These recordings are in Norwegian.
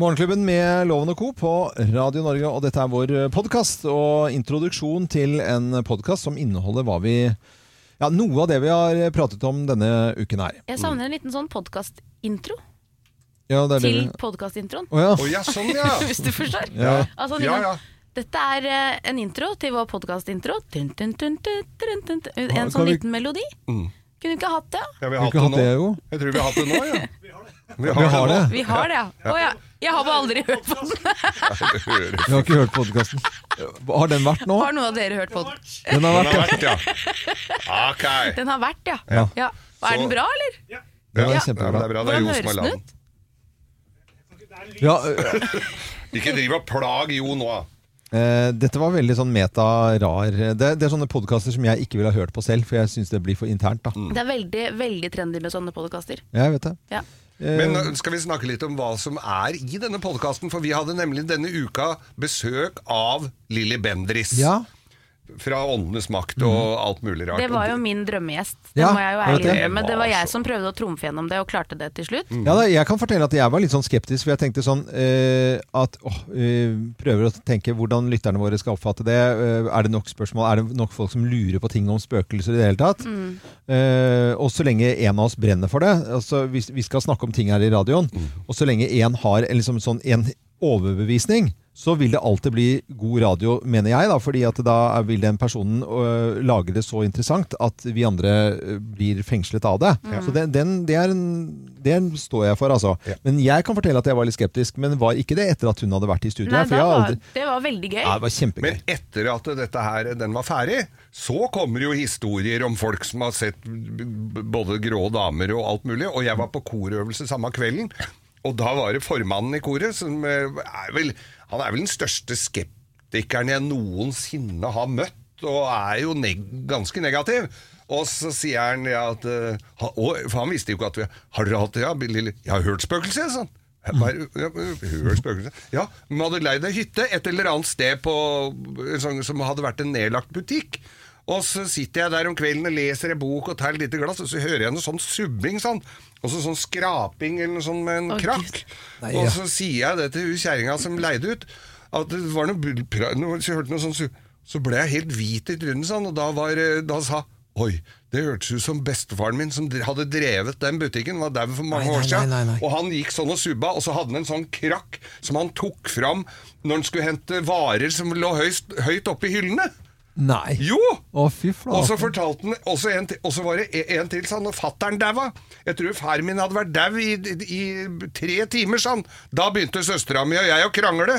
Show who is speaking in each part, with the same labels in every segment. Speaker 1: Morgenklubben med Loven og Co. på Radio Norge, og dette er vår podkast. Og introduksjon til en podkast som inneholder hva vi Ja, noe av det vi har eh, pratet om denne uken her.
Speaker 2: Jeg savner en liten sånn podkastintro
Speaker 1: Ja, det er det
Speaker 2: til
Speaker 1: vi-
Speaker 2: podkastintroen.
Speaker 1: Å ja.
Speaker 3: Å ja, sånn ja!
Speaker 2: Hvis du forstår.
Speaker 1: Ja.
Speaker 2: Altså,
Speaker 3: Ja,
Speaker 2: Nina,
Speaker 3: ja.
Speaker 2: Dette er eh, en intro til vår podkastintro. En
Speaker 1: Kan
Speaker 2: sånn
Speaker 1: vi-
Speaker 2: liten melodi.
Speaker 3: Mm.
Speaker 2: Kunne vi ikke hatt det?
Speaker 3: ja vi
Speaker 1: Vi
Speaker 3: har
Speaker 1: har ikke
Speaker 3: hatt
Speaker 1: hatt
Speaker 3: det
Speaker 1: det,
Speaker 3: nå.
Speaker 1: jo.
Speaker 3: Jeg tror vi har hatt det nå, ja. Vi
Speaker 1: Vi har det.
Speaker 2: Vi har det, ja. Å ja. Jeg har bare aldri hørt på den.
Speaker 3: det hører.
Speaker 1: Vi har ikke hørt podkasten. Har den vært nå?
Speaker 2: Har noen av dere hørt på den?
Speaker 1: Den har
Speaker 3: Den
Speaker 1: vært,
Speaker 3: har
Speaker 1: ja.
Speaker 3: vært, ja. Ok.
Speaker 2: Den har vært, ja.
Speaker 1: Ja.
Speaker 2: ja. Er den
Speaker 3: Så-
Speaker 2: bra, eller?
Speaker 1: Det var
Speaker 3: Ja,
Speaker 1: kjempebra.
Speaker 3: men Det er bra, det er
Speaker 2: Hvordan
Speaker 3: Jo som
Speaker 2: høres
Speaker 3: har
Speaker 2: den
Speaker 3: laget
Speaker 2: ut?
Speaker 1: ja
Speaker 3: den. Ikke driv og plag Jo nå, da.
Speaker 1: eh, dette var veldig sånn meta-rar. Det, det er sånne podkaster som jeg ikke ville ha hørt på selv, for jeg syns det blir for internt. da.
Speaker 3: Mm.
Speaker 2: Det er veldig, veldig trendy med sånne podkaster.
Speaker 1: Jeg vet det.
Speaker 2: Ja.
Speaker 1: Eh,
Speaker 3: Men nå skal vi snakke litt om hva som er i denne podkasten, for vi hadde nemlig denne uka besøk av Lilly Bendris
Speaker 1: ja. Mhm.
Speaker 3: fra Åndenes makt og alt mulig rart.
Speaker 2: Det var jo min drømmegjest. Det
Speaker 1: Ja,
Speaker 2: må jeg jo
Speaker 1: jeg vet
Speaker 2: ærlig
Speaker 1: det.
Speaker 2: innrømme. Det
Speaker 3: Det
Speaker 2: var
Speaker 3: var
Speaker 2: jeg
Speaker 3: så-
Speaker 2: som prøvde å trumfe gjennom det, og klarte det til slutt.
Speaker 1: Mm. Ja, da, jeg kan fortelle at jeg var litt sånn skeptisk, for jeg tenkte sånn eh, at åh, eh, Prøver å tenke hvordan lytterne våre skal oppfatte det. Eh, er det nok spørsmål? Er det nok folk som lurer på ting om spøkelser i det hele tatt? Eh, og så lenge en av oss brenner for det altså, vi, vi skal snakke om ting her i radioen, og så lenge en har en liksom sånn en overbevisning så vil det alltid bli god radio, mener jeg, da, fordi at da er- vil den personen øh, lage det så interessant at vi andre øh, blir fengslet av det. Så den, den, det er en, den står jeg for, altså. Men jeg kan fortelle at jeg var litt skeptisk, men var ikke det etter at hun hadde vært i studio.
Speaker 2: Nei,
Speaker 1: her,
Speaker 2: da
Speaker 1: for jeg har
Speaker 2: var,
Speaker 1: aldri...
Speaker 2: det var veldig gøy.
Speaker 1: Ja, det var kjempegøy.
Speaker 3: Men etter at dette her, den var ferdig, så kommer jo historier om folk som har sett b- b- både grå damer og alt mulig. Og jeg var på korøvelse samme kvelden, og da var det formannen i koret som eh, er vel Han er vel den største skeptikeren jeg noensinne har møtt, og er jo neg ganske negativ. Og så sier han ja, at eh, ha, å, For han visste jo ikke at vi Har dere hatt det? Ja, Lille- jeg har hørt spøkelser, sa han. Jeg bare, ja, men, hør spøkelset. Ja, men hadde leid ei hytte et eller annet sted på, sånn, som hadde vært en nedlagt butikk. Og så sitter jeg der om kvelden og leser en bok og tar et lite glass, og så hører jeg noe sånn subbing, sånn. Og så sånn skraping eller noe sånn med en
Speaker 2: Å,
Speaker 3: krakk.
Speaker 2: Gud.
Speaker 1: Nei,
Speaker 3: Og
Speaker 1: ja.
Speaker 3: så sier jeg det til hun kjerringa som leide ut, at det var noe bull... pra- noe- Så jeg hørte noe sånn su- Så ble jeg helt hvit i trynet, sånn, og da, var, da sa Oi, det hørtes ut som bestefaren min som dre- hadde drevet den butikken, var dau for mange
Speaker 1: Nei,
Speaker 3: år
Speaker 1: nei,
Speaker 3: siden.
Speaker 1: nei, nei, nei.
Speaker 3: Og han gikk sånn og subba, og så hadde han en sånn krakk som han tok fram når han skulle hente varer som lå høyst, høyt oppe i hyllene.
Speaker 1: Nei.
Speaker 3: Jo!
Speaker 1: Å, fy
Speaker 3: Og
Speaker 1: flate.
Speaker 3: så fortalte han også en, til- og så var det e- en til, sa han, og fattern daua. Jeg tror far min hadde vært dau i, i, i tre timer, sa han. Da begynte søstera mi og jeg å krangle.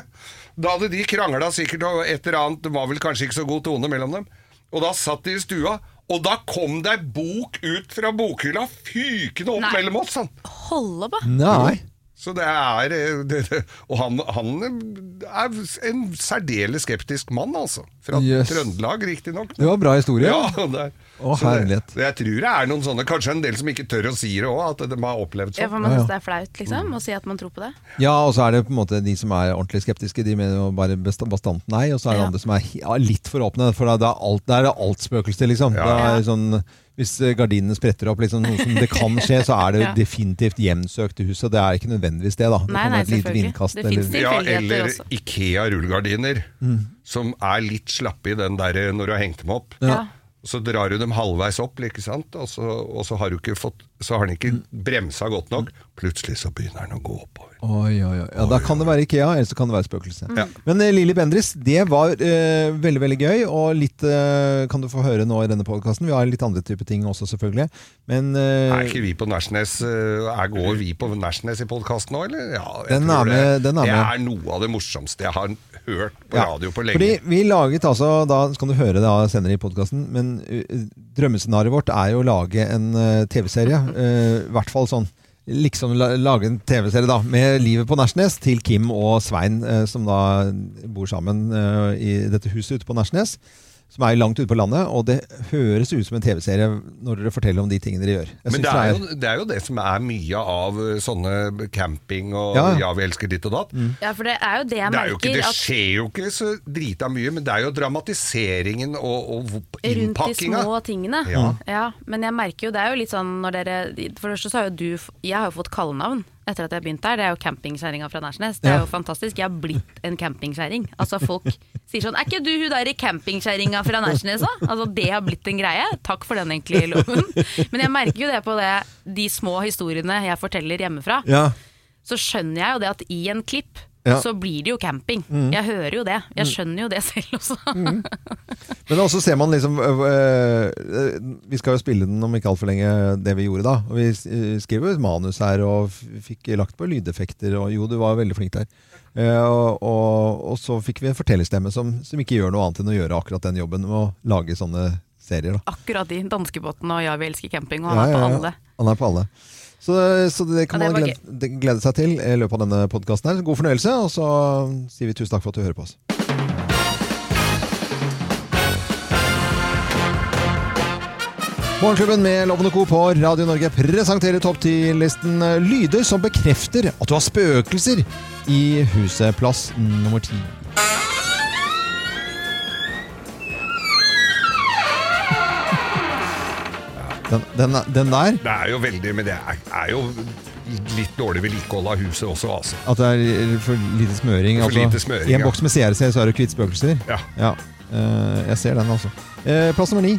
Speaker 3: Da hadde de krangla sikkert, og et eller annet det var vel kanskje ikke så god tone mellom dem. Og da satt de i stua, og da kom det ei bok ut fra bokhylla fykende opp
Speaker 2: Nei.
Speaker 3: mellom oss, sa han.
Speaker 2: Hold opp, da!
Speaker 1: Nei.
Speaker 3: Så det er eh, det, det, Og han, han er en særdeles skeptisk mann, altså. Fra
Speaker 1: Yes.
Speaker 3: Trøndelag, riktignok.
Speaker 1: Det var en bra historie.
Speaker 3: Ja, det er.
Speaker 1: Å,
Speaker 3: Så det,
Speaker 1: herlighet.
Speaker 3: jeg tror det er noen sånne, kanskje en del som ikke tør å si det òg, at de har opplevd
Speaker 2: Ja,
Speaker 3: sånn.
Speaker 2: for
Speaker 1: Ja,
Speaker 2: man
Speaker 1: Mm. ja.
Speaker 2: syns det er flaut liksom, å si at man tror på det.
Speaker 1: Ja, og så er det på en måte de som er ordentlig skeptiske, de mener jo bare besta- bastant nei, og så er det
Speaker 2: Ja.
Speaker 1: andre som er he- ja, litt for åpne, for da, da, er alt, da er det alt spøkelse, liksom.
Speaker 3: Ja.
Speaker 1: Da er
Speaker 2: Ja.
Speaker 1: det sånn, hvis eh, gardinene spretter opp, liksom, noe som det kan skje, så er det
Speaker 2: Ja.
Speaker 1: definitivt hjemsøkt i huset, og det er ikke nødvendigvis det, da. Det
Speaker 2: Nei,
Speaker 1: kan være
Speaker 2: nei,
Speaker 1: et lite
Speaker 2: selvfølgelig.
Speaker 1: vindkast,
Speaker 2: Det finnes
Speaker 1: eller-
Speaker 2: det.
Speaker 3: Ja,
Speaker 2: Tilfeldigheter
Speaker 3: eller
Speaker 2: også.
Speaker 3: Ikea-rullegardiner,
Speaker 1: Mm.
Speaker 3: som er litt slappe i den der eh, når du har hengt dem opp.
Speaker 2: Ja.
Speaker 3: Så drar du dem halvveis opp, ikke sant? Og, så, og så, har du ikke fått, så har den ikke
Speaker 1: Mm.
Speaker 3: bremsa godt nok. Plutselig så begynner den å gå oppover.
Speaker 1: Oi, oi, oi. Ja, da kan det være Ikea, eller så kan det være spøkelse.
Speaker 3: Ja.
Speaker 1: Men eh, Lilly Bendris, det var eh, veldig veldig gøy, og litt eh, kan du få høre nå i denne podkasten. Vi har litt andre type ting også, selvfølgelig. Men eh,
Speaker 3: Er ikke vi på Nærsnes eh, er, Går vi på Nærsnes i podkasten nå, eller? Ja, jeg
Speaker 1: Den
Speaker 3: tror
Speaker 1: er med, den er
Speaker 3: det
Speaker 1: med.
Speaker 3: er noe av det morsomste jeg har hørt på
Speaker 1: Ja,
Speaker 3: radio på lenge.
Speaker 1: Fordi vi laget altså, da skal du høre det da senere i podkasten, men uh, drømmescenarioet vårt er jo å lage en uh, TV-serie. uh, I hvert fall sånn. Liksom la, lage en TV-serie da, med livet på Nærsnes til eh, Kim og Svein, uh, som da bor sammen uh, i dette huset ute på Nærsnes. som er langt ute på landet, og det høres ut som en TV-serie når dere forteller om de tingene dere gjør. Jeg
Speaker 3: Men
Speaker 1: synes
Speaker 3: det er, jo, det er jo det som er mye av eh, sånne camping og ja,
Speaker 1: Ja, Mm. ja.
Speaker 3: vi elsker ditt og datt.
Speaker 2: Ja, for det er jo det jeg
Speaker 3: Det, er jo ikke,
Speaker 2: merker.
Speaker 3: det
Speaker 2: at
Speaker 3: skjer jo ikke så drita mye, men det er jo dramatiseringen og, og hvor-
Speaker 2: Rundt de
Speaker 3: innpakkinga.
Speaker 2: små tingene. Ja.
Speaker 3: Ja.
Speaker 2: Men jeg merker jo det er jo litt sånn når dere For det første så har jo du f- Jeg har jo fått kallenavn etter at jeg begynte her. Det er jo campingkjerringa fra Nærsnes. Det
Speaker 1: Ja.
Speaker 2: er jo fantastisk. Jeg har blitt en campingkjerring. Altså folk sier sånn Er ikke du hun der i campingkjerringa fra Nærsnes, da? Altså det har blitt en greie. Takk for den egentlig, loven. Men jeg merker jo det på det de små historiene jeg forteller hjemmefra.
Speaker 1: Ja.
Speaker 2: så skjønner jeg jo det at i en klipp
Speaker 1: Ja. Mm.
Speaker 2: så blir det jo camping. Jeg hører jo det. Jeg skjønner jo det selv også.
Speaker 1: Men også ser man liksom øh, øh, Vi skal jo spille den om ikke altfor lenge, det vi gjorde da. Og vi øh, skrev jo et manus her og f- fikk lagt på lydeffekter. Og jo, du var veldig flink der. Eh, og, og, og så fikk vi en fortellerstemme som, som ikke gjør noe annet enn å gjøre akkurat den jobben med å lage sånne serier. da.
Speaker 2: Akkurat de danskebåtene og Ja, vi elsker camping,
Speaker 1: Ja,
Speaker 2: og han er
Speaker 1: ja,
Speaker 2: på
Speaker 1: ja.
Speaker 2: alle.
Speaker 1: Han er på alle. Så, så det kan
Speaker 2: Ja, det
Speaker 1: man
Speaker 2: var
Speaker 1: glede, det- glede seg til i løpet av denne podkasten. her. God fornøyelse, og så sier vi tusen takk for at du hører på oss. Morgenklubben med Loven og Co. på Radio Norge presenterer topp 10-listen lyder som bekrefter at du har spøkelser i huset. Plass nummer ti. Den, den, den der
Speaker 3: Det er jo veldig, men det er, er jo litt dårlig vedlikehold av huset også, altså.
Speaker 1: At det er for lite smøring.
Speaker 3: For
Speaker 1: altså.
Speaker 3: lite smøring,
Speaker 1: I en
Speaker 3: ja.
Speaker 1: boks med CRC så er det kvitt spøkelser.
Speaker 3: Ja.
Speaker 1: Ja. Eh, jeg ser den, altså. Eh, plass nummer ni.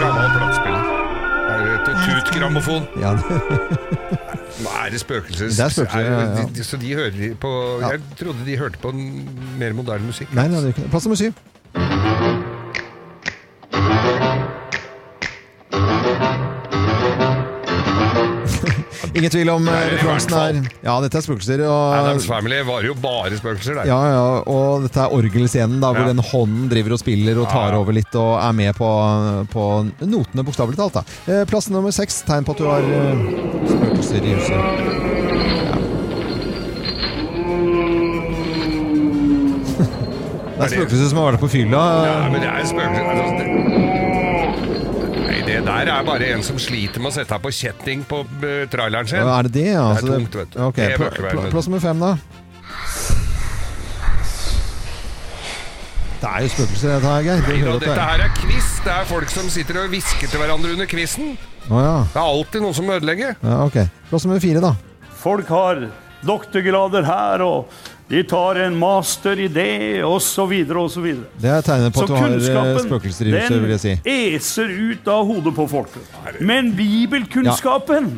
Speaker 3: Gammel platespiller. Er det et Tutgrammofon.
Speaker 1: Ja, det,
Speaker 3: Nå er det spøkelser.
Speaker 1: Det er spøkelser, ja, ja, ja.
Speaker 3: de- de- Så de hører på Jeg trodde de hørte på n- mer moderne musikk.
Speaker 1: nei, nei, det er ikke det. Plass nummer syv. Ingen tvil om eh,
Speaker 3: Nei, i hvert
Speaker 1: referansen
Speaker 3: fall.
Speaker 1: her. Ja, dette er spøkelser. Og
Speaker 3: Adams Family var jo bare spøkelser, der.
Speaker 1: Ja, ja, og dette er orgelscenen da, hvor
Speaker 3: Ja.
Speaker 1: den hånden driver og spiller og tar
Speaker 3: Ja, ja.
Speaker 1: over litt og er med på, på notene, bokstavelig talt. da. Eh, Plass nummer seks, tegn på at du har eh, spøkelser i huset. Ja. Det er spøkelser som har vært på fylla.
Speaker 3: Ja, men det er spøkelser. Altså, det... Nei, det der er bare en som sliter med å sette på kjetting på eh, traileren sin.
Speaker 1: Er det det? Ja,
Speaker 3: Det er
Speaker 1: Så
Speaker 3: tungt, vet du.
Speaker 1: Ok,
Speaker 3: Det
Speaker 1: pla-
Speaker 3: bør ikke være
Speaker 1: pla-
Speaker 3: nødvendig.
Speaker 1: Plass nummer fem, da. Det er jo spøkelser, dette her, Geir. Du
Speaker 3: Nei, da,
Speaker 1: hører at det
Speaker 3: dette
Speaker 1: er-
Speaker 3: her er quiz. Det er folk som sitter og hvisker til hverandre under quizen.
Speaker 1: Å ja.
Speaker 3: Det er alltid noen som ødelegger.
Speaker 1: ja. Ok. Plass nummer fire, da.
Speaker 4: Folk har doktorgrader her, og de tar en master i det, og så videre, og så videre.
Speaker 1: Det er tegnet på
Speaker 4: Så
Speaker 1: at du har eh,
Speaker 4: kunnskapen
Speaker 1: spøkelser i huset, vil jeg si.
Speaker 4: eser ut av hodet på folk. Men bibelkunnskapen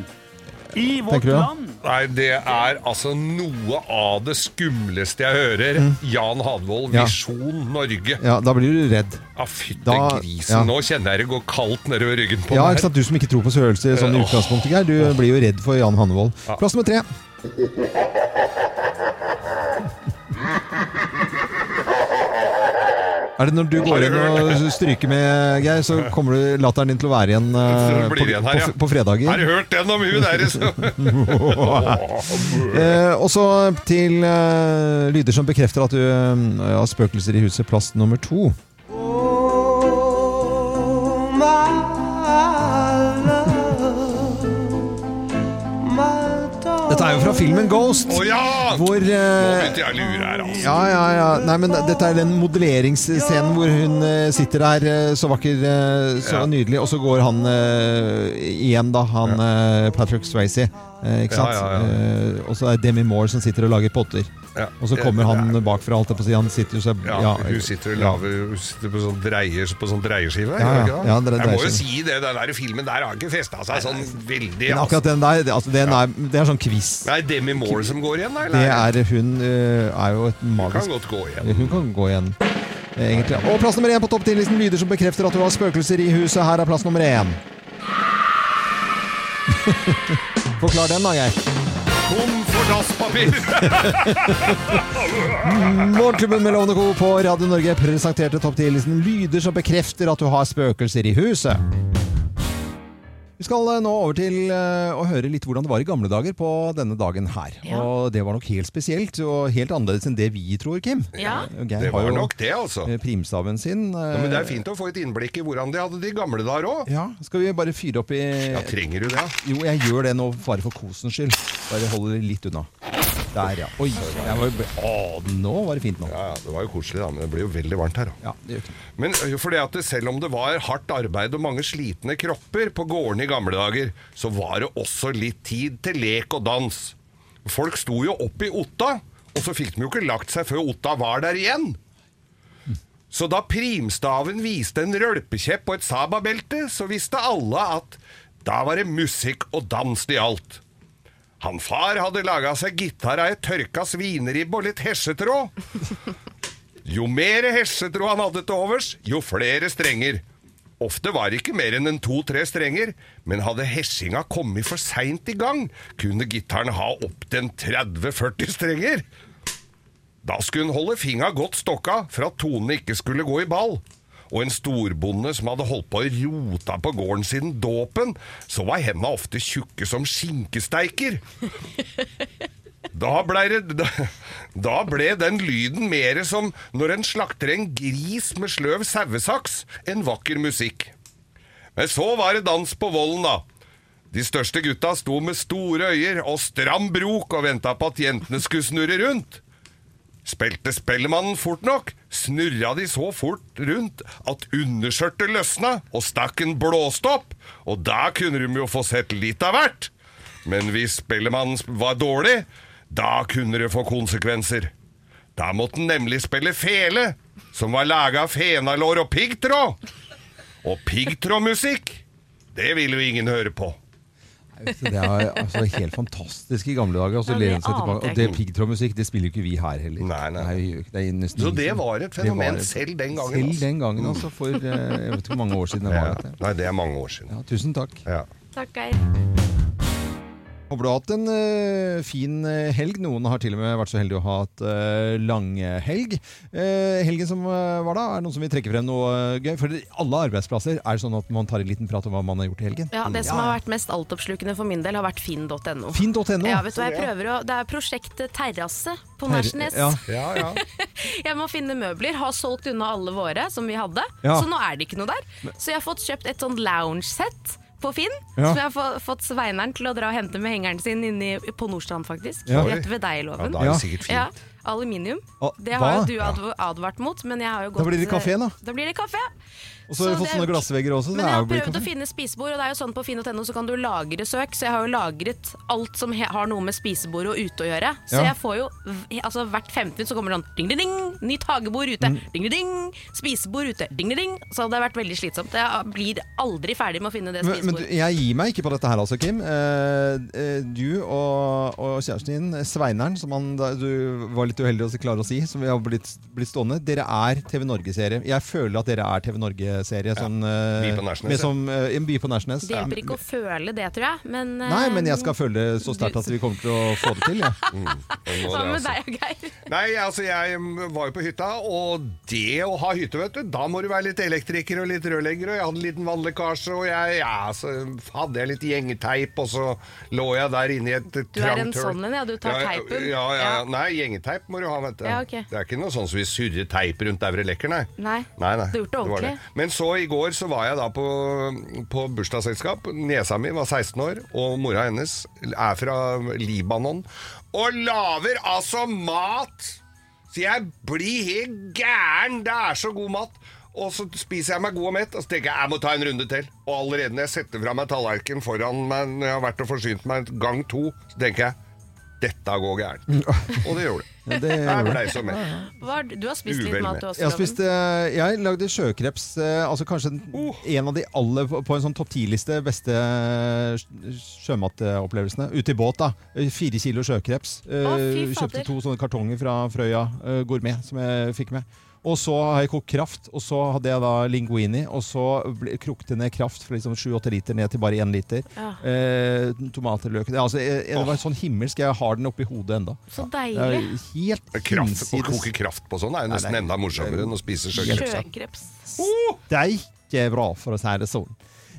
Speaker 4: i vårt
Speaker 1: tenker du, ja?
Speaker 4: land
Speaker 3: Nei, det er altså noe av det skumleste jeg hører. Jan Hanvold,
Speaker 1: Mm. Ja.
Speaker 3: Visjon Norge.
Speaker 1: Ja, da blir du redd.
Speaker 3: Ja, fytte
Speaker 1: Da-
Speaker 3: grisen,
Speaker 1: ja.
Speaker 3: nå kjenner jeg det går kaldt nedover ryggen på
Speaker 1: Ja,
Speaker 3: meg.
Speaker 1: ikke sant? Du som ikke tror på spøkelser sånn i
Speaker 3: Eh, åh.
Speaker 1: utgangspunktet, Geir. Du blir jo redd for Jan Hannevold. Plass nummer tre. Er det når du går inn og stryker med, Geir, så kommer du latteren din til å være igjen eh,
Speaker 3: Så blir
Speaker 1: på,
Speaker 3: det igjen her,
Speaker 1: på,
Speaker 3: ja.
Speaker 1: f- på fredager?
Speaker 3: Har du hørt den om hun der? Så.
Speaker 1: Eh, og så til eh, lyder som bekrefter at du eh, har spøkelser i huset. Plass nummer to. Dette er jo fra filmen Ghost.
Speaker 3: Å ja! Nå
Speaker 1: Hvor eh,
Speaker 3: begynte jeg å lure her, altså.
Speaker 1: ja, ja, ja. Nei, men dette er den modelleringsscenen hvor hun eh, sitter der eh, så vakker, eh, så
Speaker 3: Ja.
Speaker 1: nydelig, og så går han eh, igjen, da, han eh, Patrick Swayze. eh, ikke
Speaker 3: Ja,
Speaker 1: sant?
Speaker 3: ja, ja.
Speaker 1: Eh, og så er det Demi Moore som sitter og lager potter.
Speaker 3: Ja. Eh,
Speaker 1: Og så kommer han bakfra, alt det på å si. Han sitter jo så
Speaker 3: Ja, hun sitter og laver Hun sitter på sånn, dreier, på sånn dreieskive.
Speaker 1: Ja,
Speaker 3: gjør hun
Speaker 1: ja.
Speaker 3: ikke det?
Speaker 1: Ja, det er
Speaker 3: jeg må jo
Speaker 1: dreieskive.
Speaker 3: si det, den der filmen der har ikke festa seg sånn veldig.
Speaker 1: Men
Speaker 3: Altså.
Speaker 1: akkurat den der, det- altså, den er, det er sånn quiz.
Speaker 3: Nei, Demi Moore som går igjen, da?
Speaker 1: Det
Speaker 3: Eller?
Speaker 1: er hun eh, er jo et
Speaker 3: Kan
Speaker 1: magisk
Speaker 3: godt gå igjen.
Speaker 1: Hun kan gå igjen. eh, egentlig. Og plass nummer én på topp 10-listen lyder som bekrefter at du har spøkelser i huset. Her er plass nummer én. Forklar den da, Geir.
Speaker 3: Tom for dasspapir!
Speaker 1: Morgenklubben med Lovende Co. på Radio Norge presenterte topp 10-listen lyder som bekrefter at du har spøkelser i huset. Vi skal eh, nå over til eh, å høre litt hvordan det var i gamle dager på denne dagen her.
Speaker 2: Ja.
Speaker 1: Og det var nok helt spesielt, og helt annerledes enn det vi tror, Kim. Eh,
Speaker 2: Ja.
Speaker 1: Geir
Speaker 3: Det
Speaker 1: har
Speaker 3: var
Speaker 1: jo
Speaker 3: nok det, altså.
Speaker 1: eh, primstaven sin. eh,
Speaker 3: Ja, men det er fint å få et innblikk i hvordan de hadde det i gamle dager òg.
Speaker 1: Ja, skal vi bare fyre opp i
Speaker 3: Ja, trenger du det?
Speaker 1: Jo, jeg gjør det nå bare for kosens skyld. Bare holder det litt unna. Der, ja. Oi, jeg var... Å, nå var det fint nå.
Speaker 3: Ja, ja, Det var jo koselig, da, men det blir jo veldig varmt her. da.
Speaker 1: Ja, det gjør ikke noe.
Speaker 3: Men ø, fordi at det, selv om det var hardt arbeid og mange slitne kropper på gården i gamle dager, så var det også litt tid til lek og dans. Folk sto jo opp i Otta, og så fikk de jo ikke lagt seg før Otta var der igjen. Så da primstaven viste en rølpekjepp og et sababelte, så visste alle at da var det musikk og dans det gjaldt. Han far hadde laga seg gitar av ei tørka svineribbe og litt hesjetråd. Jo mer hesjetråd han hadde til overs, jo flere strenger. Ofte var det ikke mer enn en to-tre strenger, men hadde hesjinga kommet for seint i gang, kunne gitaren ha opptil en 30-40 strenger. Da skulle hun holde fingra godt stokka for at tonene ikke skulle gå i ball. Og en storbonde som hadde holdt på å rota på gården siden dåpen, så var henda ofte tjukke som skinkesteiker. Da ble, det, da, da ble den lyden mer som når en slakter en gris med sløv sauesaks, enn vakker musikk. Men så var det dans på vollen, da. De største gutta sto med store øyer og stram brok og venta på at jentene skulle snurre rundt. Spilte spellemannen fort nok, snurra de så fort rundt at underskjørtet løsna og stakken blåste opp, og da kunne de jo få sett litt av hvert. Men hvis spellemannen sp- var dårlig, da kunne det få konsekvenser. Da måtte han nemlig spille fele, som var laga av fenalår og piggtråd. Og piggtrådmusikk, det ville jo ingen høre på.
Speaker 1: Så Det er altså helt fantastisk i gamle dager. Altså,
Speaker 2: Ja, det
Speaker 1: lener seg
Speaker 2: ante
Speaker 1: tilbake.
Speaker 2: jeg
Speaker 1: Og det piggtrådmusikk det spiller jo ikke vi her heller.
Speaker 3: Nei, nei.
Speaker 1: vi gjør ikke- det er nesten
Speaker 3: Så
Speaker 1: ingen
Speaker 3: det
Speaker 1: som-
Speaker 3: var et
Speaker 1: det
Speaker 3: fenomen
Speaker 1: var et-
Speaker 3: selv den gangen,
Speaker 1: Selv
Speaker 3: altså.
Speaker 1: den gangen, altså. For eh, jeg vet ikke hvor mange år siden det var.
Speaker 3: Ja,
Speaker 1: Dette.
Speaker 3: nei, det er mange år siden.
Speaker 1: Ja, tusen takk.
Speaker 3: Ja.
Speaker 2: Takk, Geir.
Speaker 1: Håper du har hatt en eh, fin eh, helg. Noen har til og med vært så heldige å ha hatt eh, langhelg. Eh, helgen som eh, var da, er det noen som vil trekke frem noe eh, gøy? For alle arbeidsplasser er det sånn at man tar en liten prat om hva man har gjort i helgen.
Speaker 2: Ja, Det som har vært mest altoppslukende for min del, har vært finn.no.
Speaker 1: Finn.no.
Speaker 2: Ja, vet du hva, jeg prøver å, Det er prosjekt eh, Terrasse på Nærsnes.
Speaker 1: Ja.
Speaker 3: Ja, ja.
Speaker 2: Jeg må finne møbler. Har solgt unna alle våre som vi hadde,
Speaker 1: Ja.
Speaker 2: så nå er det ikke noe der. Så jeg har fått kjøpt et sånt lounge-sett på Finn,
Speaker 1: Ja.
Speaker 2: som jeg har få- fått Sveineren til å dra og hente med hengeren sin inni, på Nordstrand, faktisk.
Speaker 1: Ja.
Speaker 2: Rett ved deg,
Speaker 3: ja
Speaker 2: Loven.
Speaker 3: da er
Speaker 1: Ja.
Speaker 3: det sikkert
Speaker 2: Ja,
Speaker 3: fint.
Speaker 2: aluminium.
Speaker 1: Ah,
Speaker 2: Det har
Speaker 1: hva?
Speaker 2: jo du adv advart mot, men jeg har jo gått
Speaker 1: Da blir det kafé, da.
Speaker 2: Da blir det kafé.
Speaker 1: Og så har
Speaker 2: Så
Speaker 1: vi
Speaker 2: det
Speaker 1: fått
Speaker 2: er
Speaker 1: sånne
Speaker 2: jo-
Speaker 1: glassvegger også. så
Speaker 2: Men
Speaker 1: det
Speaker 2: jeg
Speaker 1: er
Speaker 2: har
Speaker 1: jo blitt
Speaker 2: prøvd å
Speaker 1: kaffe.
Speaker 2: finne spisebord, og det er jo sånn på finn.no så kan du lagre søk, så jeg har jo lagret alt som he- har noe med spisebord og ute å gjøre. Så
Speaker 1: Ja.
Speaker 2: jeg får jo v- altså hvert femte minutt så kommer det sånn ding, ding, ding, nytt hagebord ute,
Speaker 1: Mm.
Speaker 2: ding, ding, ding, spisebord ute, ding, ding, ding. Så det har vært veldig slitsomt. Jeg blir aldri ferdig med å finne det
Speaker 1: Men, men du,
Speaker 2: spisebordet.
Speaker 1: jeg gir meg ikke på dette her, altså, Kim. Eh, eh, du og, og kjæresten din, Sveineren, som han, da- du var litt uheldig å klare å si, som vi har blitt, blitt stående, dere er TV Norge-serie. Jeg føler at dere er TV Norge-serie. Sånn, eh,
Speaker 3: By på Nærsnes,
Speaker 1: med
Speaker 3: ja.
Speaker 1: som, eh, en by på Nærsnes.
Speaker 2: Det hjelper ikke å føle det, tror jeg, men eh,
Speaker 1: Nei, men jeg skal føle det så sterkt at vi kommer til å få det til. Ja.
Speaker 3: Det må
Speaker 2: Sammen med
Speaker 3: det, altså.
Speaker 2: deg, Geir.
Speaker 3: Nei, altså jeg mm, var jo på hytta, og det å ha hytte, vet du, da må du være litt elektriker og litt rørlegger, og jeg hadde en liten vannlekkasje, og jeg, ja, så hadde jeg litt gjengeteip, og så lå jeg der inne i et trangt
Speaker 2: Du er en
Speaker 3: hull.
Speaker 2: sånn en, ja, du tar teipen.
Speaker 3: Ja, ja, ja.
Speaker 2: Ja.
Speaker 3: Nei, gjengeteip må du ha, vet du.
Speaker 2: Ja, ok.
Speaker 3: Det er ikke noe sånn som vi surrer teip rundt Daure Lekker, nei.
Speaker 2: Nei.
Speaker 3: nei, nei.
Speaker 2: Du har gjort det
Speaker 3: var
Speaker 2: ordentlig.
Speaker 3: Men så i går så var jeg da på, på bursdagsselskap. Niesa mi var 16 år, og mora hennes er fra Libanon. Og lager altså mat! Så jeg blir helt gæren! Det er så god mat! Og så spiser jeg meg god og mett, og så tenker jeg jeg må ta en runde til. Og allerede når jeg setter fra meg tallerkenen foran meg når jeg har vært og forsynt meg gang to, så tenker jeg dette går gærent. Og det gjorde det.
Speaker 1: Ja, det
Speaker 3: Jeg
Speaker 1: gjorde
Speaker 3: blei så mett.
Speaker 2: Hva har du- Du har spist
Speaker 3: Uvel
Speaker 2: litt mat,
Speaker 3: med.
Speaker 2: du også,
Speaker 1: Jeg, har spist, eh, jeg lagde sjøkreps, eh, altså kanskje den,
Speaker 3: Oh.
Speaker 1: en av de aller på på en sånn topp 10-liste beste sj- sjømatopplevelsene. Ute i båt, da. Eh, Fire kilo sjøkreps. Eh,
Speaker 2: Å, fy fader.
Speaker 1: kjøpte to sånne kartonger fra Frøya eh, Gourmet som jeg fikk med. Og så har jeg kokt kraft, og så hadde jeg da linguini. Og så ble- kokte jeg ned kraft fra liksom 7-8 liter ned til bare 1 liter.
Speaker 2: Ja.
Speaker 1: Eh, tomater, løk Det- altså, jeg, jeg, Det var sånn himmelsk. Jeg har den oppi hodet enda.
Speaker 2: Så
Speaker 1: Det er
Speaker 2: deilig.
Speaker 1: helt
Speaker 3: Kraft, å koke
Speaker 1: hinsides
Speaker 3: kraft på sånn er jo nesten
Speaker 1: Nei, nei.
Speaker 3: enda morsommere enn å spise sjøkreps.
Speaker 2: Sjøkreps.
Speaker 1: steike bra, for å si det sånn.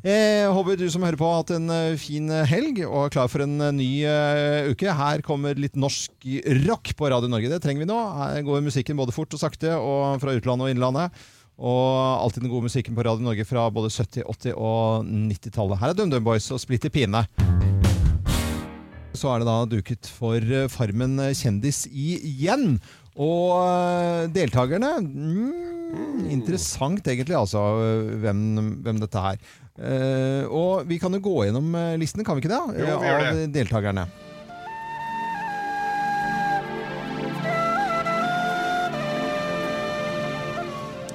Speaker 1: Eh, håper du som hører på har hatt en eh, fin helg og er klar for en eh, ny eh, uke. Her kommer litt norsk rock på Radio Norge. Det trenger vi nå. Her går musikken både fort og sakte, og fra utlandet og innlandet. Og alltid den gode musikken på Radio Norge fra både 70-, 80- og 90-tallet. Her er DumDum Boys og Splitter Pine. Så er det da duket for eh, Farmen kjendis igjen. Og eh, deltakerne mm, Interessant egentlig, altså, eh, hvem, hvem dette er. Eh, og vi kan jo gå gjennom eh, listen, kan vi ikke det?
Speaker 3: Jo, vi
Speaker 1: Eh,
Speaker 3: gjør
Speaker 1: Av deltakerne.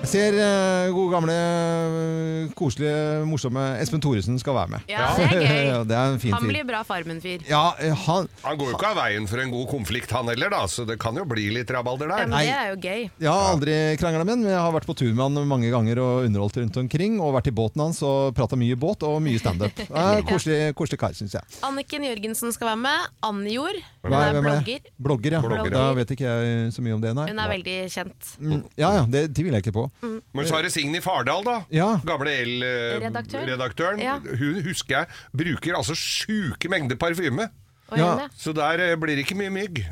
Speaker 1: Jeg ser eh, gode, gamle, eh, koselige, morsomme Espen Thoresen skal være med.
Speaker 2: Ja, det er
Speaker 1: Ja,
Speaker 2: gøy.
Speaker 1: det er en fin
Speaker 2: Han
Speaker 1: fyr.
Speaker 2: blir bra Farmen-fyr.
Speaker 1: Ja, eh, han
Speaker 3: Han går jo ikke av veien for en god konflikt, han heller, da, så det kan jo bli litt rabalder
Speaker 2: Ja,
Speaker 3: der.
Speaker 2: men
Speaker 1: Nei.
Speaker 2: det er jo gøy.
Speaker 1: Jeg har aldri krangla med ham, men jeg har vært på tur med han mange ganger og underholdt rundt omkring. Og vært i båten hans og prata mye båt og mye standup. Eh, Koselig, koselig kar, syns jeg.
Speaker 2: Anniken Jørgensen skal være med. Annjord. Hun
Speaker 1: Hva-
Speaker 2: er
Speaker 1: hvem det?
Speaker 2: blogger.
Speaker 1: Blogger, ja.
Speaker 3: Blogger,
Speaker 1: Da
Speaker 3: ja.
Speaker 1: vet ikke jeg så mye om det, nei.
Speaker 2: Hun er veldig Mm. kjent.
Speaker 1: Mm, Ja, ja, det tviler jeg ikke på.
Speaker 3: Men så er det Signe Fardal, da.
Speaker 1: Ja.
Speaker 3: Gamle L-redaktøren.
Speaker 2: Redaktør. Ja.
Speaker 3: Hun husker jeg bruker altså sjuke mengder parfyme.
Speaker 2: Og
Speaker 1: Ja.
Speaker 2: Janne.
Speaker 3: Så der eh, blir det ikke mye mygg.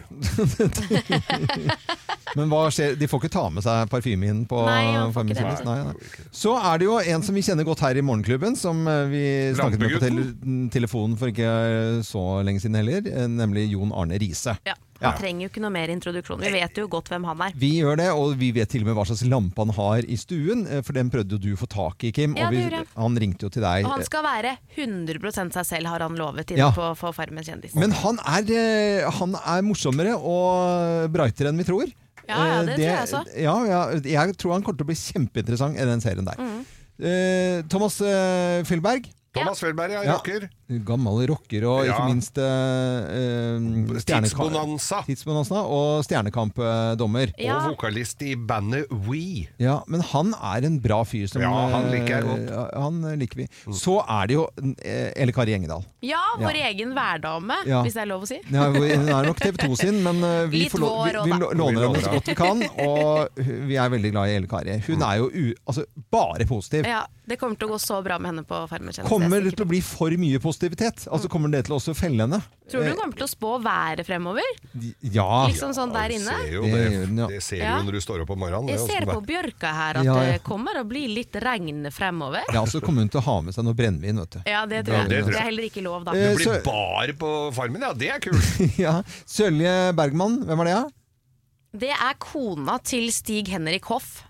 Speaker 1: Men hva skjer? De får ikke ta med seg parfyme inn på
Speaker 2: Nei, man får
Speaker 1: Farmen
Speaker 2: ikke det.
Speaker 1: kjendis? Nei, nei. Så er det jo en som vi kjenner godt her i Morgenklubben, som eh, vi snakket med på tele telefonen for ikke eh, så lenge siden heller, eh, nemlig Jon Arne Riise.
Speaker 2: Ja.
Speaker 1: Ja.
Speaker 2: Han trenger jo ikke noe mer introduksjon. Vi vet jo godt hvem han er.
Speaker 1: Vi gjør det, og vi vet til og med hva slags lampe han har i stuen, eh, for den prøvde jo du å få tak i, Kim.
Speaker 2: Ja,
Speaker 1: og vi,
Speaker 2: det gjorde jeg.
Speaker 1: han ringte jo til deg.
Speaker 2: Og han skal være 100 seg selv, har han lovet inne
Speaker 1: Ja.
Speaker 2: på, på Farmen kjendis.
Speaker 1: Men han er, eh, han er morsommere og brightere enn vi tror.
Speaker 2: Ja, ja,
Speaker 1: Eh,
Speaker 2: det tror jeg også.
Speaker 1: Ja, ja, jeg tror han kommer til å bli kjempeinteressant i den serien der.
Speaker 2: Mm.
Speaker 1: Eh, Thomas eh, Fjellberg.
Speaker 3: Thomas Felberg, ja.
Speaker 1: Ja.
Speaker 3: Rocker.
Speaker 1: Gammel rocker og
Speaker 3: Ja.
Speaker 1: ikke minst eh, eh, stjerneka-
Speaker 3: Tidsbonanza.
Speaker 1: Tidsbonanza og eh, Stjernekamp-dommer.
Speaker 2: Ja.
Speaker 3: Og vokalist i bandet We.
Speaker 1: Ja, men han er en bra fyr som
Speaker 3: Ja, han liker jeg godt. Mm.
Speaker 1: eh, Han liker vi. Så er det jo eh, Elle Kari Engedal.
Speaker 2: Ja, vår
Speaker 1: Ja.
Speaker 2: egen værdame,
Speaker 1: Ja.
Speaker 2: hvis det er lov å si.
Speaker 1: Ja, hun er nok TV 2 sin, men eh, vi,
Speaker 2: Litt
Speaker 1: får lov-
Speaker 2: vår også,
Speaker 1: vi, vi
Speaker 2: da.
Speaker 1: lå-
Speaker 3: Vi
Speaker 1: låner
Speaker 3: låner
Speaker 1: henne så godt vi kan. Og hun- vi er veldig glad i Elle Kari.
Speaker 3: Mm.
Speaker 1: Hun er jo u, altså, bare positiv.
Speaker 2: Ja, det kommer til å gå så bra med henne på Farmen kjendis. det Mm. er
Speaker 1: Kommer
Speaker 2: jeg
Speaker 1: det til å
Speaker 2: sikker
Speaker 1: bli for mye positivitet? Altså Kommer det til å også felle henne?
Speaker 2: på. Tror du hun kommer til å spå været fremover?
Speaker 1: Ja.
Speaker 2: Liksom sånn der inne?
Speaker 3: Ser jo
Speaker 1: Det
Speaker 3: det,
Speaker 1: gjør den, ja.
Speaker 3: det ser
Speaker 2: Ja.
Speaker 3: du når du står opp om morgenen. det
Speaker 2: Jeg
Speaker 3: er
Speaker 2: ser
Speaker 3: åssen
Speaker 2: på
Speaker 3: det
Speaker 2: bjørka her at
Speaker 1: Ja, ja.
Speaker 2: det kommer å bli litt regn fremover.
Speaker 1: ja, så kommer hun til å ha med seg noe brennevin, vet du.
Speaker 2: Ja, det tror jeg.
Speaker 3: det tror jeg.
Speaker 2: Det er heller ikke lov, da.
Speaker 1: Eh,
Speaker 3: er. Blir
Speaker 1: Så-
Speaker 3: bar på Farmen, ja. Det er kult.
Speaker 1: Ja. Sølje Bergman, hvem er det? ja?
Speaker 2: Det er kona til Stig Henrik Hoff.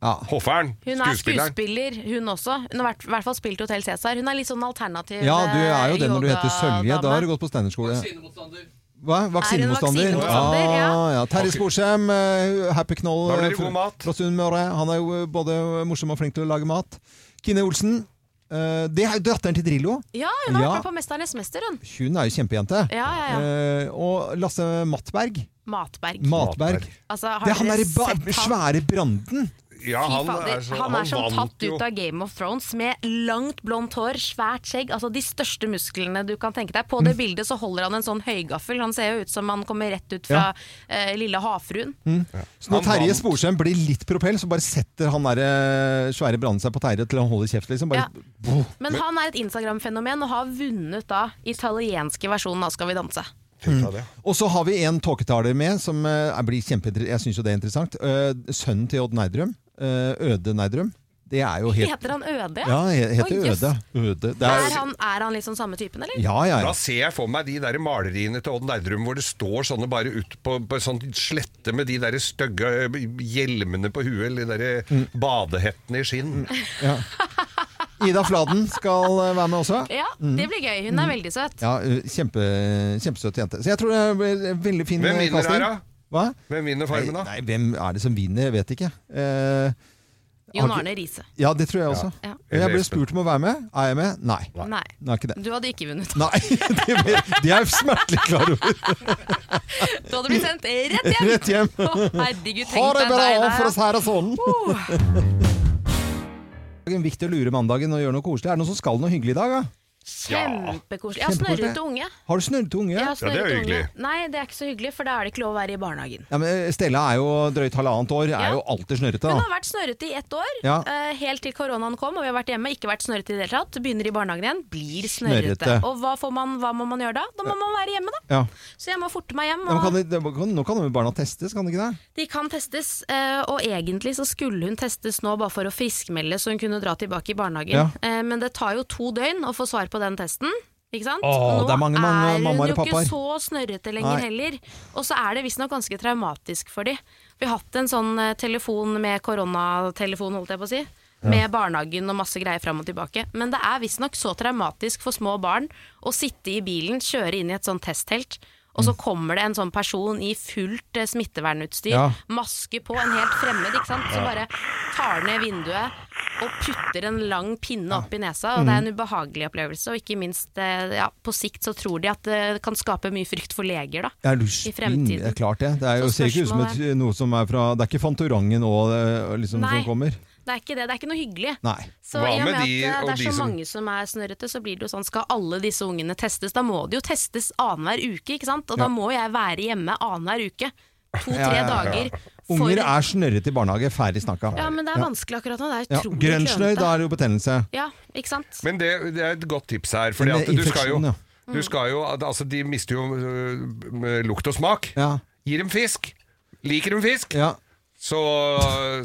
Speaker 1: Ja.
Speaker 3: Hoffern.
Speaker 2: Hun er
Speaker 3: Skuespilleren.
Speaker 2: skuespiller, hun også. Hun har vært- i hvert fall spilt i Hotell Cæsar. Hun er litt sånn alternativ
Speaker 1: ja, du er
Speaker 2: Eh,
Speaker 1: jo det når du heter Sølje. Da har du
Speaker 2: du
Speaker 1: gått på standup-skole. Hva?
Speaker 2: Er
Speaker 1: Vaksinemotstander?
Speaker 2: hun vaksinemotstander, ja.
Speaker 1: Ah, ja. Terje Sporsem, eh, Happy Knoll
Speaker 3: Da blir det
Speaker 1: fra-
Speaker 3: god mat.
Speaker 1: fra Sunnmøre. Han er jo eh, både morsom og flink til å lage mat. Kine Olsen. eh, det er jo datteren til Drillo.
Speaker 2: Ja, hun har
Speaker 1: Ja.
Speaker 2: vært med på Mesternes mester, hun.
Speaker 1: Hun er jo kjempejente.
Speaker 2: Ja, ja, ja.
Speaker 1: Eh, og Lasse Mattberg.
Speaker 2: Matberg.
Speaker 1: Matberg.
Speaker 3: Matberg.
Speaker 2: altså, har
Speaker 1: Det er han
Speaker 2: dere
Speaker 1: derre ba-
Speaker 2: sett han?
Speaker 1: svære branden.
Speaker 3: Ja,
Speaker 2: Fy
Speaker 3: han
Speaker 2: fader,
Speaker 3: er, så,
Speaker 2: han er som
Speaker 3: vant
Speaker 2: tatt
Speaker 3: jo.
Speaker 2: ut av Game of Thrones med langt blondt hår, svært skjegg, altså de største musklene du kan tenke deg. På
Speaker 1: Mm.
Speaker 2: det bildet så holder han en sånn høygaffel, han ser jo ut som han kommer rett ut fra eh, Lille havfruen.
Speaker 1: Mm. Så når
Speaker 3: Han
Speaker 1: Terje
Speaker 3: vant.
Speaker 1: Sporsem blir litt propell, så bare setter han der, eh, svære branden seg på Terje til han holder kjeft, liksom. Bare,
Speaker 2: Men han er et Instagram-fenomen og har vunnet da italienske versjonen av Skal vi danse.
Speaker 3: Tenk deg det.
Speaker 1: Og så har vi en tåketaler med som eh, er- blir kjempeinteressant. Jeg syns jo det er interessant. Eh, sønnen til Odd Nerdrum, eh, Øde Nerdrum, det er jo helt
Speaker 2: Heter han Øde?
Speaker 1: Ja, he- heter
Speaker 2: Å, jøss.
Speaker 1: Øde. Øde. Det
Speaker 2: Er
Speaker 1: er,
Speaker 2: han, er han liksom samme typen, eller?
Speaker 1: ja, ja,
Speaker 3: Da
Speaker 1: ja.
Speaker 3: ser jeg for meg de der maleriene til Odd Nerdrum hvor det står sånne bare ut på, på sånn slette med de der stygge ø, hjelmene på huet, eller de der eh,
Speaker 1: Mm.
Speaker 3: badehettene i skinn.
Speaker 1: Ida Fladen skal eh, være med også.
Speaker 2: Ja, det blir gøy. Hun er veldig søt.
Speaker 1: Ja, eh, kjempe, Kjempesøt jente. Så jeg tror det blir en veldig fin
Speaker 3: Hvem
Speaker 1: eh,
Speaker 3: vinner
Speaker 1: casting.
Speaker 3: her, da?
Speaker 1: Hva?
Speaker 3: Hvem vinner
Speaker 1: Nei,
Speaker 3: Farmen, da?
Speaker 1: nei, hvem er det som vinner? Jeg vet ikke. Eh,
Speaker 2: Jon
Speaker 1: Har ikke-
Speaker 2: Arne Riise.
Speaker 1: Ja, det tror jeg også.
Speaker 2: Ja.
Speaker 1: Jeg ble spurt om å være med. Er jeg med? Nei.
Speaker 2: Nei.
Speaker 1: Nei, ikke det.
Speaker 2: Du hadde ikke vunnet.
Speaker 1: Nei, det, ble- det er jeg smertelig klar over.
Speaker 2: Du hadde blitt sendt rett hjem!
Speaker 1: Rett hjem.
Speaker 2: Å, herregud,
Speaker 1: Ha
Speaker 2: tenk
Speaker 1: det
Speaker 2: deg
Speaker 1: bra,
Speaker 2: deg der,
Speaker 1: for
Speaker 2: ja.
Speaker 1: å si det sånn. Det er viktig å lure mandagen og gjøre noe koselig. Er det noen som skal noe hyggelig i dag? Da?
Speaker 2: Kjempekoselig. Jeg har
Speaker 1: Kjempekoselig.
Speaker 2: snørrete unge.
Speaker 1: Har du snørrete unge?
Speaker 2: Jeg har
Speaker 3: Ja, det er
Speaker 2: snørrete unge.
Speaker 3: hyggelig.
Speaker 2: Nei, det er ikke så hyggelig, for da er det ikke lov å være i barnehagen.
Speaker 1: Ja, men eh, Stella er jo drøyt halvannet år, er
Speaker 2: Ja.
Speaker 1: jo alltid snørrete.
Speaker 2: Hun
Speaker 1: da.
Speaker 2: har vært snørrete i ett år,
Speaker 1: Ja.
Speaker 2: eh, helt til koronaen kom og vi har vært hjemme. Ikke vært snørrete i det hele tatt. Begynner i barnehagen igjen, blir snørrete.
Speaker 1: Snørrete.
Speaker 2: Og hva, får man, hva må man gjøre da? Da må man være hjemme, da.
Speaker 1: Ja.
Speaker 2: Så jeg må forte meg hjem.
Speaker 1: Ja, men
Speaker 2: Og
Speaker 1: kan de, de, kan, nå kan jo barna testes, kan de ikke det?
Speaker 2: de kan testes, eh, og egentlig så skulle hun testes nå bare for å friskmelde, så hun kunne dra tilbake i barnehagen.
Speaker 1: Ja.
Speaker 2: Eh, Men det tar jo to døgn å få svar på den testen. Ikke sant?
Speaker 1: Åh,
Speaker 2: nå
Speaker 1: det er mange, mange
Speaker 2: er hun
Speaker 1: mammaer
Speaker 2: jo
Speaker 1: og
Speaker 2: ikke
Speaker 1: pappaer.
Speaker 2: så snørrete lenger
Speaker 1: Nei.
Speaker 2: heller. Og så er det visstnok ganske traumatisk for de. Vi har hatt en sånn eh, telefon med koronatelefon, holdt jeg på å si. Med barnehagen og masse greier fram og tilbake. Men det er visstnok så traumatisk for små barn å sitte i bilen, kjøre inn i et sånt testtelt, og
Speaker 1: Mm.
Speaker 2: så kommer det en sånn person i fullt eh, smittevernutstyr,
Speaker 1: Ja.
Speaker 2: maske på, en helt fremmed, ikke sant, som bare tar ned vinduet og putter en lang pinne opp i nesa. Og det
Speaker 1: Mm.
Speaker 2: er en ubehagelig opplevelse, og ikke minst, eh, ja, på sikt så tror de at det kan skape mye frykt for leger, da.
Speaker 1: Er du
Speaker 2: I
Speaker 1: spinn?
Speaker 2: fremtiden.
Speaker 1: Det er klart det. Det er jo,
Speaker 2: Så
Speaker 1: ser ikke ut som et,
Speaker 2: spørsmålet-
Speaker 1: noe som er fra Det er ikke Fantorangen nå eh, liksom,
Speaker 2: Nei.
Speaker 1: som kommer?
Speaker 2: Det er ikke det, det er ikke noe hyggelig.
Speaker 1: Nei.
Speaker 2: Så
Speaker 3: Hva
Speaker 2: i og
Speaker 3: med
Speaker 2: med at
Speaker 3: de-
Speaker 2: eh,
Speaker 3: og
Speaker 2: det er
Speaker 3: de
Speaker 2: så
Speaker 3: som-
Speaker 2: mange som er snørrete, så blir det jo sånn skal alle disse ungene testes? Da må de jo testes annenhver uke, ikke sant? Og
Speaker 1: Ja.
Speaker 2: da må jeg være hjemme annenhver uke. To-tre
Speaker 1: Ja, ja, ja.
Speaker 2: dager. for-
Speaker 1: Unger er snørrete i barnehage, ferdig snakka.
Speaker 2: Ja, men det er vanskelig akkurat nå. Det er
Speaker 1: Ja,
Speaker 2: utrolig
Speaker 1: Grønnsnø,
Speaker 2: klønete.
Speaker 1: da er det jo betennelse.
Speaker 2: Ja, ikke sant?
Speaker 3: Men det, det er et godt tips her. Fordi
Speaker 1: Med
Speaker 3: at du skal jo,
Speaker 1: infeksjon,
Speaker 2: Mm.
Speaker 3: du skal jo at- altså, De mister jo øh, lukt og smak.
Speaker 1: Ja.
Speaker 3: Gir dem fisk. Liker de fisk,
Speaker 1: ja.
Speaker 3: så,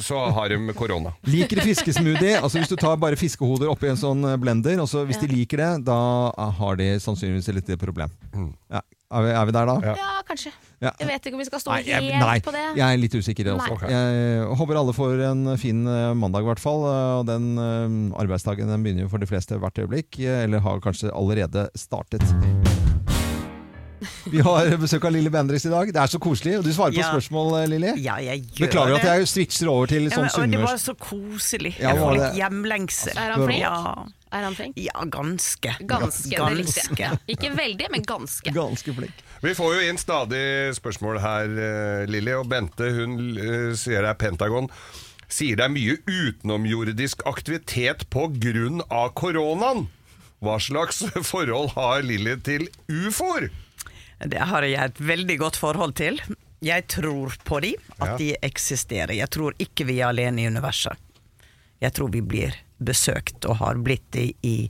Speaker 3: så har de korona.
Speaker 1: Liker de fiskesmoothie? Altså hvis du tar bare fiskehoder oppi en sånn eh, blender, og så hvis de liker det, da eh, har de sannsynligvis et lite problem.
Speaker 5: Mm.
Speaker 1: Ja. Er, vi, er vi der da?
Speaker 2: Ja, kanskje.
Speaker 1: Ja.
Speaker 2: Jeg vet ikke om vi skal stå
Speaker 1: Nei, jeg,
Speaker 2: helt
Speaker 1: nei,
Speaker 2: på det.
Speaker 1: jeg er litt usikker også.
Speaker 3: Nei.
Speaker 1: Jeg håper alle får en fin eh, mandag i hvert fall. eh, Og den eh, arbeidsdagen den begynner jo for de fleste hvert øyeblikk, eh, eller har kanskje allerede startet. Vi har besøk av Lilly Bendriss i dag. Det er så koselig. Og du svarer på
Speaker 5: Ja.
Speaker 1: spørsmål, eh, Lilly.
Speaker 5: Ja, jeg gjør
Speaker 1: Beklager
Speaker 5: det.
Speaker 1: at jeg switcher over til
Speaker 5: Ja,
Speaker 1: sånn
Speaker 5: men- og Det var
Speaker 1: sunnmørs...
Speaker 5: så koselig.
Speaker 1: Ja,
Speaker 5: Jeg
Speaker 1: var
Speaker 5: får
Speaker 1: det-
Speaker 5: litt hjemlengsel.
Speaker 2: Er han flink?
Speaker 5: Ja,
Speaker 2: Er han flink?
Speaker 5: ja ganske.
Speaker 2: Ganske, det likte jeg.
Speaker 5: Ganske.
Speaker 2: Ikke veldig, men ganske.
Speaker 1: Ganske flink.
Speaker 3: Vi får jo inn stadig spørsmål her, eh, Lilly. Og Bente hun eh, sier det er Pentagon. Sier det er mye utenomjordisk aktivitet pga. koronaen. Hva slags forhold har Lilly til ufoer?
Speaker 5: Det har jeg et veldig godt forhold til. Jeg tror på de, at de eksisterer. Jeg tror ikke vi er alene i universet. Jeg tror vi blir besøkt, og har blitt det i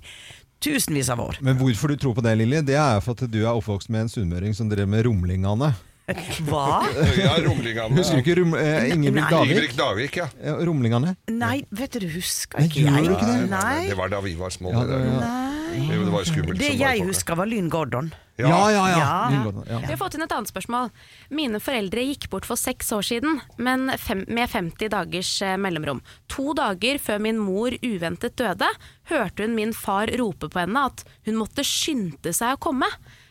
Speaker 5: tusenvis av år.
Speaker 1: Men hvorfor du tror på det, Lilly, det er jo for at du er oppvokst med en sunnmøring som drev med rumlingene.
Speaker 5: Hva?
Speaker 3: Ja, rumlingene.
Speaker 1: Husker du ikke rum, eh, Ingebrigt
Speaker 5: Nei.
Speaker 1: Davik?
Speaker 3: Ingebrigt Davik, ja.
Speaker 1: Ja, Rumlingene?
Speaker 5: Nei, vet du, husker
Speaker 1: Nei,
Speaker 5: ikke
Speaker 1: gjorde
Speaker 5: jeg.
Speaker 1: du ikke det?
Speaker 5: Nei.
Speaker 3: Det var da vi var små.
Speaker 1: Ja,
Speaker 3: det der.
Speaker 1: det- ja.
Speaker 3: Jo, det var skummelt.
Speaker 5: Det
Speaker 3: som bare
Speaker 5: jeg
Speaker 3: pokker.
Speaker 5: husker, var Lyn Gordon.
Speaker 1: Ja, ja, ja.
Speaker 5: Ja.
Speaker 1: Ingebrigt- ja.
Speaker 2: Vi har fått inn et annet spørsmål. Mine foreldre gikk bort for seks år siden, men fem, med 50 dagers eh, mellomrom. To dager før min mor uventet døde, hørte hun min far rope på henne at hun måtte skynde seg å komme.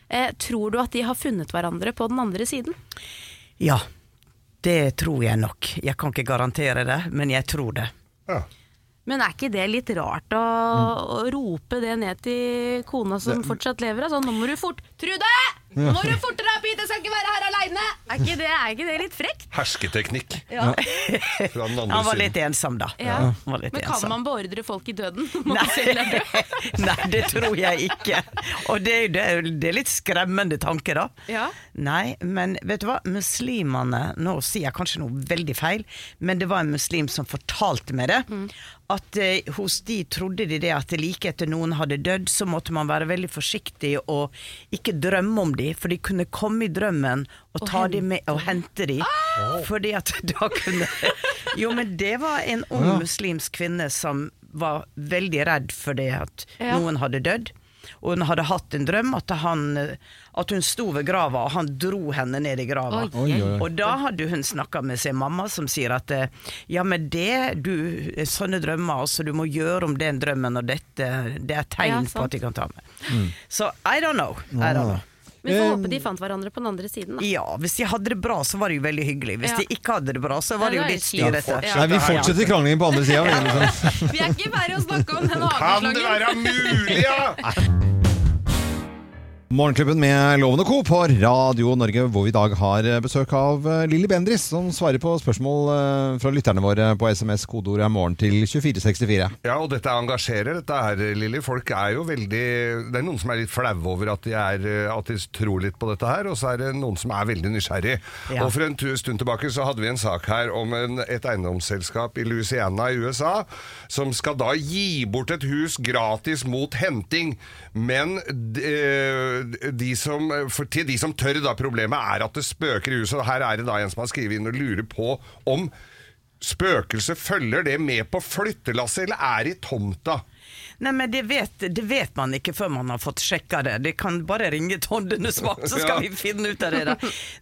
Speaker 2: Eh, tror du at de har funnet hverandre på den andre siden?
Speaker 5: Ja, det tror jeg nok. Jeg kan ikke garantere det, men jeg tror det.
Speaker 3: Ja.
Speaker 2: Men er ikke det litt rart å,
Speaker 5: Mm.
Speaker 2: å rope det ned til kona som fortsatt lever? Altså, nå må du fort Trude! Nå må du fortere opp hit, jeg skal ikke være her aleine! Er, ikke det- er ikke det litt frekt?
Speaker 3: Hersketeknikk fra den andre
Speaker 5: Han var litt
Speaker 3: siden.
Speaker 5: ensom, da.
Speaker 2: Ja.
Speaker 5: Han var litt
Speaker 2: Men kan
Speaker 5: ensom.
Speaker 2: man beordre folk i døden?
Speaker 5: Nei. Nei, det tror jeg ikke. Og det, er jo- det, er jo- det er litt skremmende tanke, da.
Speaker 2: Ja.
Speaker 5: Nei, men vet du hva, muslimene Nå sier jeg kanskje noe veldig feil, men det var en muslim som fortalte meg det. At eh, hos de trodde de det at like etter noen hadde dødd, så måtte man være veldig forsiktig og ikke drømme om de, for de kunne komme i drømmen og ta de med og hente Ah! de. Fordi at da kunne Jo, men det var en ung
Speaker 1: Ja.
Speaker 5: muslimsk kvinne som var veldig redd for det at
Speaker 2: Ja.
Speaker 5: noen hadde dødd. Og hun hadde hatt en drøm at, han, at hun sto ved grava, og han dro henne ned i grava.
Speaker 2: Oi,
Speaker 1: oi, oi.
Speaker 5: Og da hadde hun snakka med sin mamma, som sier at eh, ja, men det du Sånne drømmer, altså. Du må gjøre om den drømmen, og dette Det
Speaker 2: Ja,
Speaker 5: er tegn på
Speaker 2: sant.
Speaker 1: Mm.
Speaker 5: at de kan ta med. Så I don't know. I don't know.
Speaker 2: Men vi får
Speaker 1: Eh,
Speaker 2: håpe de fant hverandre på den andre siden, da.
Speaker 5: Ja, hvis de hadde det bra, så var det jo veldig hyggelig. Hvis
Speaker 2: Ja.
Speaker 5: de ikke hadde det bra, så
Speaker 2: Ja,
Speaker 5: var det jo
Speaker 2: det er
Speaker 5: litt
Speaker 2: jo kjipt.
Speaker 5: styrete.
Speaker 2: Ja.
Speaker 1: Nei, vi fortsetter kranglingen på andre sida. Liksom.
Speaker 2: Vi er ikke ferdig å snakke om den
Speaker 3: Kan det
Speaker 2: hageslangen.
Speaker 3: være mulig, ja?!
Speaker 1: Morgenklubben med Loven og Co. på Radio Norge, hvor vi i dag har besøk av eh, Lilly Bendris, som svarer på spørsmål eh, fra lytterne våre på SMS. Kodeordet er 'morgen' til 2464.
Speaker 3: Ja, og dette engasjerer, dette her, Lilly. Folk er jo veldig Det er noen som er litt flaue over at de, er, eh, at de tror litt på dette her, og så er det noen som er veldig nysgjerrig.
Speaker 5: Ja.
Speaker 3: Og for en tu- stund tilbake så hadde vi en sak her om en, et eiendomsselskap i Louisiana i USA, som skal da gi bort et hus gratis mot henting, men de, de som, for, til de som tør, da. Problemet er at det spøker i huset, og her er det da en som har skrevet inn og lurer på om Spøkelset følger det med på flyttelasset, eller er i tomta?
Speaker 5: Nei, men det vet, det vet man ikke før man har fått sjekka det. Det kan bare ringe Tondene Svart, så skal
Speaker 3: Ja.
Speaker 5: vi finne ut av det. da.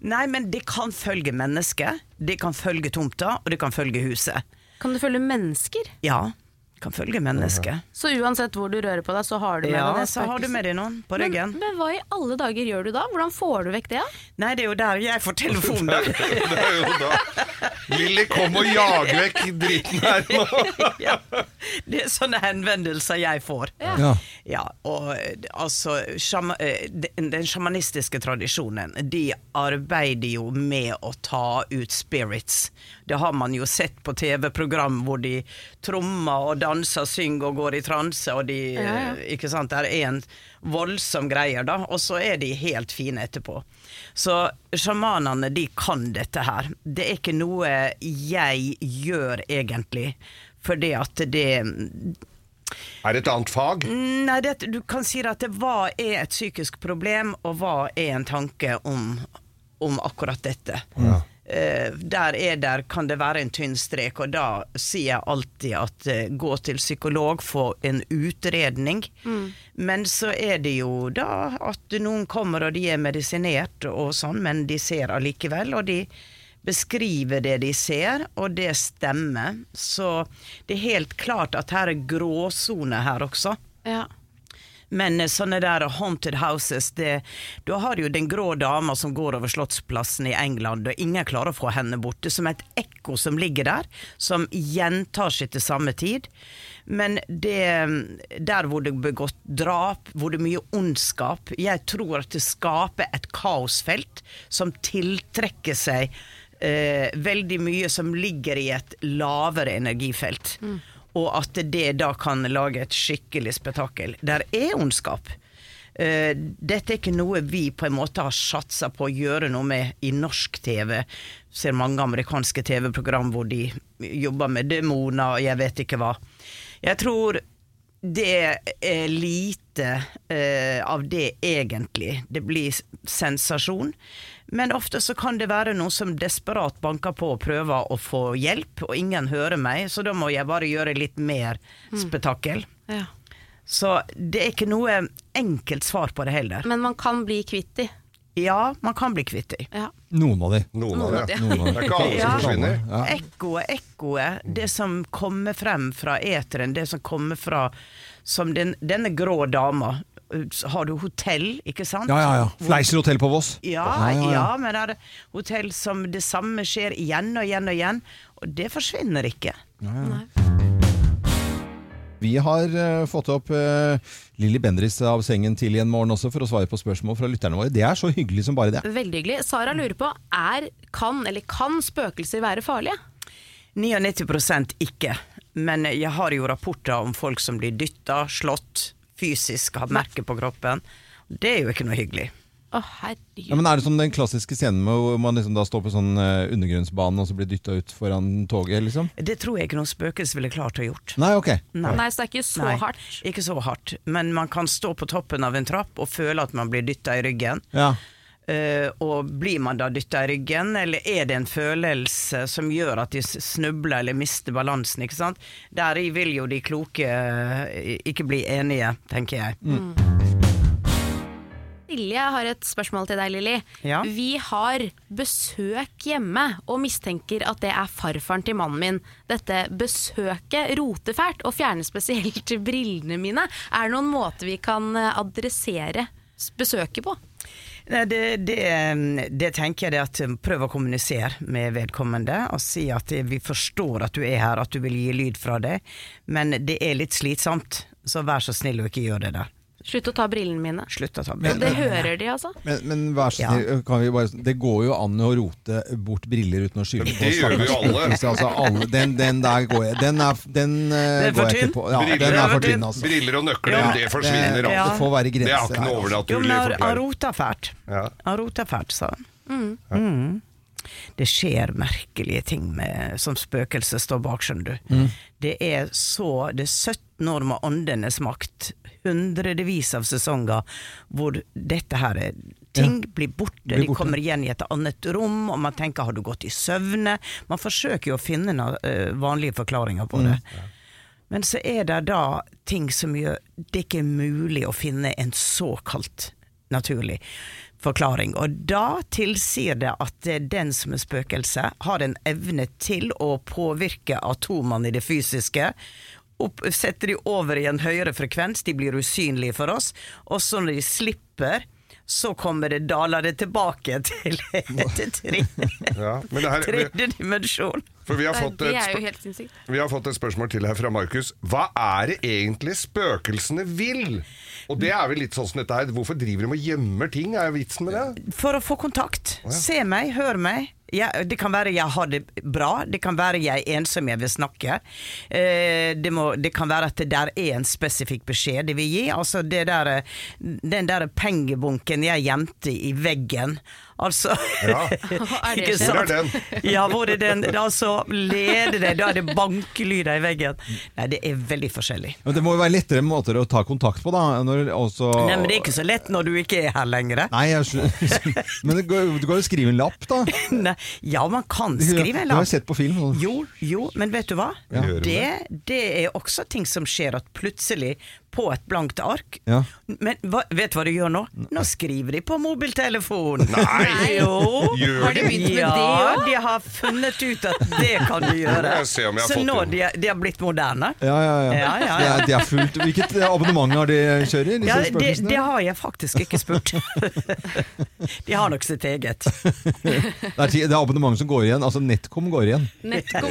Speaker 5: Nei, men det kan følge mennesket, det kan følge tomta, og det kan følge huset.
Speaker 2: Kan du følge mennesker?
Speaker 5: Ja, det kan følge mennesket.
Speaker 2: Så uansett hvor du rører på deg, så har du med
Speaker 5: Ja,
Speaker 2: deg det
Speaker 5: så har du med deg noen på
Speaker 2: Men,
Speaker 5: ryggen.
Speaker 2: men hva i alle dager gjør du da? Hvordan får du vekk det? da?
Speaker 5: Nei, det er jo der jeg får telefon, da.
Speaker 3: Det er jo da Lilly, kom og jag vekk dritten her nå!
Speaker 5: ja. Det er sånne henvendelser jeg får. Ja,
Speaker 1: Ja.
Speaker 5: og eh, altså sjama, eh, den, den sjamanistiske tradisjonen, de arbeider jo med å ta ut spirits. Det har man jo sett på TV-program hvor de trommer og danser, synger og går i transe, og de
Speaker 2: Ja, ja.
Speaker 5: eh, Ikke sant. Det er en voldsom greie, da, og så er de helt fine etterpå. Så sjamanene, de kan dette her. Det er ikke noe jeg gjør, egentlig, fordi at det
Speaker 3: Er det et annet fag?
Speaker 5: Nei, det, du kan si at det, hva er et psykisk problem, og hva er en tanke om, om akkurat dette. Eh, der er der kan det være en tynn strek, og da sier jeg alltid at eh, gå til psykolog, få en utredning. Men så er det jo da at noen kommer og de er medisinert og sånn, men de ser allikevel, og de beskriver det de ser, og det stemmer. Så det er helt klart at her er gråsone her også.
Speaker 2: Ja.
Speaker 5: Men eh, sånne der haunted houses det, Da har du jo den grå dama som går over Slottsplassen i England, og ingen klarer å få henne borte. Som et ekko som ligger der, som gjentar seg til samme tid. Men det eh, Der hvor det er begått drap, hvor det er mye ondskap Jeg tror at det skaper et kaosfelt som tiltrekker seg eh, veldig mye som ligger i et lavere energifelt. Og at det da kan lage et skikkelig spetakkel. Der er ondskap. Eh, dette er ikke noe vi på en måte har satsa på å gjøre noe med i norsk TV. Ser mange amerikanske TV-program hvor de jobber med demoner og jeg vet ikke hva. Jeg tror det er lite eh, av det egentlig. Det blir s- sensasjon. Men ofte så kan det være noen som desperat banker på og prøver å få hjelp, og ingen hører meg, så da må jeg bare gjøre litt mer spetakkel.
Speaker 2: Ja.
Speaker 5: Så det er ikke noe enkelt svar på det heller.
Speaker 2: Men man kan bli kvitt de.
Speaker 5: Ja, man kan bli kvitt dem.
Speaker 2: Ja.
Speaker 1: Noen av de.
Speaker 3: Noen av det.
Speaker 1: Noen av
Speaker 3: Det
Speaker 1: de.
Speaker 3: er ikke alle som forsvinner.
Speaker 1: Ja.
Speaker 5: Ekkoet, ekkoet, det som kommer frem fra eteren, det som kommer fra Som den, denne grå dama. Har du hotell, ikke sant?
Speaker 1: Ja, ja, ja. Fleischer hotell på Voss.
Speaker 5: Ja, ja, men det er hotell som det samme skjer igjen og igjen og igjen, og det forsvinner ikke.
Speaker 1: Vi har eh, fått opp uh, Lilly Bendriss av sengen tidlig en morgen også for å svare på spørsmål fra lytterne våre. Det er så hyggelig som bare det.
Speaker 2: Veldig hyggelig. Sara lurer på er, kan eller kan spøkelser være farlige?
Speaker 5: 99 ikke, men jeg har jo rapporter om folk som blir dytta, slått, fysisk har merker på kroppen. Det er jo ikke noe hyggelig.
Speaker 2: Å,
Speaker 1: Ja,
Speaker 2: herregud.
Speaker 1: men Er det som den klassiske scenen med hvor man liksom da står på sånn eh, undergrunnsbane og så blir dytta ut foran toget, liksom?
Speaker 5: Det tror jeg ikke noen spøkelse ville klart å gjort.
Speaker 1: Nei, ok.
Speaker 2: Nei, så det er ikke så
Speaker 5: Nei,
Speaker 2: hardt.
Speaker 5: Ikke så hardt, men man kan stå på toppen av en trapp og føle at man blir dytta i ryggen.
Speaker 1: Ja.
Speaker 5: Eh, og blir man da dytta i ryggen, eller er det en følelse som gjør at de s- snubler eller mister balansen, ikke sant. Deri vil jo de kloke eh, ikke bli enige, tenker jeg.
Speaker 2: Silje jeg har et spørsmål til deg, Lilly.
Speaker 5: Ja.
Speaker 2: Vi har besøk hjemme og mistenker at det er farfaren til mannen min. Dette besøket roter fælt og fjerner spesielt brillene mine. Er det noen måte vi kan eh, adressere s- besøket på?
Speaker 5: Nei, det, det, mm, det tenker jeg det at um, prøv å kommunisere med vedkommende og si at eh, vi forstår at du er her, at du vil gi lyd fra deg, men det er litt slitsomt, så vær så snill og ikke gjør det der.
Speaker 2: Slutt å ta brillene mine.
Speaker 5: Slutt å ta
Speaker 2: Og
Speaker 5: bilder.
Speaker 2: det hører de, altså.
Speaker 1: Men, men vær så
Speaker 5: Ja.
Speaker 1: snill, eh, kan vi bare, det går jo an å rote bort briller uten å skylde
Speaker 3: Men
Speaker 1: på
Speaker 3: det gjør vi jo
Speaker 1: stakkars
Speaker 3: alle.
Speaker 1: Mikkelsen, Altså, alle. Den, den der går jeg Den, er, den, eh,
Speaker 5: Den er for
Speaker 1: går jeg
Speaker 5: tynn.
Speaker 1: ikke på. Ja,
Speaker 3: Briller
Speaker 1: den er
Speaker 3: er
Speaker 1: for tynn, altså.
Speaker 3: Briller og nøkler,
Speaker 1: Ja,
Speaker 3: det
Speaker 1: det-
Speaker 3: forsvinner
Speaker 1: det
Speaker 3: altså.
Speaker 1: får være grenser
Speaker 3: Det er ikke
Speaker 1: her, altså.
Speaker 3: noe
Speaker 5: Jo,
Speaker 3: overnaturlig
Speaker 5: men han han
Speaker 3: forklaring.
Speaker 5: rota fælt.
Speaker 3: Ja.
Speaker 5: Han rota fælt, sa han. Mm. Det skjer merkelige ting med, som spøkelset står bak, skjønner du.
Speaker 1: Mm.
Speaker 5: Det er så Det er 17 år med åndenes makt, hundrevis av sesonger hvor dette her er Ting blir borte,
Speaker 1: Blir borte.
Speaker 5: de kommer igjen i et annet rom, og man tenker har du gått i søvne? Man forsøker jo å finne noen eh, vanlige forklaringer
Speaker 1: Mm.
Speaker 5: på det. Men så er det da ting som gjør det ikke er mulig å finne en såkalt naturlig forklaring. Og da tilsier det at det er den som er spøkelse, har en evne til å påvirke atomene i det fysiske. Opp, setter de over i en høyere frekvens, de blir usynlige for oss. Og så når de slipper, så kommer det daler det tilbake til, til tre,
Speaker 3: Ja, men det her,
Speaker 5: tredje dimensjon.
Speaker 3: for vi har fått
Speaker 2: Det
Speaker 3: et
Speaker 2: er
Speaker 3: spør-
Speaker 2: jo helt sinnssykt.
Speaker 3: Vi har fått et spørsmål til her fra Markus. Hva er det egentlig spøkelsene vil? Og det er vel litt sånn som dette her. Hvorfor driver de og gjemmer ting? Er vitsen med det?
Speaker 5: For å få kontakt. Se meg, hør meg. Jeg, det kan være jeg har det bra, det kan være jeg er ensom, jeg vil snakke. Eh, det, må, det kan være at det der er en spesifikk beskjed de vil gi. Altså det der, eh, den der pengebunken jeg gjemte i veggen. Altså
Speaker 3: Ja.
Speaker 2: Hva er det
Speaker 5: Ikke
Speaker 2: skjedd?
Speaker 3: Hvor er den?
Speaker 5: Ja, hvor er den? Altså, lede deg, da er det bankelyder i veggen. Nei, det er veldig forskjellig.
Speaker 1: Men det må jo være lettere måter å ta kontakt på, da. Når også,
Speaker 5: Nei, men det er ikke så lett når du ikke er her lenger.
Speaker 1: Nei, jeg skjønner. Men det går det går jo å skrive en lapp, da.
Speaker 5: Nei, ja, man kan skrive
Speaker 1: Du
Speaker 5: en
Speaker 1: har
Speaker 5: lapp.
Speaker 1: jo sett på film. Sånn.
Speaker 5: Jo, jo, men vet du hva?
Speaker 1: Ja.
Speaker 3: Gjør vi
Speaker 5: Det, det er også ting som skjer at plutselig på et blankt ark
Speaker 1: Ja.
Speaker 5: Men hva, vet du hva de gjør nå? Nå skriver de på mobiltelefonen!
Speaker 3: Nei.
Speaker 5: Jo!
Speaker 3: Gjør Har de de?
Speaker 2: begynt med det
Speaker 5: Ja,
Speaker 2: også?
Speaker 5: de har funnet ut at det kan du gjøre.
Speaker 3: jeg se om jeg har
Speaker 5: Så
Speaker 3: fått
Speaker 5: nå
Speaker 3: det.
Speaker 5: de, er- de har blitt moderne.
Speaker 1: Ja, ja, ja.
Speaker 5: Ja, ja, ja.
Speaker 1: Det er, det er fullt. Hvilket abonnement har de kjører? Disse
Speaker 5: Ja, det,
Speaker 1: spøkelsene?
Speaker 5: det har jeg faktisk ikke spurt. De har nok sitt eget.
Speaker 1: Det, er, ti- det er abonnement som går igjen. Altså NetCom går igjen.
Speaker 2: Nettkom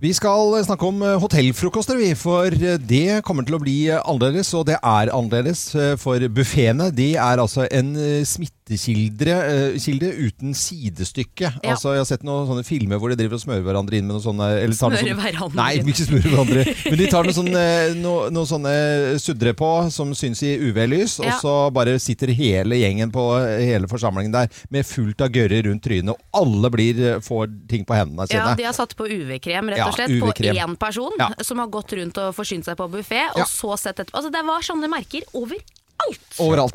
Speaker 1: Vi skal snakke om eh, hotellfrokoster, vi, for eh, det kommer til å bli eh, annerledes. Og det er annerledes eh, for buffeene. De er altså en eh, smittekilde eh, kilde uten sidestykke.
Speaker 2: Ja.
Speaker 1: Altså, jeg har sett noen sånne filmer hvor de driver og smører hverandre inn med noen sånne eller tar noen
Speaker 2: Smører
Speaker 1: sånne-
Speaker 2: hverandre
Speaker 1: Nei,
Speaker 2: inn.
Speaker 1: ikke smører hverandre. Men de tar noen sånne, eh, no, noen sånne suddre på som syns i UV-lys,
Speaker 2: Ja.
Speaker 1: og så bare sitter hele gjengen på eh, hele forsamlingen der med fullt av gørrer rundt trynet, og alle blir, eh, får ting på hendene sine.
Speaker 2: Ja, de har satt på UV-krem, rett
Speaker 1: Ja,
Speaker 2: og slett, på
Speaker 1: UV-krem.
Speaker 2: én person
Speaker 1: Ja.
Speaker 2: som har gått rundt og forsynt seg på buffé, og
Speaker 1: Ja.
Speaker 2: så sett etterpå. Altså, det var sånne merker overalt!
Speaker 1: Overalt.
Speaker 2: Overalt.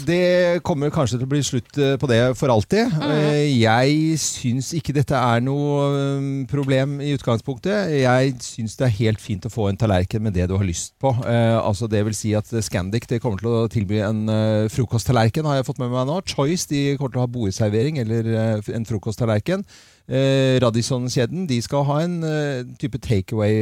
Speaker 1: Så det kommer kanskje til å bli slutt eh, på det for alltid. Eh, Jeg syns ikke dette er noe eh, problem i utgangspunktet. Jeg syns det er helt fint å få en tallerken med det du har lyst på. Eh, altså det vil si at Scandic det kommer til å tilby en eh, frokosttallerken, har jeg fått med meg nå. Choice de kommer til å ha bordservering eller eh, en frokosttallerken. Eh, Radisson-kjeden de skal ha en eh, type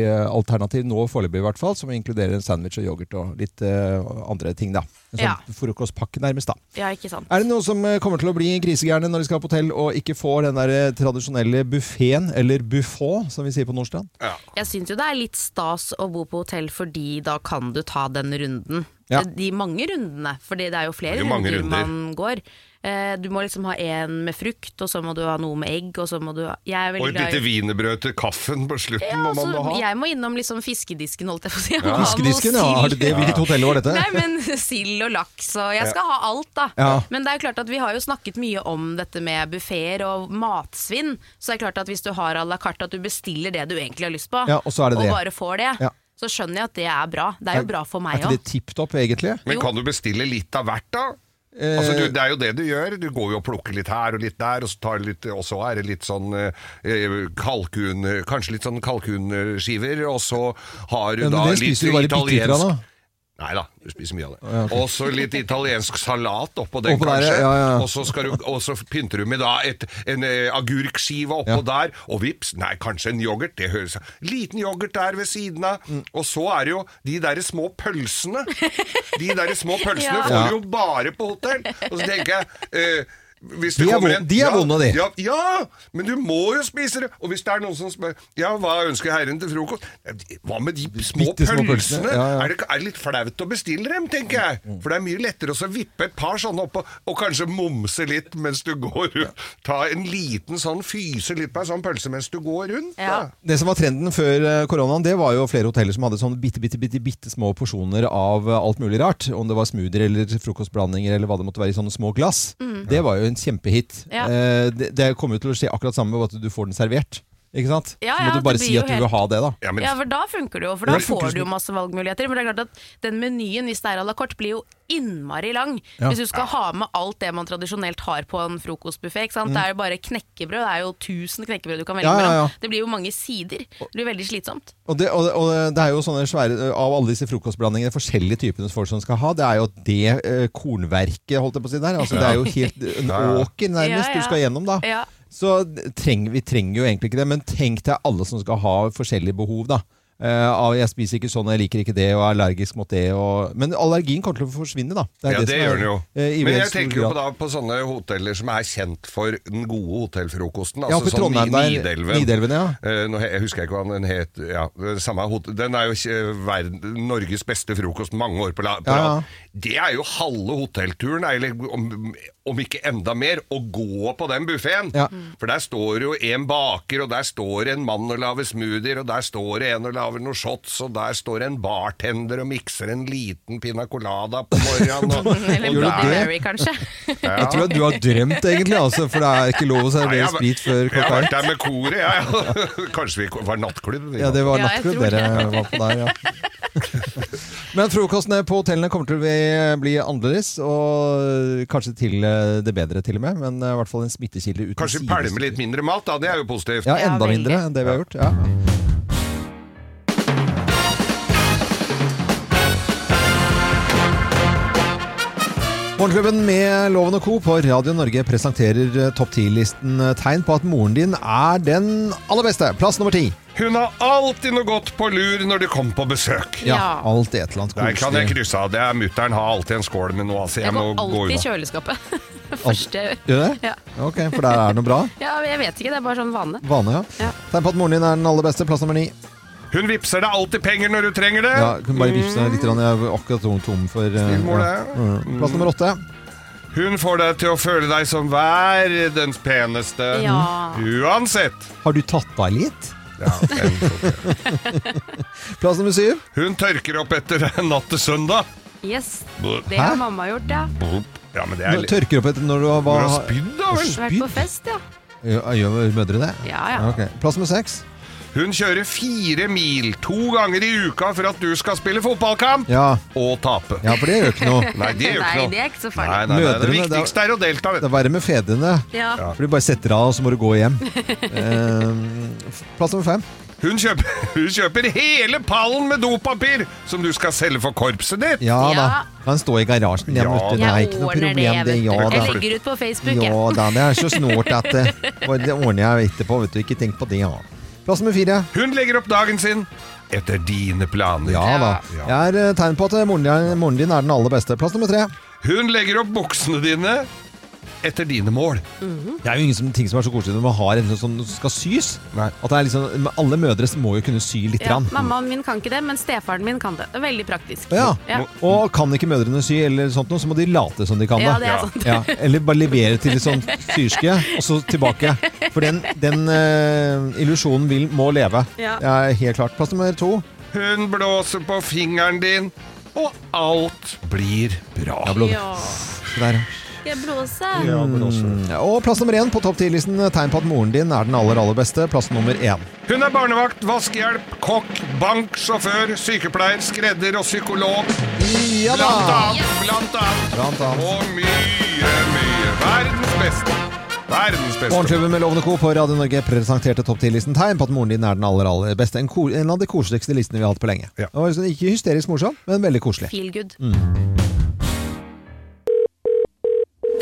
Speaker 1: takeaway-alternativ nå foreløpig, i hvert fall, som inkluderer en sandwich og yoghurt og litt eh, andre ting. da. En sånn
Speaker 2: Ja.
Speaker 1: frokostpakke, nærmest. da.
Speaker 2: Ja, ikke sant.
Speaker 1: Er det noen som eh, kommer til å bli grisegærne når de skal på hotell og ikke får den der eh, tradisjonelle buffeen, eller buffå, som vi sier på Nordstrand?
Speaker 3: Ja.
Speaker 2: Jeg syns jo det er litt stas å bo på hotell, fordi da kan du ta den runden.
Speaker 1: Ja.
Speaker 2: De mange rundene, for det er jo flere
Speaker 3: Det er jo mange
Speaker 2: runder,
Speaker 3: runder.
Speaker 2: man går. Eh, Du må liksom ha en med frukt, og så må du ha noe med egg, og så må du ha Jeg er
Speaker 3: Og
Speaker 2: veldig
Speaker 3: et
Speaker 2: glad i-
Speaker 3: lite wienerbrød til kaffen på slutten
Speaker 2: ja,
Speaker 3: må
Speaker 2: altså,
Speaker 3: man da ha.
Speaker 2: Jeg må innom liksom fiskedisken, holdt jeg på å si. Jeg må ha noe
Speaker 1: Fiskedisken, ja. Har det, det,
Speaker 2: sild.
Speaker 1: hvilket hotell var dette?
Speaker 2: Nei, men sild og laks og Jeg skal ha alt, da.
Speaker 1: Ja.
Speaker 2: Men det er jo klart at vi har jo snakket mye om dette med buffeer og matsvinn. Så det er klart at hvis du har à la carte, at du bestiller det du egentlig har lyst på,
Speaker 1: Ja, og så er det det.
Speaker 2: bare får det,
Speaker 1: Ja.
Speaker 2: så skjønner jeg at det er bra. Det er jo bra for meg
Speaker 1: Er ikke
Speaker 2: òg.
Speaker 1: det tipp topp, egentlig?
Speaker 3: Men kan du bestille litt av hvert, da? Altså,
Speaker 1: Eh,
Speaker 3: du, det er jo det du gjør. Du går jo og plukker litt her og litt der, og så, tar du litt, og så er det litt sånn eh, kalkun Kanskje litt sånn kalkunskiver, og så har du
Speaker 1: Ja,
Speaker 3: da
Speaker 1: men det
Speaker 3: litt
Speaker 1: spiser du bare bitte litt av, da.
Speaker 3: Nei da, du spiser mye av det. Og så litt italiensk salat oppå den,
Speaker 1: Oppå der,
Speaker 3: kanskje.
Speaker 1: ja, ja.
Speaker 3: Og, så skal du, og så pynter du med da et, en eh, agurkskive oppå der, og vips, nei, kanskje en yoghurt. Det høres Liten yoghurt der ved siden av.
Speaker 1: Mm.
Speaker 3: Og så er det jo de derre små pølsene. De derre små pølsene
Speaker 2: Ja.
Speaker 3: får du jo bare på hotell. Og så tenker jeg eh, hvis det
Speaker 1: De er
Speaker 3: kommer
Speaker 1: vo-
Speaker 3: en-
Speaker 1: de er
Speaker 3: ja,
Speaker 1: vonde, de.
Speaker 3: Ja, ja, men du må jo spise det. Og hvis det er noen som spør Ja, hva ønsker herren til frokost? Hva med de små
Speaker 1: Bitte små pølsene,
Speaker 3: pølsene?
Speaker 1: ja, Mm. ja.
Speaker 3: Er, det, ikke- er det litt flaut å bestille dem, tenker jeg? For det er mye lettere å så vippe et par sånne opp og, og kanskje mumse litt mens du går rundt. Ta en liten sånn, fyse litt på en sånn pølse mens du går rundt.
Speaker 2: Ja.
Speaker 3: Da.
Speaker 1: Det som var trenden før eh, koronaen, det var jo flere hoteller som hadde sånn bitte, bitte, bitte, bitte små porsjoner av eh, alt mulig rart. Om det var smoothier eller frokostblandinger eller hva det måtte være i sånne små glass. Det var jo en kjempehit.
Speaker 2: Mm. Ja.
Speaker 1: Eh, Det, det kommer jo til å skje akkurat samme med at du får den servert. Ikke sant?
Speaker 2: Ja,
Speaker 1: Så
Speaker 2: ja,
Speaker 1: må
Speaker 2: det
Speaker 1: du bare
Speaker 2: blir
Speaker 1: si
Speaker 2: jo
Speaker 1: at du
Speaker 2: helt-
Speaker 1: vil ha det, da.
Speaker 3: Ja, men
Speaker 2: Ja, for da funker det jo, for
Speaker 3: Ja,
Speaker 2: da
Speaker 3: det funker
Speaker 2: får
Speaker 3: som-
Speaker 2: du jo masse valgmuligheter. Men det er klart at den menyen, hvis det er à la carte, blir jo innmari lang.
Speaker 1: Ja.
Speaker 2: Hvis du skal ha med alt det man tradisjonelt har på en frokostbuffé. ikke sant? Det er jo bare knekkebrød, det er jo 1000 knekkebrød du kan velge
Speaker 1: Mm. Ja, ja, ja.
Speaker 2: mellom. Det blir jo mange sider. Det blir veldig slitsomt.
Speaker 1: Og det, og, og det er jo sånne svære Av alle disse frokostblandingene, forskjellige typene folk som skal ha, det er jo det eh, kornverket, holdt jeg på å si der. Altså, Det er jo helt en
Speaker 3: Ja, ja.
Speaker 1: åker nærmest
Speaker 2: Ja, ja.
Speaker 1: du skal gjennom, da.
Speaker 2: Ja.
Speaker 1: Så treng, vi trenger jo egentlig ikke det, men tenk deg alle som skal ha forskjellige behov, da. Eh, av, jeg spiser ikke sånn, jeg liker ikke det, og er allergisk mot det. Og, men allergien kommer til å forsvinne, da. er
Speaker 3: Ja, det,
Speaker 1: som er-
Speaker 3: gjør den jo.
Speaker 1: eh, i
Speaker 3: Men
Speaker 1: veldig
Speaker 3: jeg
Speaker 1: stor
Speaker 3: tenker jo
Speaker 1: grad.
Speaker 3: på, da, på sånne hoteller som er kjent for den gode hotellfrokosten.
Speaker 1: Ja,
Speaker 3: Altså
Speaker 1: oppe i Trondheim
Speaker 3: sånn Ni-
Speaker 1: der,
Speaker 3: Nidelven.
Speaker 1: Nidelven, ja.
Speaker 3: Eh, nå, he- jeg husker ikke hva den het. Ja, det samme hotell, den er jo eh, verden, Norges beste frokost mange år på la- på
Speaker 1: Ja, ja.
Speaker 3: rad. Det er jo halve hotellturen, eller om, om ikke enda mer, å gå på den buffeen.
Speaker 1: Ja.
Speaker 3: For der står jo en baker, og der står en mann og lager smoothier, og der står en og lager noen shots, og der står en bartender og mikser en liten pina colada på morgenen. Og,
Speaker 2: Eller
Speaker 1: Gjør du
Speaker 2: Bloody
Speaker 1: det?
Speaker 2: Mary, kanskje.
Speaker 1: Jeg tror at du har drømt, egentlig, altså, for det er ikke lov å
Speaker 3: Nei,
Speaker 1: servere
Speaker 3: jeg-
Speaker 1: sprit før
Speaker 3: Jeg har
Speaker 1: klokka
Speaker 3: vært
Speaker 1: ett.
Speaker 3: der med koret, ja, ja. Kanskje vi var nattklubb? vi
Speaker 1: Ja, det var
Speaker 2: Ja, jeg
Speaker 1: nattklubb
Speaker 2: tror det.
Speaker 1: dere var på der, ja. Men frokostene på hotellene kommer til å bli- bli annerledes, og kanskje til eh, det bedre, til og med. Men eh, i hvert fall en smittekilde uten
Speaker 3: Kanskje
Speaker 1: sidestykke.
Speaker 3: pælme litt mindre mat, da. Det er jo positivt.
Speaker 1: Ja,
Speaker 2: Ja,
Speaker 1: enda
Speaker 2: veldig.
Speaker 1: mindre enn det vi har gjort. Ja. Morgenklubben med Loven og Co. på Radio Norge presenterer eh, topp 10-listen eh, tegn på at moren din er den aller beste. Plass nummer ti.
Speaker 3: Hun har alltid noe godt på lur når de kommer på besøk.
Speaker 2: Ja.
Speaker 1: Alltid et eller annet
Speaker 3: Nei, kan jeg
Speaker 1: koselig.
Speaker 3: krysse av. Det er Mutter'n har alltid en skål med noe, altså. Jeg
Speaker 2: Jeg
Speaker 3: må
Speaker 2: går
Speaker 3: gå
Speaker 2: alltid i
Speaker 3: unna.
Speaker 2: kjøleskapet. Først jeg gjør.
Speaker 1: Gjør du det?
Speaker 2: Ja.
Speaker 1: Ok, for der er det noe bra.
Speaker 2: Ja, jeg vet ikke, det er bare sånn vane.
Speaker 1: Vane, ja.
Speaker 2: Ja.
Speaker 1: Tegn på at moren din er den aller beste. Plass nummer ni.
Speaker 3: Hun vippser deg alltid penger når du trenger det.
Speaker 1: Ja, kunne bare vipse deg litt. grann. Jeg er akkurat tom- tom for eh,
Speaker 3: Snill mor,
Speaker 1: ja.
Speaker 3: det.
Speaker 1: Mm. Plass nummer åtte.
Speaker 3: Hun får deg til å føle deg som verdens peneste.
Speaker 2: Ja.
Speaker 3: Uansett.
Speaker 1: Har du tatt deg litt?
Speaker 3: Ja, en sånn.
Speaker 1: Plass nummer syv.
Speaker 3: hun tørker opp etter natt til søndag.
Speaker 2: Yes, det
Speaker 1: Hæ?
Speaker 2: har mamma gjort, ja.
Speaker 3: Ja, men det er
Speaker 1: Nå
Speaker 3: litt
Speaker 1: Tørker opp etter når du har
Speaker 3: Hvor
Speaker 1: hva,
Speaker 3: har spydd, da vel?
Speaker 2: Vært på fest, ja.
Speaker 1: Gjør, gjør mødre det?
Speaker 2: Ja, ja.
Speaker 1: Ok. Plass nummer seks.
Speaker 3: Hun kjører fire mil to ganger i uka for at du skal spille fotballkamp
Speaker 1: Ja.
Speaker 3: og tape.
Speaker 1: ja, for det gjør ikke noe.
Speaker 3: Nei, det gjør
Speaker 2: Nei,
Speaker 3: ikke
Speaker 2: det
Speaker 3: noe.
Speaker 2: er ikke så
Speaker 3: Nei,
Speaker 2: farlig.
Speaker 3: nei, nei, det
Speaker 1: Mødrene, det er-
Speaker 3: viktigste er å delta.
Speaker 1: Det
Speaker 3: Vet.
Speaker 1: er verre med fedrene.
Speaker 2: Ja.
Speaker 1: For de bare setter av, og så må du gå hjem. Ehm, plass nummer fem.
Speaker 3: du. Hun, kjøper, hun kjøper hele pallen med dopapir som du skal selge for korpset ditt.
Speaker 1: Ja da.
Speaker 2: Ja.
Speaker 1: Kan stå i garasjen. Ja,
Speaker 3: Ja
Speaker 1: vet du.
Speaker 2: Jeg
Speaker 1: Det er ikke noe
Speaker 2: ordner
Speaker 1: problem,
Speaker 2: det, jeg
Speaker 1: det.
Speaker 2: vet du.
Speaker 1: Ja da.
Speaker 2: Jeg legger ut på Facebook,
Speaker 1: Ja
Speaker 2: jeg.
Speaker 1: da, det er så snålt at det, det ordner jeg etterpå, vet du. Ikke tenk på det, ja. Plass nummer fire.
Speaker 3: Hun legger opp dagen sin etter dine planer.
Speaker 1: Ja da.
Speaker 3: Ja.
Speaker 1: Det er eh, tegn på at moren din, moren din er den aller beste. Plass nummer tre.
Speaker 3: Hun legger opp buksene dine etter dine mål.
Speaker 1: Det er jo ingen som, ting som er så koselig når man har en sånn, som skal sys.
Speaker 3: Nei.
Speaker 1: At det er liksom, alle mødre må jo kunne sy litt.
Speaker 2: Ja,
Speaker 1: grann.
Speaker 2: mammaen min kan ikke det, men stefaren min kan det. Det er veldig praktisk.
Speaker 1: Ja.
Speaker 2: Ja.
Speaker 1: Og kan ikke mødrene sy, eller sånt noe, så må de late som de kan
Speaker 2: Ja, det er
Speaker 3: Ja.
Speaker 2: sant.
Speaker 1: Ja, eller bare levere til litt sånn syrske, og så tilbake. For den, den eh, illusjonen vil, må leve.
Speaker 2: Ja.
Speaker 1: Det er helt klart. Plass nummer to.
Speaker 3: Hun blåser på fingeren din, og alt blir bra.
Speaker 1: blå-
Speaker 2: Ja.
Speaker 1: Der.
Speaker 2: Jeg blåser.
Speaker 3: Ja, blåser.
Speaker 1: Og plass nummer én på topp ti-listen. Tegn på at moren din er den aller, aller beste. Plass nummer én.
Speaker 3: Hun er barnevakt, vaskehjelp, kokk, bank, sjåfør, sykepleier, skredder og psykolog.
Speaker 1: Ja da!
Speaker 3: Blant annet, blant annet.
Speaker 1: Blant annet.
Speaker 3: Og mye, mye. Verdens beste. Verdens beste.
Speaker 1: Morgenklubben med Lovende Co. på Radio Norge presenterte topp 10-listen tegn på at moren din er den aller aller beste. En, ko- en av de koseligste listene vi har hatt på lenge.
Speaker 3: Ja.
Speaker 1: Det var sånn, ikke hysterisk morsom, men veldig koselig.
Speaker 2: Feel good.
Speaker 1: Mm.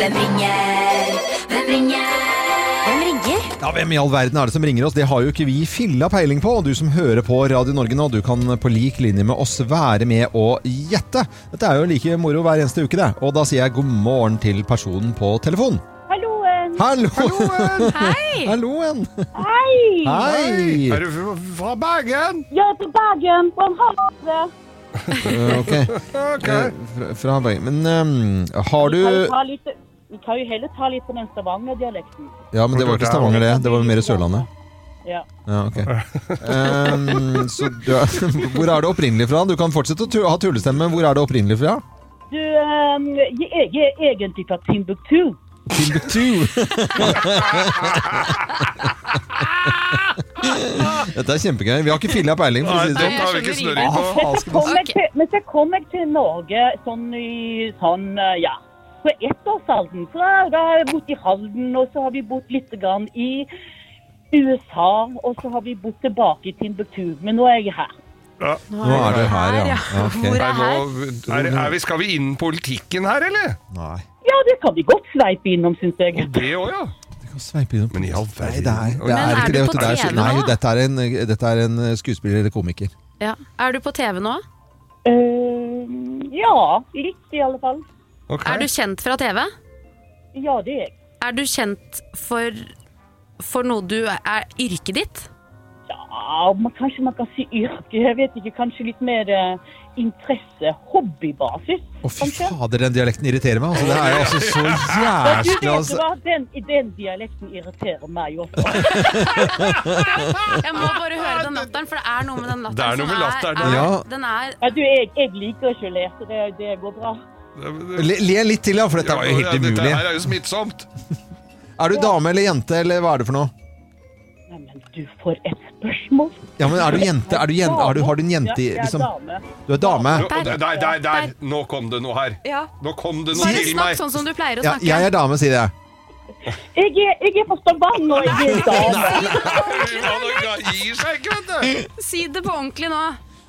Speaker 6: Hvem ringer? Hvem ringer? Hvem ringer?
Speaker 1: Ja, Hvem i all verden er det som ringer oss? Det har jo ikke vi filla peiling på. Og du som hører på Radio Norge nå, du kan på lik linje med oss være med og gjette. Dette er jo like moro hver eneste uke, det. Og da sier jeg god morgen til personen på telefonen.
Speaker 7: Halloen!
Speaker 1: Hallo!
Speaker 2: Hei!
Speaker 1: Halloen!
Speaker 7: Hei!
Speaker 1: Hei!
Speaker 3: Er du f- fra Bergen?
Speaker 7: Jeg er til Bergen fra Havet.
Speaker 1: Eh, Ok.
Speaker 3: Ok.
Speaker 1: Eh, Fra, fra Bergen. Men ehm, har du
Speaker 7: Vi kan jo ta litt- Vi kan jo heller ta litt på den Stavanger-dialekten.
Speaker 1: Ja, men det var ikke Stavanger, det. Det var mer Sørlandet.
Speaker 7: Ja.
Speaker 1: Ja, ok. Ehm, så du er, hvor er det opprinnelig fra? Du kan fortsette å tu ha tullestemme. Hvor er det opprinnelig fra?
Speaker 7: Du, ehm, jeg, jeg er egentlig fra Timbuktu.
Speaker 1: Timbuktu! Dette er kjempegøy. Vi har ikke filla peiling, for å
Speaker 3: Nei,
Speaker 1: si det sånn.
Speaker 3: den tar vi ikke
Speaker 2: skjønner
Speaker 3: snøring på.
Speaker 7: Men så kom jeg
Speaker 2: Ok.
Speaker 7: til, men så kom jeg til Norge sånn i sånn, eh, ja, på ettårsalderen. Så da- da har jeg bodd i Halden, og så har vi bodd litt grann i USA, og så har vi bodd tilbake i Timbuktu. Men nå er jeg her.
Speaker 3: Ja.
Speaker 1: Nå er det her, ja. ja ok.
Speaker 2: Hvor
Speaker 3: Nei,
Speaker 2: er her?
Speaker 3: nå, er, er vi, skal vi inn politikken her, eller?
Speaker 1: Nei.
Speaker 7: Ja, det kan vi godt sveipe innom, syns jeg.
Speaker 3: Og det òg, ja.
Speaker 1: Det kan sveipe innom.
Speaker 3: Men i all verden.
Speaker 1: Nei, det er, det
Speaker 2: Men
Speaker 1: er
Speaker 2: er
Speaker 1: ikke det.
Speaker 2: du på
Speaker 1: vet du. Det er,
Speaker 2: TV
Speaker 1: nei,
Speaker 2: nå?
Speaker 1: dette er en, dette er en eh, skuespiller eller komiker.
Speaker 2: Ja. Er du på TV nå?
Speaker 7: Eh, ja, litt i alle fall.
Speaker 3: Ok.
Speaker 2: Er du kjent fra TV?
Speaker 7: Ja, det er jeg.
Speaker 2: Er du kjent for, for noe du er yrket ditt?
Speaker 7: Ja, man, kanskje man kan si yrke. Jeg vet ikke, kanskje litt mer eh, interesse, hobbybasis.
Speaker 1: Å, fy
Speaker 7: kanskje.
Speaker 1: fader, den dialekten irriterer meg. Altså, det er jo altså så
Speaker 7: Og du
Speaker 1: jæskla
Speaker 7: vet
Speaker 1: altså.
Speaker 7: hva, den, den dialekten irriterer meg også.
Speaker 2: Jeg må bare høre den latteren, for det er noe med den latteren.
Speaker 3: Det er noe med
Speaker 2: som
Speaker 3: latteren,
Speaker 2: Er,
Speaker 1: ja.
Speaker 2: Den er
Speaker 7: Ja, du, jeg, jeg liker ikke å le, så det, det går bra.
Speaker 1: Le, le litt til, ja, for dette
Speaker 3: Ja,
Speaker 1: var jo
Speaker 3: ja,
Speaker 1: helt
Speaker 3: Dette
Speaker 1: umulig.
Speaker 3: her er jo smittsomt.
Speaker 1: Er du dame eller jente, eller hva er det for noe?
Speaker 7: Nei, men du, for et spørsmål.
Speaker 1: Ja, men er du jente? Er du jen- har, du, har du en jente i
Speaker 7: Ja, jeg er
Speaker 1: liksom,
Speaker 7: dame.
Speaker 1: Du er dame?
Speaker 3: Nå- Der, der, der, der! Nå kom det noe her.
Speaker 2: ja.
Speaker 3: Nå kom det noe
Speaker 2: Bare
Speaker 3: til
Speaker 2: snakk
Speaker 3: meg.
Speaker 2: sånn som du pleier å
Speaker 1: Ja,
Speaker 2: snakke.
Speaker 1: jeg er dame, sier jeg.
Speaker 7: Jeg er, jeg er fra Stavanger, og jeg er dame.
Speaker 3: Han gir seg ikke, vet du.
Speaker 2: Si det på ordentlig nå.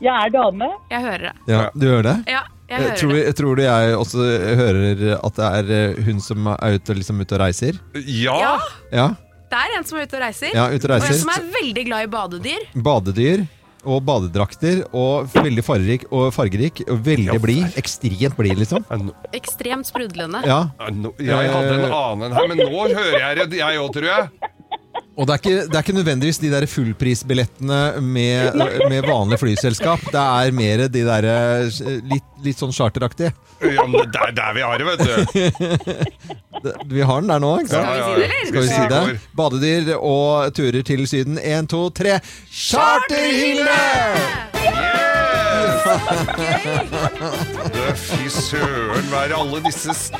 Speaker 7: Jeg er dame.
Speaker 2: Jeg hører det.
Speaker 1: Ja, du hører det?
Speaker 2: Ja, jeg
Speaker 1: Jeg
Speaker 2: hører
Speaker 1: tror,
Speaker 2: det.
Speaker 1: jeg tror du jeg også hører at det er eh, hun som er ute, liksom, ute og reiser?
Speaker 3: Ja.
Speaker 2: Ja,
Speaker 1: Ja,
Speaker 2: det er en som er ute og reiser.
Speaker 1: ja ute og
Speaker 2: Og en som
Speaker 1: reiser.
Speaker 2: er veldig glad i badedyr.
Speaker 1: Badedyr og badedrakter, og veldig fargerik og, fargerik, og veldig blid. Ekstremt blid, liksom.
Speaker 3: Ja, nå-
Speaker 2: Ekstremt sprudlende.
Speaker 1: Ja,
Speaker 3: ja, nå- Jeg hadde en annen her, men nå hører jeg det, jeg òg, tror jeg.
Speaker 1: Og det er ikke, det er ikke nødvendigvis de der fullprisbillettene med, med vanlig flyselskap. Det er mer de der eh, litt, litt sånn charteraktige.
Speaker 3: Ja, men det er der vi har det, vet du.
Speaker 1: Det- Vi har den der nå, ikke sant?
Speaker 3: Ja, ja,
Speaker 1: Skal
Speaker 2: Skal vi si det, eller?
Speaker 3: ja.
Speaker 1: vi si
Speaker 3: går.
Speaker 1: det? Badedyr og turer til Syden. Én, to, tre. Charterhilde!
Speaker 3: Du, Fy søren, hva er alle disse s-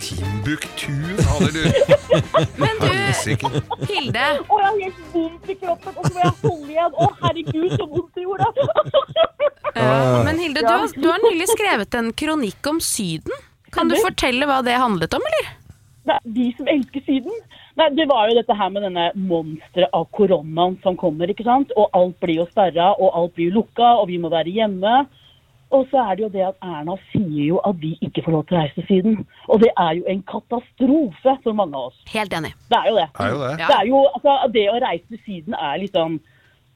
Speaker 3: Timbuktu fader, du.
Speaker 2: Men du,
Speaker 3: Helsike.
Speaker 2: Hilde,
Speaker 7: Å, jeg har helt vondt i kroppen, og så må jeg holde igjen. Å, herregud, så vondt i jorda.
Speaker 2: eh, men Hilde du, har, du har nylig skrevet en kronikk om Syden. Kan du fortelle hva det handlet om, eller?
Speaker 7: Nei, de som elsker Syden. Nei, det var jo dette her med denne monsteret av koronaen som kommer, ikke sant. Og alt blir jo sperra, og alt blir jo lukka, og vi må være hjemme. Og så er det jo det at Erna sier jo at vi ikke får lov til å reise til Syden. Og det er jo en katastrofe for mange av oss.
Speaker 2: Helt enig.
Speaker 7: Det er jo det.
Speaker 3: Er jo det.
Speaker 2: Ja.
Speaker 7: Det er jo, altså, det å reise til Syden er liksom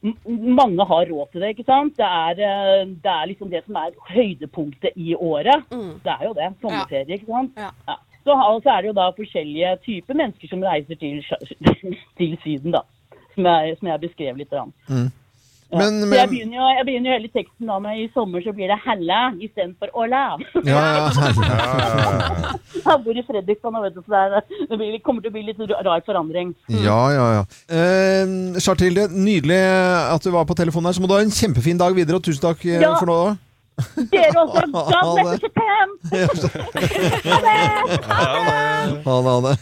Speaker 7: m- Mange har råd til det, ikke sant? Det er, eh, det er liksom det som er høydepunktet i året. Det er jo det. Sommerferie, ikke sant?
Speaker 2: Mm. Ja.
Speaker 7: Ja. Så, og så er det jo da forskjellige typer mennesker som reiser til, sj- til Syden, da. Som jeg, som jeg beskrev litt. grann. Ja.
Speaker 1: Men,
Speaker 7: så jeg,
Speaker 1: men
Speaker 7: begynner jo, jeg begynner jo hele teksten da med i sommer så blir det hella istedenfor olla.
Speaker 1: ja, ja, herregud.
Speaker 7: Jeg bor i Fredrikstad, og vet du, så det, er, det blir, kommer til å bli litt rar forandring.
Speaker 1: ja, ja, ja. Eh, Charterhilde, nydelig at du var på telefonen her. Så må du ha en kjempefin dag videre, og tusen takk eh,
Speaker 7: Ja.
Speaker 1: for nå.
Speaker 7: Dere også! God
Speaker 1: Ha det.
Speaker 7: bless you, Japan!
Speaker 1: Ha det, ha det.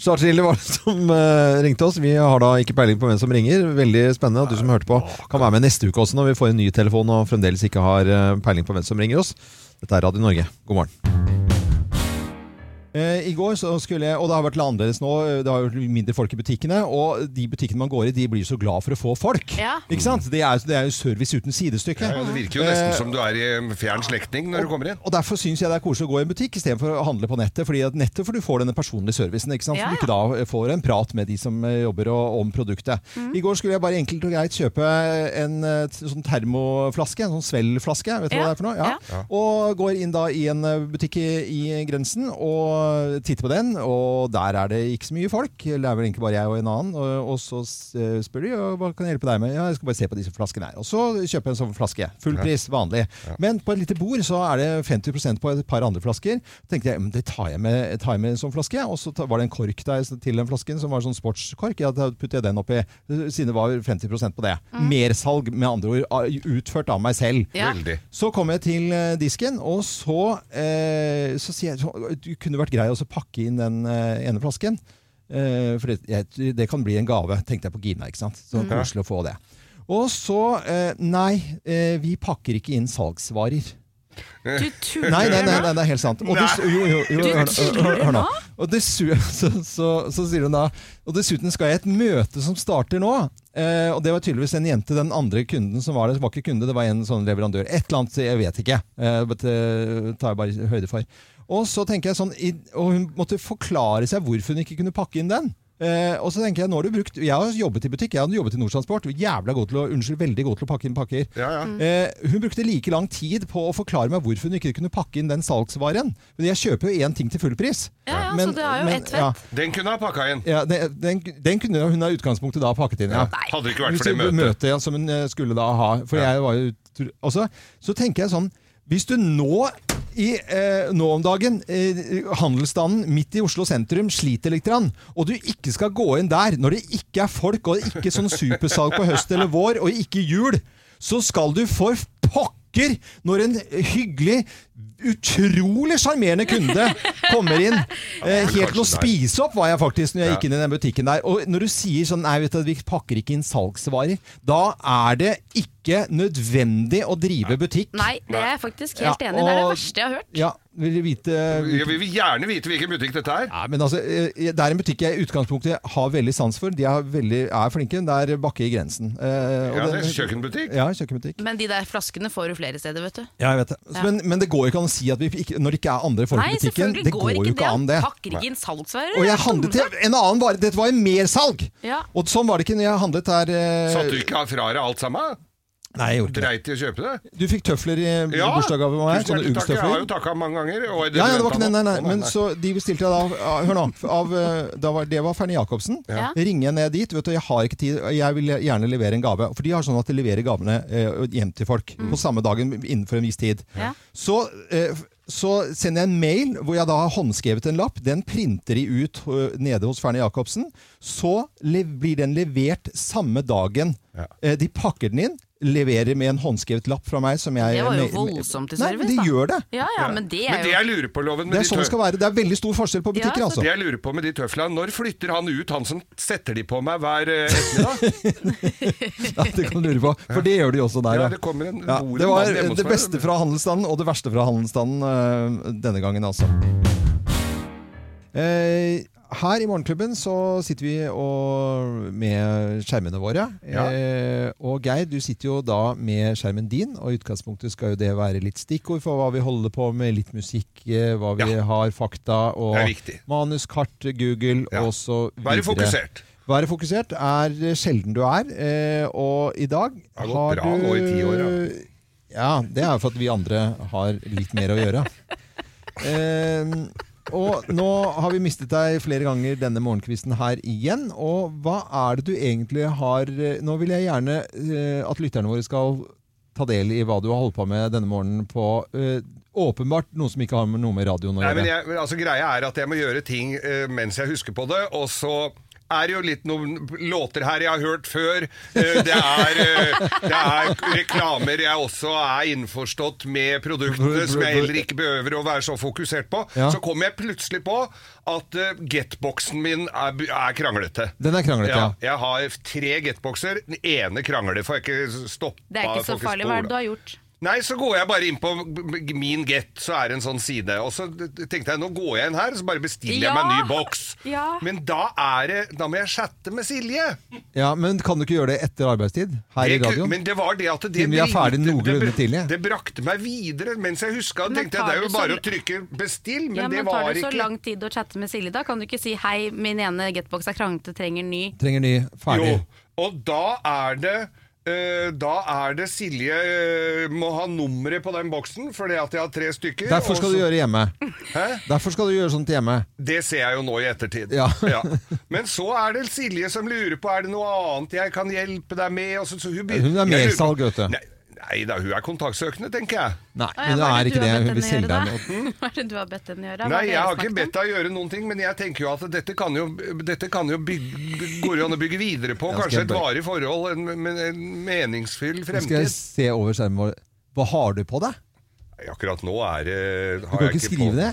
Speaker 1: Charterhilde var det som eh, ringte oss. Vi har da ikke peiling på hvem som ringer. Veldig spennende. Og du som hørte på, kan være med neste uke også når vi får en ny telefon og fremdeles ikke har eh, peiling på hvem som ringer oss. Dette er Radio Norge. God morgen. Eh, I går så skulle jeg, og det har vært litt annerledes nå, eh, det har vært mindre folk i butikkene, og de butikkene man går i, de blir så glad for å få folk.
Speaker 2: Ja.
Speaker 1: Ikke sant? Det er, det er jo service uten sidestykke. Eh,
Speaker 3: Ja, det virker jo nesten som du er i fjern slektning når du kommer inn.
Speaker 1: Og derfor syns jeg det er koselig å gå i en butikk istedenfor å handle på nettet. fordi at nettet for du får denne personlige servicen. ikke sant? Så
Speaker 2: Ja, ja.
Speaker 1: du ikke da får en prat med de som eh, jobber og, om produktet.
Speaker 2: Mm.
Speaker 1: I går skulle jeg bare enkelt og greit kjøpe en eh, t- sånn termoflaske, en sånn svellflaske, vet du
Speaker 2: Ja,
Speaker 1: hva det er for noe? Ja. Og går inn da i en eh, butikk i, i grensen og titter på den, og der er det ikke så mye folk. Det er vel egentlig bare jeg og en annen. Og, og så s- eh, spør de «Ja, hva kan jeg hjelpe deg med. Ja, jeg skal bare se på disse flaskene her. Og så kjøper jeg en sånn flaske. Full pris, vanlig. Men på et lite bord så er det 50 på et par andre flasker. Så tenkte jeg "Men det tar jeg med, tar jeg med en sånn flaske. Og så ta- var det en kork der til den flasken som var sånn sportskork. Ja, da putter jeg den oppi, siden det var 50 på det. Mersalg, med andre ord, av- utført av meg selv.
Speaker 2: Ja.
Speaker 3: Veldig.
Speaker 1: Så kom jeg til eh, disken, og så, eh, så sier jeg at du kunne vært grei å så pakke inn den eh, ene flasken. Eh, for det, jeg, det kan bli en gave, tenkte jeg på Gina. ikke sant? Så koselig å få det. Og så eh, Nei, eh, vi pakker ikke inn salgsvarer.
Speaker 3: Eh.
Speaker 2: Du tuller
Speaker 1: Nei, nei, nei,
Speaker 2: nå.
Speaker 1: nei, det er helt sant. Og dess- jo, jo, jo, hør, nå,
Speaker 2: Du
Speaker 1: hør, hør nå.
Speaker 2: tuller nå?
Speaker 1: Og dessu- så, så, så sier hun da Og dessuten skal jeg i et møte som starter nå. Eh, og det var tydeligvis en jente, den andre kunden som var der. som var ikke kunde, det var en sånn leverandør. Et eller annet, jeg vet ikke. Eh, but, eh, tar jeg bare høyde for. Og så tenker jeg sånn, i, og hun måtte forklare seg hvorfor hun ikke kunne pakke inn den. Eh, og så tenker Jeg nå har du brukt, jeg har jobbet i butikk, jeg har jobbet i Nordtransport. Jævla god til å, unnskyld, veldig god til å pakke inn pakker.
Speaker 3: Ja, ja.
Speaker 1: Eh, hun brukte like lang tid på å forklare meg hvorfor hun ikke kunne pakke inn den salgsvaren. Men jeg kjøper jo én ting til full pris.
Speaker 2: Ja, ja, så det er jo ett fett.
Speaker 1: ja,
Speaker 3: Den kunne ha pakka inn.
Speaker 1: ja, den, den, den kunne hun ha utgangspunktet da pakket inn. Ja.
Speaker 3: Hadde det ikke vært for det
Speaker 1: Hvis
Speaker 3: møtet.
Speaker 1: ja, som hun eh, skulle da ha. For jeg var jo tr- også, Så tenker jeg sånn Hvis du nå i, eh, nå om dagen, eh, handelsstanden midt i Oslo sentrum sliter litt, grann, og du ikke skal gå inn der når det ikke er folk, og det ikke er sånn supersalg på høst eller vår, og ikke jul, så skal du for pokker når en hyggelig, utrolig sjarmerende kunde kommer inn eh, helt til å
Speaker 3: Kanskje
Speaker 1: spise
Speaker 3: der.
Speaker 1: spise opp var jeg faktisk når jeg
Speaker 3: Ja.
Speaker 1: gikk inn i den butikken der. Og når du sier sånn Nei, vet du, vi pakker ikke inn salgsvarer. Da er det ikke nødvendig å drive butikk.
Speaker 2: Nei, det er jeg faktisk helt
Speaker 1: Ja,
Speaker 2: enig i. Det er det
Speaker 1: og-
Speaker 2: verste jeg har hørt.
Speaker 1: Ja, vil du vite
Speaker 3: Jeg vil gjerne vite hvilken butikk dette er.
Speaker 1: Nei, men altså, eh, Det er en butikk jeg i utgangspunktet har veldig sans for. De er, veldig, er flinke. Det er Bakke i grensen. Eh, og
Speaker 3: Ja, det
Speaker 1: den-
Speaker 3: er kjøkkenbutikk.
Speaker 1: Ja, kjøkkenbutikk.
Speaker 2: Men de der flaskene får du flere steder, vet du.
Speaker 1: Ja, jeg vet det. Så, men, men det går jo ikke an å si at vi ikke, når det ikke er andre folk
Speaker 2: Nei,
Speaker 1: i butikken.
Speaker 2: selvfølgelig
Speaker 1: Det går jo ikke an, det.
Speaker 2: Pakker ikke inn salgsvarer.
Speaker 1: Og jeg handlet til en annen vare. Dette var jo mersalg!
Speaker 2: Ja.
Speaker 1: Og sånn var det ikke når jeg handlet her. eh,
Speaker 3: Satt du ikke av fra deg alt sammen?
Speaker 1: Nei, jeg gjorde ikke det.
Speaker 3: Dreit i å kjøpe det?
Speaker 1: Du fikk tøfler i ja, bursdagsgave av meg?
Speaker 3: tusen
Speaker 1: Sånne
Speaker 3: hjertelig takk. Jeg har
Speaker 1: Uggs-tøfler?
Speaker 3: jo takka mange ganger. og
Speaker 1: Ja, ja, det var
Speaker 3: ventet
Speaker 1: ikke den, nei, nei.
Speaker 3: nå. Å,
Speaker 1: Men så de bestilte jeg da av- av, Hør nå. Av, eh, da var, det var Ferne Jacobsen.
Speaker 2: Ja.
Speaker 1: Ringer jeg ned dit. Vet du, jeg har ikke tid. Jeg vil gjerne levere en gave. For de har sånn at de leverer gavene eh, hjem til folk på samme dagen innenfor en viss tid.
Speaker 2: Mm. Ja.
Speaker 1: Så, eh, så sender jeg en mail hvor jeg da har håndskrevet en lapp. Den printer de ut eh, nede hos Ferne Jacobsen. Så le blir den levert samme dagen.
Speaker 3: Ja.
Speaker 1: Eh, de pakker den inn. Leverer med en håndskrevet lapp fra meg. Som jeg,
Speaker 2: Det var jo
Speaker 1: me- me-
Speaker 2: voldsomt til
Speaker 1: Nei,
Speaker 2: service,
Speaker 1: men
Speaker 2: da.
Speaker 1: de gjør det.
Speaker 2: Ja, ja, men det
Speaker 3: Men
Speaker 2: er jo
Speaker 3: det jeg lurer på, Loven
Speaker 1: Det
Speaker 3: med
Speaker 1: er
Speaker 3: de
Speaker 1: sånn det skal
Speaker 3: tø-
Speaker 1: være. Det er veldig stor forskjell på butikker,
Speaker 2: Ja,
Speaker 1: altså.
Speaker 3: det jeg lurer på med de tøfla, når flytter han ut, han som setter de på meg hver eh, ettermiddag?
Speaker 1: Ja, det kan du lure på. For det gjør de også der,
Speaker 3: Ja, det kommer en-
Speaker 1: Ja,
Speaker 3: bor en
Speaker 1: det
Speaker 3: mann
Speaker 1: var
Speaker 3: hjemme hos
Speaker 1: det
Speaker 3: meg.
Speaker 1: beste fra handelsstanden og det verste fra handelsstanden øh, denne gangen, altså. Eh, her i Morgenklubben så sitter vi og med skjermene våre.
Speaker 3: Ja.
Speaker 1: Eh, og Geir, du sitter jo da med skjermen din, og i utgangspunktet skal jo det være litt stikkord for hva vi holder på med, litt musikk, eh, hva vi
Speaker 3: Ja.
Speaker 1: har, fakta og
Speaker 3: Det er viktig.
Speaker 1: manuskart, Google
Speaker 3: Ja.
Speaker 1: og så videre.
Speaker 3: Være fokusert.
Speaker 1: Være fokusert er sjelden du er, eh, og i dag
Speaker 3: har gått bra nå i ti år, ja.
Speaker 1: Ja, det er jo for at vi andre har litt mer å gjøre. Eh, og nå har vi mistet deg flere ganger denne morgenkvisten her igjen. Og hva er det du egentlig har eh, Nå vil jeg gjerne eh, at lytterne våre skal ta del i hva du har holdt på med denne morgenen på eh, åpenbart noe som ikke har med noe med radioen å
Speaker 3: Nei, men
Speaker 1: gjøre.
Speaker 3: jeg, men altså, greia er at jeg må gjøre ting eh, mens jeg husker på det, og så er det jo litt noen låter her jeg har hørt før. Eh, det, er, eh, det er reklamer jeg også er innforstått med produktene, som jeg heller ikke behøver å være så fokusert på.
Speaker 1: Ja.
Speaker 3: Så kom jeg plutselig på at eh, getboxen min er, er kranglete.
Speaker 1: Den er kranglete, ja.
Speaker 3: Jeg har tre getboxer. Den ene krangler, for jeg ikke stoppa
Speaker 2: Det er ikke så farlig hva er det du har gjort.
Speaker 3: Nei, så går jeg bare inn på min get, så er det en sånn side. Og så tenkte jeg nå går jeg inn her, så bare bestiller jeg
Speaker 2: Ja.
Speaker 3: meg en ny boks.
Speaker 2: Ja.
Speaker 3: Men da er det Da må jeg chatte med Silje.
Speaker 1: Ja, Men kan du ikke gjøre det etter arbeidstid? Her i
Speaker 3: Det ku-
Speaker 1: radioen?
Speaker 3: Men det var det at det
Speaker 1: Siden vi er ferdig
Speaker 3: bringte-
Speaker 1: noenlunde
Speaker 3: det br-
Speaker 1: tidlig.
Speaker 3: Det brakte meg videre mens jeg huska det.
Speaker 2: Men
Speaker 3: Tenkte
Speaker 2: tar
Speaker 3: jeg det er jo
Speaker 2: du
Speaker 3: bare
Speaker 2: så-
Speaker 3: å trykke 'bestill', men,
Speaker 2: ja,
Speaker 3: det
Speaker 2: men
Speaker 3: var
Speaker 2: tar det
Speaker 3: ikke
Speaker 2: så lang tid å chatte med Silje da? Kan du ikke si 'hei, min ene getbox er kranglete, trenger ny'?
Speaker 1: Trenger ny. Ferdig.
Speaker 3: Jo, og da er det eh, da er det Silje eh, må ha nummeret på den boksen, fordi at jeg har tre stykker.
Speaker 1: Derfor
Speaker 3: og
Speaker 1: skal
Speaker 3: så-
Speaker 1: du gjøre hjemme.
Speaker 3: Hæ?
Speaker 1: Derfor skal du gjøre sånt hjemme.
Speaker 3: Det ser jeg jo nå i ettertid.
Speaker 1: Ja.
Speaker 3: Men så er det Silje som lurer på er det noe annet jeg kan hjelpe deg med. Og så, så hun, begynner-
Speaker 1: Hun er
Speaker 3: Jeg lurer
Speaker 1: mersalg,
Speaker 3: på-
Speaker 1: vet du.
Speaker 3: Nei, nei da, hun er kontaktsøkende, tenker jeg.
Speaker 1: Nei,
Speaker 2: Å ja,
Speaker 1: men det
Speaker 2: hva
Speaker 1: er
Speaker 2: det
Speaker 1: ikke
Speaker 2: du
Speaker 1: det.
Speaker 2: har bedt
Speaker 1: Hun vil
Speaker 2: henne
Speaker 1: selge
Speaker 2: gjøre,
Speaker 1: deg noe.
Speaker 2: da? Hva er det du har bedt henne gjøre? Hva
Speaker 3: Nei,
Speaker 2: er det
Speaker 3: jeg
Speaker 2: dere
Speaker 3: har ikke
Speaker 2: snakket om?
Speaker 3: bedt deg gjøre noen ting, men jeg tenker jo at dette kan jo, dette kan jo bygge, går jo an å bygge videre på.
Speaker 1: Ja, skal
Speaker 3: Kanskje
Speaker 1: jeg
Speaker 3: et
Speaker 1: bare-
Speaker 3: varig forhold, en, men en meningsfyll
Speaker 1: Nå skal jeg
Speaker 3: fremtid.
Speaker 1: se over skjermen vår. Hva har du på deg?
Speaker 3: Nei, Akkurat nå er eh, det
Speaker 1: Du kan ikke skrive det.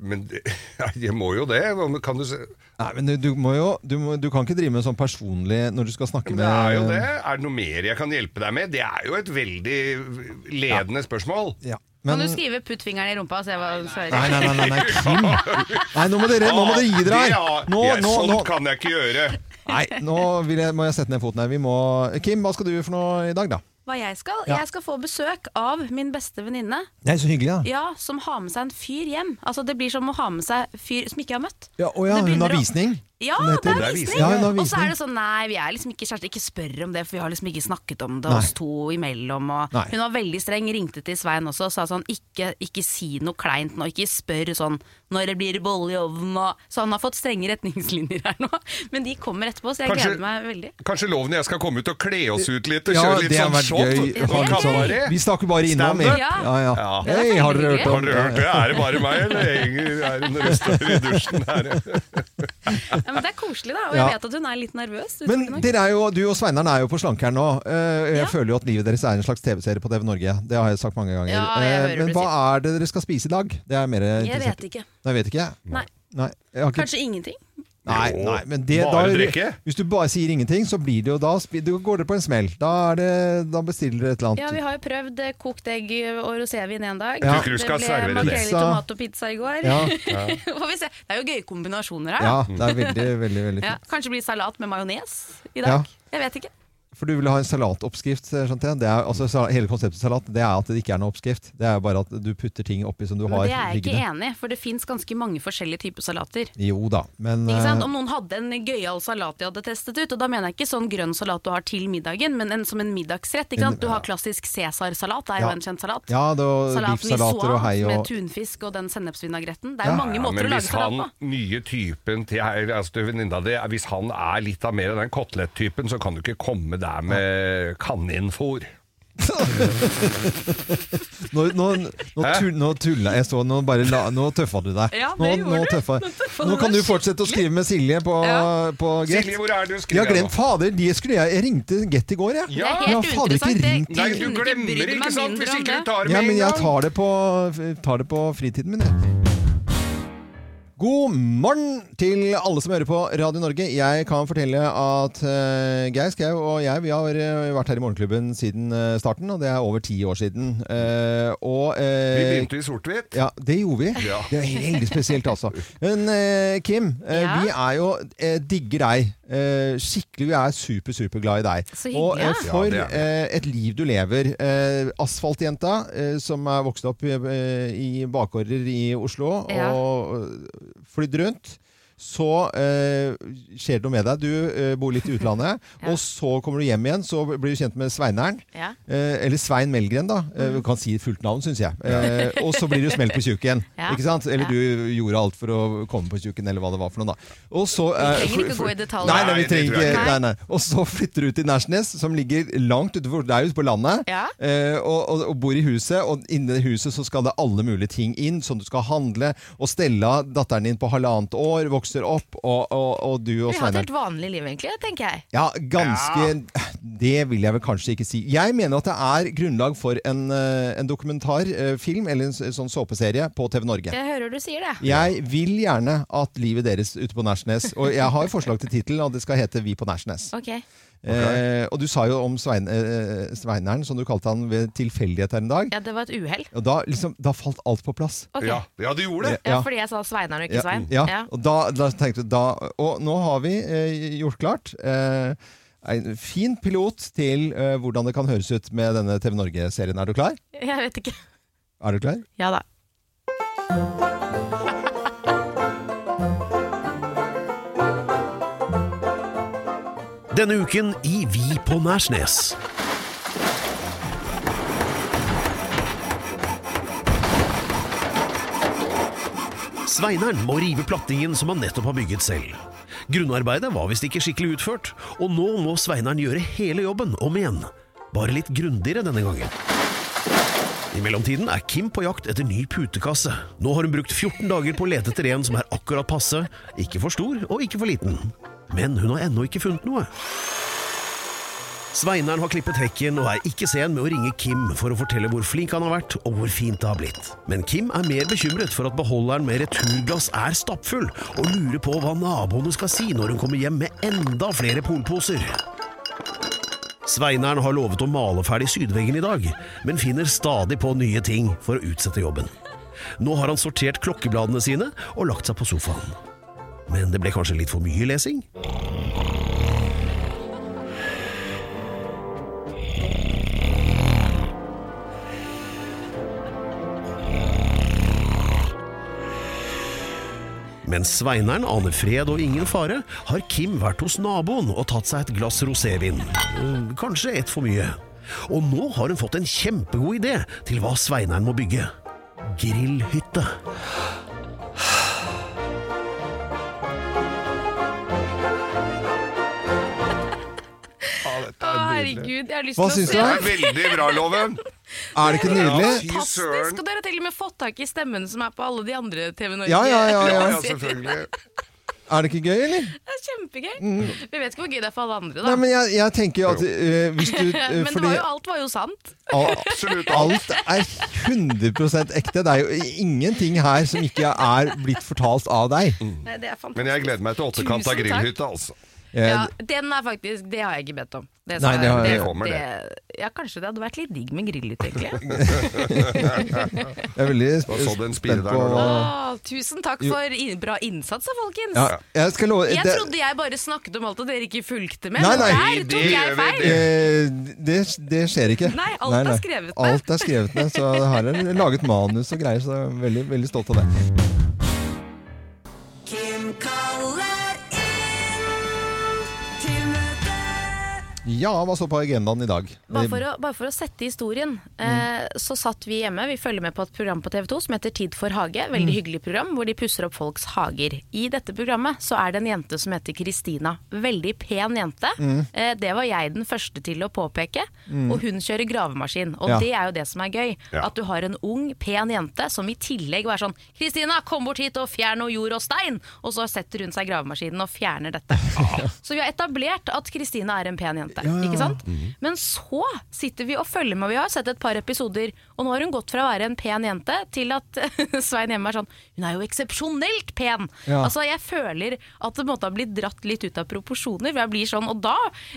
Speaker 3: Men det- jeg må jo det. Hva- men Kan du se
Speaker 1: Nei, men du, du må jo du, må, du kan ikke drive med sånn personlig når du skal snakke
Speaker 3: Men
Speaker 1: med
Speaker 3: det er jo det. Er det noe mer jeg kan hjelpe deg med? Det er jo et veldig ledende spørsmål.
Speaker 1: Ja.
Speaker 2: Kan
Speaker 1: Men,
Speaker 2: du skrive 'putt fingeren i rumpa' og se hva hun svarer?
Speaker 1: nei, nei, nei, nei, nei, Kim. Nei, nå må dere, nå må dere gi dere
Speaker 3: Det
Speaker 1: her.
Speaker 3: har-
Speaker 1: Nå,
Speaker 3: jeg-
Speaker 1: nå, nå.
Speaker 3: Sånt kan jeg ikke gjøre.
Speaker 1: Nei, nå vil jeg, må jeg sette ned foten her. Vi må Kim, hva skal du for noe i dag, da?
Speaker 2: Hva jeg skal?
Speaker 1: Ja.
Speaker 2: Jeg skal få besøk av min beste venninne,
Speaker 1: Nei, så hyggelig, da.
Speaker 2: ja, som har med seg en fyr hjem. Altså, det blir som å ha med seg fyr som ikke jeg har møtt.
Speaker 1: Ja, å ja,
Speaker 2: Det
Speaker 1: hun har
Speaker 2: begynner å-
Speaker 1: visning.
Speaker 2: Ja,
Speaker 1: som
Speaker 2: det
Speaker 1: heter.
Speaker 2: er visning!
Speaker 1: Ja, hun har
Speaker 2: og så er
Speaker 1: visning.
Speaker 2: det sånn nei, vi er liksom ikke kjærester, ikke spør om det, for vi har liksom ikke snakket om det
Speaker 1: Nei.
Speaker 2: oss to imellom. Og
Speaker 1: Nei.
Speaker 2: hun var veldig streng, ringte til Svein også og sa sånn ikke, ikke si noe kleint nå, ikke spør sånn når det blir bolle i ovnen og Så han har fått strenge retningslinjer her nå, men de kommer etterpå, så jeg
Speaker 3: Kanskje-
Speaker 2: gleder meg veldig.
Speaker 3: Kanskje loven jeg skal komme ut og kle oss ut litt og
Speaker 1: Ja,
Speaker 3: kjøre litt
Speaker 1: det har
Speaker 3: sånn
Speaker 1: vært
Speaker 3: show.
Speaker 1: gøy. Ha
Speaker 2: Det er
Speaker 1: litt sånn,
Speaker 2: gøy.
Speaker 1: vi snakker bare innom.
Speaker 3: Stand-up.
Speaker 1: Ja, ja.
Speaker 3: Ja.
Speaker 1: Hei, har dere hørt
Speaker 3: Har
Speaker 1: om
Speaker 3: dere hørt det? Er det bare meg, eller henger- er det en røster i dusjen her?
Speaker 2: Ja, men det er koselig, da, og
Speaker 1: Ja.
Speaker 2: jeg vet at hun er litt nervøs.
Speaker 1: Men
Speaker 2: utrolig nok.
Speaker 1: dere er jo, du og Sveinaren er jo på slankeren nå. Eh, Jeg
Speaker 2: Ja.
Speaker 1: føler jo at livet deres er en slags TV-serie på TV Norge. Det har jeg sagt mange ganger.
Speaker 2: Ja, jeg
Speaker 1: Eh,
Speaker 2: hører
Speaker 1: Men
Speaker 2: det
Speaker 1: hva er det dere skal spise i dag? Det er jeg mer
Speaker 2: Jeg
Speaker 1: interessert
Speaker 2: vet ikke.
Speaker 1: Nei, vet ikke.
Speaker 2: Nei.
Speaker 1: Nei, jeg har ikke...
Speaker 2: Kanskje ingenting?
Speaker 1: Nei,
Speaker 3: Jo,
Speaker 1: nei, men det,
Speaker 3: bare
Speaker 1: da,
Speaker 3: drikke.
Speaker 1: hvis du bare sier ingenting, så blir det jo da spi- Da går dere på en smell. Da, er det, da bestiller dere et eller annet.
Speaker 2: Ja, vi har jo prøvd eh, kokt egg og rosévin en dag.
Speaker 1: Ja.
Speaker 3: Du tror du skal servere det.
Speaker 2: makrell i
Speaker 1: Pizza.
Speaker 2: tomat og pizza i går.
Speaker 1: Ja.
Speaker 2: Får vi se. Det er jo gøye kombinasjoner her. da.
Speaker 1: Ja, det er veldig, veldig veldig
Speaker 2: Ja,
Speaker 1: fint.
Speaker 2: kanskje blir salat med majones i
Speaker 1: Ja.
Speaker 2: dag. Jeg vet ikke.
Speaker 1: For du vil ha en salatoppskrift? Skjønte jeg. Det er, altså, sa- hele konseptet salat det er at det ikke er noen oppskrift. Det er bare at du putter ting oppi som du
Speaker 2: Men
Speaker 1: har
Speaker 2: det er jeg ikke
Speaker 1: liggende.
Speaker 2: enig i, for det fins ganske mange forskjellige typer salater.
Speaker 1: Jo da, men
Speaker 2: Ikke sant?
Speaker 1: eh,
Speaker 2: Om noen hadde en gøyal salat de hadde testet ut, og da mener jeg ikke sånn grønn salat du har til middagen, men en, som en middagsrett. Ikke sant? Du har klassisk Cæsar-salat, det er
Speaker 1: Ja.
Speaker 2: jo en kjent salat.
Speaker 1: Ja, det var
Speaker 2: Salat
Speaker 1: biffsalater og hei
Speaker 2: med
Speaker 1: og
Speaker 2: tunfisk og den sennepsvinagretten. Det er jo mange
Speaker 3: Ja,
Speaker 2: måter
Speaker 3: men
Speaker 2: å lage
Speaker 3: hvis
Speaker 2: salat
Speaker 3: han
Speaker 2: på.
Speaker 3: nye typen til her, altså til venninna di, hvis han er litt av mer av den kotelettypen, så kan du ikke komme der med kaninfôr.
Speaker 1: Nå, nå, nå,
Speaker 3: Hæ?
Speaker 1: tull, nå tulla jeg så Nå, bare la, nå tøffa du deg.
Speaker 2: Ja, det
Speaker 1: nå,
Speaker 2: gjorde
Speaker 1: nå,
Speaker 2: du.
Speaker 1: tøffa.
Speaker 2: Nå tøffa
Speaker 1: nå
Speaker 2: du
Speaker 1: kan du
Speaker 2: deg
Speaker 1: fortsette å skrive med Silje på,
Speaker 2: Ja.
Speaker 1: på Get.
Speaker 3: Silje, hvor er du? Skriv
Speaker 1: Jeg har
Speaker 3: jeg nå.
Speaker 1: glemt Fader, de skulle jeg, jeg ringte Get i går, jeg.
Speaker 3: Ja.
Speaker 2: Det
Speaker 1: Jeg
Speaker 2: er
Speaker 1: har
Speaker 2: helt
Speaker 1: fader ikke
Speaker 2: uinteressant.
Speaker 1: ringt.
Speaker 3: Nei,
Speaker 2: jeg
Speaker 3: du
Speaker 2: kunne
Speaker 3: glemmer
Speaker 2: brydd meg
Speaker 3: ikke sant,
Speaker 2: mindre
Speaker 3: hvis
Speaker 2: om
Speaker 3: ikke
Speaker 2: det.
Speaker 3: du tar det
Speaker 1: Ja,
Speaker 3: med
Speaker 1: men
Speaker 3: en
Speaker 1: jeg
Speaker 3: gang.
Speaker 1: tar det på, tar det på fritiden min. jeg. God morgen til alle som hører på Radio Norge. Jeg kan fortelle at eh, Geir Skau og jeg vi har eh, vært her i Morgenklubben siden eh, starten, og det er over ti år siden. Eh, og,
Speaker 3: Vi
Speaker 1: eh,
Speaker 3: begynte i sort-hvitt.
Speaker 1: ja, det gjorde vi.
Speaker 3: Ja.
Speaker 1: Det er veldig spesielt, altså. Men eh, Kim, eh,
Speaker 2: Ja?
Speaker 1: vi er jo eh, digger deg. Eh, skikkelig, vi er super, superglad i deg.
Speaker 2: Så
Speaker 1: Og eh,
Speaker 2: hyggelig, ja.
Speaker 1: for
Speaker 3: Ja, det er
Speaker 1: eh, et liv du lever. Eh, asfaltjenta eh, som er vokst opp i, eh, i bakgårder i Oslo
Speaker 2: Ja.
Speaker 1: og eh, flydd rundt. Så eh, skjer det noe med deg. Du eh, bor litt i utlandet.
Speaker 2: Ja.
Speaker 1: Og så kommer du hjem igjen, så blir du kjent med Sveineren.
Speaker 2: Ja.
Speaker 1: Eh, eller Svein Melgren, da.
Speaker 2: Mm.
Speaker 1: Eh, Du kan si fullt navn, syns jeg. Eh, og så blir det jo smell på tjukken.
Speaker 2: Ja.
Speaker 1: Ikke sant? Eller du gjorde alt for å komme på tjukken, eller hva det var for noe, da. Og så eh,
Speaker 2: trenger ikke gå i detalj.
Speaker 1: Nei, nei, vi
Speaker 3: Nei, det
Speaker 1: trenger
Speaker 3: tror jeg
Speaker 1: ikke
Speaker 2: ikke.
Speaker 1: nei, nei. Og så flytter du til Nærsnes, som ligger langt utenfor Det er jo ute på landet.
Speaker 2: Ja.
Speaker 1: Eh, og, og, og bor i huset, og inni det huset så skal det alle mulige ting inn, som du skal handle. Og Stella, datteren din på halvannet år, vokser opp, og, og, og du og
Speaker 8: Vi har et
Speaker 1: Sveineren
Speaker 8: helt vanlig liv, egentlig, tenker jeg.
Speaker 1: ja, ganske Det vil jeg vel kanskje ikke si. Jeg mener at det er grunnlag for en, eh, en dokumentarfilm eller en s- sånn såpeserie på TV Norge.
Speaker 2: Jeg hører du sier det.
Speaker 1: Jeg vil gjerne at livet deres ute på Nærsnes Og jeg har forslag til tittelen, og det skal hete Vi på Nærsnes.
Speaker 9: Ok.
Speaker 1: Eh, og du sa jo om Svein, eh, Sveineren, som du kalte han ved tilfeldighet her en dag.
Speaker 9: Ja, det var et uhell.
Speaker 1: Og da, liksom, da falt alt på plass.
Speaker 2: Ok.
Speaker 3: Ja,
Speaker 2: Ja.
Speaker 3: ja, du gjorde det!
Speaker 1: Ja.
Speaker 2: fordi jeg sa Sveinar og ikke
Speaker 1: Ja,
Speaker 2: Svein.
Speaker 1: ja. Og, da, da tenkte, jeg, da, og nå har vi eh, gjort klart eh, en fin pilot til eh, hvordan det kan høres ut med denne TV Norge-serien. Er du klar?
Speaker 2: Jeg vet ikke.
Speaker 1: Er du klar?
Speaker 9: Ja da.
Speaker 10: Denne uken i Vi på Nærsnes. Sveineren må rive plattingen som han nettopp har bygget selv. Grunnarbeidet var visst ikke skikkelig utført, og nå må Sveineren gjøre hele jobben om igjen. Bare litt grundigere denne gangen. I mellomtiden er Kim på jakt etter ny putekasse. Nå har hun brukt 14 dager på å lete etter en som er akkurat passe, ikke for stor og ikke for liten. Men hun har ennå ikke funnet noe. Sveinaren har klippet hekken og er ikke sen med å ringe Kim for å fortelle hvor flink han har vært og hvor fint det har blitt. Men Kim er mer bekymret for at beholderen med returglass er stappfull, og lurer på hva naboene skal si når hun kommer hjem med enda flere polposer. Sveineren har lovet å male ferdig sydveggen i dag, men finner stadig på nye ting for å utsette jobben. Nå har han sortert klokkebladene sine og lagt seg på sofaen. Men det ble kanskje litt for mye lesing? Mens Sveineren aner fred og ingen fare, har Kim vært hos naboen og tatt seg et glass rosévin. Eh, Kanskje ett for mye. Og nå har hun fått en kjempegod idé til hva Sveineren må bygge. Grillhytte.
Speaker 3: Ja, dette
Speaker 9: Å,
Speaker 3: er nydelig.
Speaker 9: herregud, jeg har lyst
Speaker 1: Hva
Speaker 9: til å
Speaker 1: syns
Speaker 9: se.
Speaker 1: du?
Speaker 3: Det er veldig bra, Loven!
Speaker 1: Er det ikke nydelig?
Speaker 3: Ja.
Speaker 9: Fantastisk!
Speaker 3: søren.
Speaker 9: Og dere har til og med fått tak i stemmen som er på alle de andre TV Norge.
Speaker 1: Ja, ja, ja,
Speaker 3: Ja, ja,
Speaker 9: Det
Speaker 3: selvfølgelig.
Speaker 1: Er det ikke gøy, eller?
Speaker 9: er kjempegøy. Vi vet ikke hvor gøy det er for alle andre, da.
Speaker 1: Mm. Nei, men jeg, jeg tenker jo at eh, hvis du eh,
Speaker 9: men det
Speaker 1: fordi,
Speaker 9: var jo, alt var jo sant.
Speaker 1: al-
Speaker 3: Absolutt.
Speaker 1: Alt er 100 ekte. Det er jo ingenting her som ikke er blitt fortalt av deg.
Speaker 3: Mm.
Speaker 9: Nei, Eh, det er fantastisk.
Speaker 3: Men jeg gleder meg til åttekant av
Speaker 9: Tusen takk.
Speaker 3: grillhytta, altså.
Speaker 1: Eh,
Speaker 9: Ja, den er faktisk Det har jeg ikke bedt om. Det
Speaker 1: Nei, det har-
Speaker 3: det kommer,
Speaker 9: Ja, kanskje det hadde vært litt digg med grillhytte, egentlig.
Speaker 1: Jeg er veldig
Speaker 3: Da så du en
Speaker 1: sp-
Speaker 3: spire
Speaker 1: spent
Speaker 3: der
Speaker 1: på
Speaker 3: når du-
Speaker 9: Å, tusen takk for in bra innsats, da, folkens.
Speaker 1: ja, Jeg skal love
Speaker 9: Jeg
Speaker 1: det-
Speaker 9: trodde jeg bare snakket om alt og dere ikke fulgte med.
Speaker 1: Nei,
Speaker 9: men
Speaker 1: nei.
Speaker 9: Der
Speaker 3: Det
Speaker 9: tok
Speaker 3: gjør
Speaker 9: jeg
Speaker 3: vi,
Speaker 9: feil.
Speaker 3: det-
Speaker 1: Eh, det, det skjer ikke.
Speaker 9: Nei, alt er skrevet ned.
Speaker 1: Alt er skrevet ned, så her er laget manus og greier, så jeg er veldig, veldig stolt av det.
Speaker 11: Kim kaller inn til møte.
Speaker 1: Ja, hva så på agendaen i dag?
Speaker 2: Bare for, å, bare for å sette historien, eh, så satt vi hjemme. Vi følger med på et program på TV 2 som heter Tid for hage. Veldig hyggelig program hvor de pusser opp folks hager. I dette programmet så er det en jente som heter Kristina. Veldig pen jente. Eh, det var jeg den første til å påpeke. Og hun kjører gravemaskin. Og
Speaker 1: Ja.
Speaker 2: det er jo det som er gøy.
Speaker 3: Ja.
Speaker 2: At du har en ung, pen jente som i tillegg er sånn Kristina, kom bort hit og fjern noe jord og stein! Og så setter hun seg i gravemaskinen og fjerner dette. Så vi har etablert at Kristina er en pen jente. Ikke sant?
Speaker 1: Mhm.
Speaker 2: Men så sitter vi og følger med. Vi har sett et par episoder, og nå har hun gått fra å være en pen jente til at Svein hjemme er sånn Hun er jo eksepsjonelt pen!
Speaker 1: Ja.
Speaker 2: Altså, jeg føler at det måtte ha blitt dratt litt ut av proporsjoner. For jeg blir sånn, og da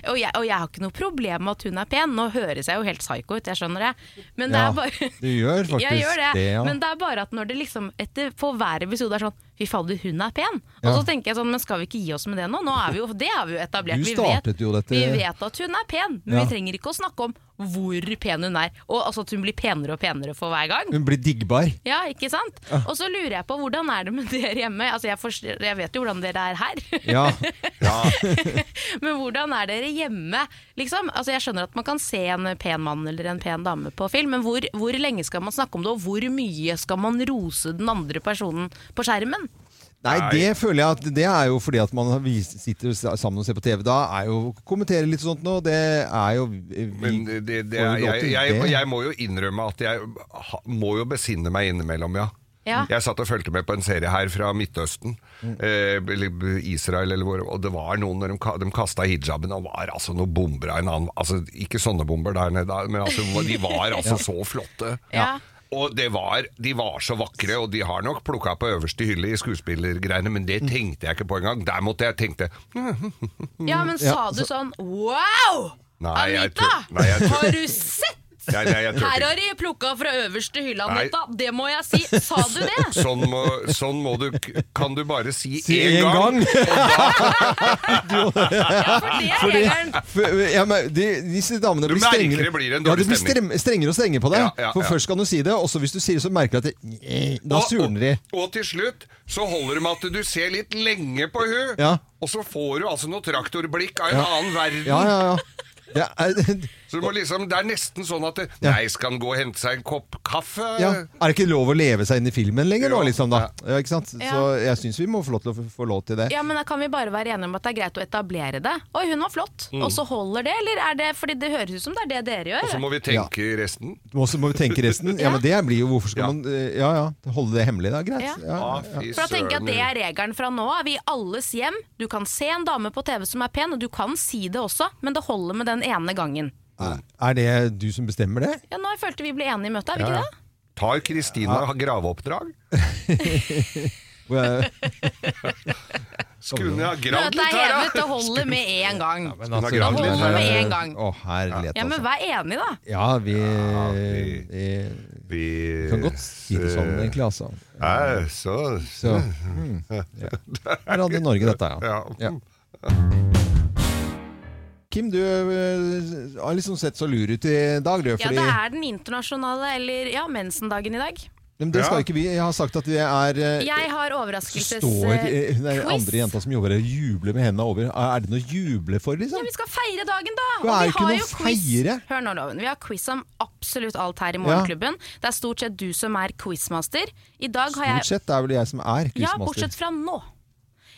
Speaker 2: Og jeg, og jeg har ikke noe problem med at hun er pen. Nå høres jeg jo helt psyko ut, jeg skjønner det. Men det
Speaker 1: Ja,
Speaker 2: er bare
Speaker 1: du gjør faktisk
Speaker 2: jeg gjør det,
Speaker 1: ja.
Speaker 2: men det er bare at når det liksom etter, på hver episode er sånn Fy fader, hun er pen! Og
Speaker 1: Ja.
Speaker 2: så tenker jeg sånn, men skal vi ikke gi oss med det nå? nå er vi jo, det har vi jo etablert.
Speaker 1: Du
Speaker 2: Vi
Speaker 1: startet
Speaker 2: vet,
Speaker 1: jo dette-
Speaker 2: vi vet at hun er pen, men
Speaker 1: Ja.
Speaker 2: vi trenger ikke å snakke om hvor pen hun er. Og altså at hun blir penere og penere for hver gang.
Speaker 1: Eh, Hun blir diggbar.
Speaker 2: Ja, ikke sant? Og så lurer jeg på hvordan er det med dere hjemme? Altså, jeg, forstår, jeg vet jo hvordan dere er her.
Speaker 1: Ja.
Speaker 2: Men hvordan er dere hjemme? Liksom? Altså, jeg skjønner at man kan se en pen mann eller en pen dame på film, men hvor, hvor lenge skal man snakke om det, og hvor mye skal man rose den andre personen på skjermen?
Speaker 1: Nei, det føler jeg at det er jo fordi at man har vis- sitter sammen og ser på TV. Da er jo kommentere litt sånt nå, det er jo eh, vi,
Speaker 3: Men eh, det, det,
Speaker 1: får jo
Speaker 3: er,
Speaker 1: lov
Speaker 3: jeg,
Speaker 1: til
Speaker 3: jeg,
Speaker 1: det.
Speaker 3: jeg må jo innrømme at jeg ha- må jo besinne meg innimellom, ja.
Speaker 2: Ja.
Speaker 3: Jeg satt og fulgte med på en serie her fra Midtøsten, eh, eller Israel eller hvor, og det var noen når de, ka- de kasta hijaben, og var altså noen bomber av en annen Altså ikke sånne bomber der nede, men altså, de var altså så flotte.
Speaker 2: Ja.
Speaker 3: Og det var, de var så vakre, og de har nok plukka på øverste hylle i skuespillergreiene, men
Speaker 1: Mm.
Speaker 3: det tenkte jeg ikke på engang. Der måtte jeg «Hm, tenkte
Speaker 2: Ja, men
Speaker 1: Ja,
Speaker 2: sa du sånn Wow!
Speaker 3: Mm, altså- Nei, jeg
Speaker 2: Anita!
Speaker 3: tør Nei, jeg tør,
Speaker 2: Har du sett?
Speaker 3: nei, nei, jeg tør
Speaker 2: Her
Speaker 3: ikke.
Speaker 2: har de plukka fra øverste hylle,
Speaker 3: Nei.
Speaker 2: Anita. Det må jeg si. Sa du det?
Speaker 3: Sånn må, sånn må du Kan du bare si
Speaker 1: Si
Speaker 3: én
Speaker 1: en
Speaker 3: gang?
Speaker 1: gang.
Speaker 2: Ja, for det er regelen.
Speaker 1: For, ja, men de, disse damene
Speaker 3: Du
Speaker 1: blir
Speaker 3: merker
Speaker 1: strengere.
Speaker 3: det blir en
Speaker 1: ja,
Speaker 3: dårlig
Speaker 1: det blir
Speaker 3: stemning.
Speaker 1: strem, strengere og strengere på deg.
Speaker 3: Ja, ja,
Speaker 1: For
Speaker 3: ja.
Speaker 1: først kan du si det, og så hvis du sier det, så merker du at det, Da
Speaker 3: Og-
Speaker 1: surner de.
Speaker 3: Og, og til slutt så holder det med at du ser litt lenge på hun,
Speaker 1: Ja.
Speaker 3: og så får du altså noe traktorblikk av en annen verden.
Speaker 1: Ja, ja, ja. Det er,
Speaker 3: Så du må liksom, det er nesten sånn at det,
Speaker 1: Ja.
Speaker 3: Nei, skal han gå og hente seg en kopp kaffe?
Speaker 1: ja. Er det ikke lov å leve seg inn i filmen lenger nå,
Speaker 3: Jo.
Speaker 1: liksom? da? Ja, ikke sant? Så
Speaker 2: Ja.
Speaker 1: jeg syns vi må få lov til å få lov til det.
Speaker 2: Ja, men da Kan vi bare være enige om at det er greit å etablere det? Oi, hun var flott, og så holder det? Eller er det fordi det høres ut som det er det dere
Speaker 3: Mm. Og så
Speaker 2: gjør?
Speaker 3: må vi tenke resten.
Speaker 1: Og så må vi tenke resten. Ja, men det blir jo Hvorfor skal
Speaker 3: Ja.
Speaker 1: man eh, Ja ja, holde det hemmelig, da? Greit.
Speaker 2: Ja.
Speaker 1: Ja.
Speaker 3: Ah, fy
Speaker 2: For da tenker jeg at Det
Speaker 3: søren.
Speaker 2: er regelen fra nå av. I alles hjem. Du kan se en dame på TV som er pen, og du kan si det også, men det holder med den ene gangen.
Speaker 1: Er- Er det du som bestemmer det?
Speaker 2: Ja, Nå følte vi ble enige i møtet, er vi ikke det?
Speaker 3: Tar Kristina graveoppdrag?
Speaker 1: Hvor jeg-
Speaker 3: Skulle hun ha gravd
Speaker 2: Møtet
Speaker 3: litt
Speaker 2: er
Speaker 3: her,
Speaker 2: hevet,
Speaker 3: da?
Speaker 2: det holder med én gang.
Speaker 3: Hun har gravd
Speaker 2: da
Speaker 3: litt
Speaker 2: holder
Speaker 3: her.
Speaker 2: vi
Speaker 3: da.
Speaker 2: en gang.
Speaker 1: Å, herlighet,
Speaker 2: Ja, Men
Speaker 1: altså.
Speaker 2: vær enig, da.
Speaker 1: Ja, vi,
Speaker 3: vi-
Speaker 1: vi
Speaker 3: Vi
Speaker 1: kan godt si det sånn,
Speaker 3: Eh,
Speaker 1: egentlig, altså.
Speaker 3: Nei, så
Speaker 1: Så, mm, ja. Radio Norge, dette, ja.
Speaker 3: ja.
Speaker 1: ja. Kim, du eh, har liksom sett så lur ut i dag, du.
Speaker 2: Ja,
Speaker 1: Fordi,
Speaker 2: det er den internasjonale, eller ja, mensendagen i dag.
Speaker 1: men det skal
Speaker 3: Ja.
Speaker 1: ikke vi. Jeg har sagt at vi er eh,
Speaker 2: Jeg har
Speaker 1: så
Speaker 2: overraskelses...
Speaker 1: står eh, hun er
Speaker 2: quiz.
Speaker 1: andre jenta som jobber her og jubler med hendene over. Er er det noe å juble for,
Speaker 2: Ja,
Speaker 1: liksom?
Speaker 2: vi skal feire dagen, da!
Speaker 1: Det er jo ikke noe å feire.
Speaker 2: Hør nå, Loven. Vi har quiz om absolutt alt her i Morgenklubben. Det er stort sett du som er quizmaster. I dag har
Speaker 1: Stort
Speaker 2: jeg
Speaker 1: sett det er vel jeg som er
Speaker 2: Ja,
Speaker 1: quizmaster.
Speaker 2: bortsett fra nå.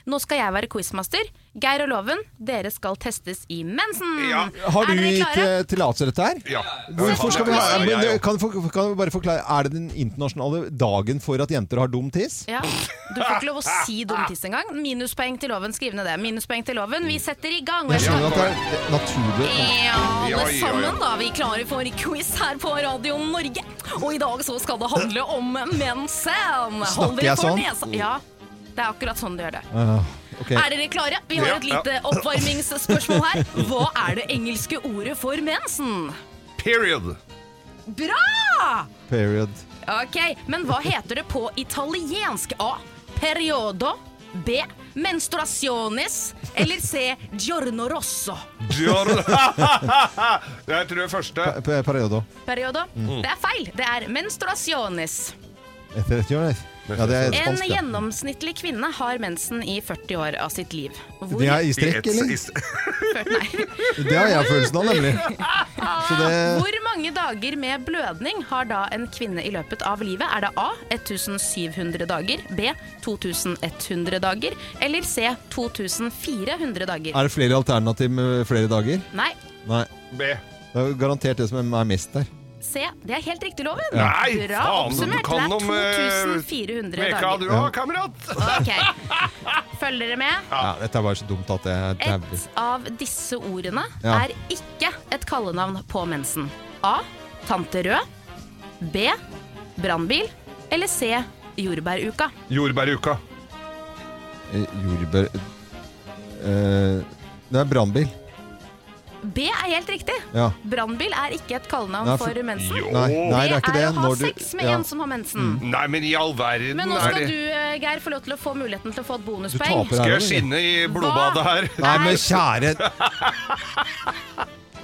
Speaker 2: Nå skal jeg være quizmaster. Geir og Loven, dere skal testes i mensen!
Speaker 3: Ja.
Speaker 1: Har
Speaker 2: er
Speaker 1: du
Speaker 2: dere
Speaker 1: gitt
Speaker 2: klare?
Speaker 1: eh, tillatelse til dette her?
Speaker 3: Ja.
Speaker 1: Hvorfor skal vi ha
Speaker 3: Ja,
Speaker 1: men,
Speaker 3: jeg
Speaker 1: eh,
Speaker 3: òg.
Speaker 1: kan, for- kan vi bare forklare, Er det den internasjonale dagen for at jenter har dum tiss?
Speaker 2: Ja, Du får ikke lov å si dum tiss engang. Minuspoeng til Loven. Skriv ned det. Minuspoeng til Loven. Vi setter i gang. og
Speaker 1: Jeg
Speaker 2: jeg skal-
Speaker 1: skjønner at det er naturlig.
Speaker 2: Ja,
Speaker 3: Ja,
Speaker 2: alle
Speaker 3: ja, ja.
Speaker 2: sammen da, vi er klare for quiz her på Radio Norge. Og i dag så skal det handle om mensen. Hold
Speaker 1: Snakker
Speaker 2: dere
Speaker 1: jeg
Speaker 2: for
Speaker 1: sånn?
Speaker 2: nesa. Ja, det er akkurat sånn du gjør det.
Speaker 1: Ah, ok.
Speaker 2: Er dere klare? Vi har
Speaker 3: Ja,
Speaker 2: et
Speaker 3: ja.
Speaker 2: lite oppvarmingsspørsmål her. Hva er det engelske ordet for mensen?
Speaker 3: Period.
Speaker 2: Bra!
Speaker 1: Period.
Speaker 2: Ok, men hva heter det på italiensk? A. Periodo. B. Menstruasjones. Eller C. Giorno rosso.
Speaker 3: Jeg tror det første.
Speaker 1: Pe- pe- Periodo.
Speaker 2: Periodo.
Speaker 1: Mm.
Speaker 2: Det er feil. Det er menstruasjones.
Speaker 1: Etter et hjørne. Ja, det er
Speaker 2: En
Speaker 1: spansk. ja.
Speaker 2: gjennomsnittlig kvinne har mensen i 40 år av sitt liv. Hvor,
Speaker 1: Det er i
Speaker 3: I
Speaker 1: strekk,
Speaker 3: ett-
Speaker 1: eller?
Speaker 3: i st-
Speaker 1: Det har jeg følelsen av, nemlig. Så det
Speaker 2: hvor mange dager med blødning har da en kvinne i løpet av livet? Er det A 1700 dager, B 2100 dager eller C 2400 dager?
Speaker 1: Er det flere alternativ med flere dager?
Speaker 2: Nei,
Speaker 1: Nei.
Speaker 3: B.
Speaker 1: Det er jo garantert det som er mest der.
Speaker 2: C. Det er helt riktig, Loven.
Speaker 3: Nei,
Speaker 2: Bra
Speaker 3: faen, du
Speaker 2: oppsummert.
Speaker 3: kan om
Speaker 2: Det er
Speaker 3: eh,
Speaker 2: 2400
Speaker 3: Veka du
Speaker 2: dager.
Speaker 3: òg, kamerat!
Speaker 2: Ok, Følger dere med?
Speaker 1: Ja, dette er bare så dumt at jeg dauer.
Speaker 2: Et av disse ordene
Speaker 1: Ja.
Speaker 2: er ikke et kallenavn på mensen. A. Tante Rød. B. Brannbil. Eller C. Jordbæruka.
Speaker 3: Jordbæruka.
Speaker 1: Eh, Jordbær Eh, Det er brannbil.
Speaker 2: B er helt riktig.
Speaker 1: Ja.
Speaker 2: Brannbil er ikke et kallenavn
Speaker 1: Nei, for-
Speaker 2: for mensen.
Speaker 3: Jo.
Speaker 1: Nei, nei, det er ikke det.
Speaker 2: å ha
Speaker 1: Når du-
Speaker 2: sex med
Speaker 1: ja. Mm.
Speaker 2: en som har mensen.
Speaker 3: Nei, men i all verden
Speaker 2: Men nå
Speaker 3: er
Speaker 2: skal
Speaker 3: det
Speaker 2: du, eh, Geir, få lov til å få muligheten til å få et
Speaker 1: Du
Speaker 2: bonuspoeng.
Speaker 1: taper
Speaker 3: Skal
Speaker 1: her. eller?
Speaker 3: jeg skinne i blodbadet her?
Speaker 1: Nei, men kjære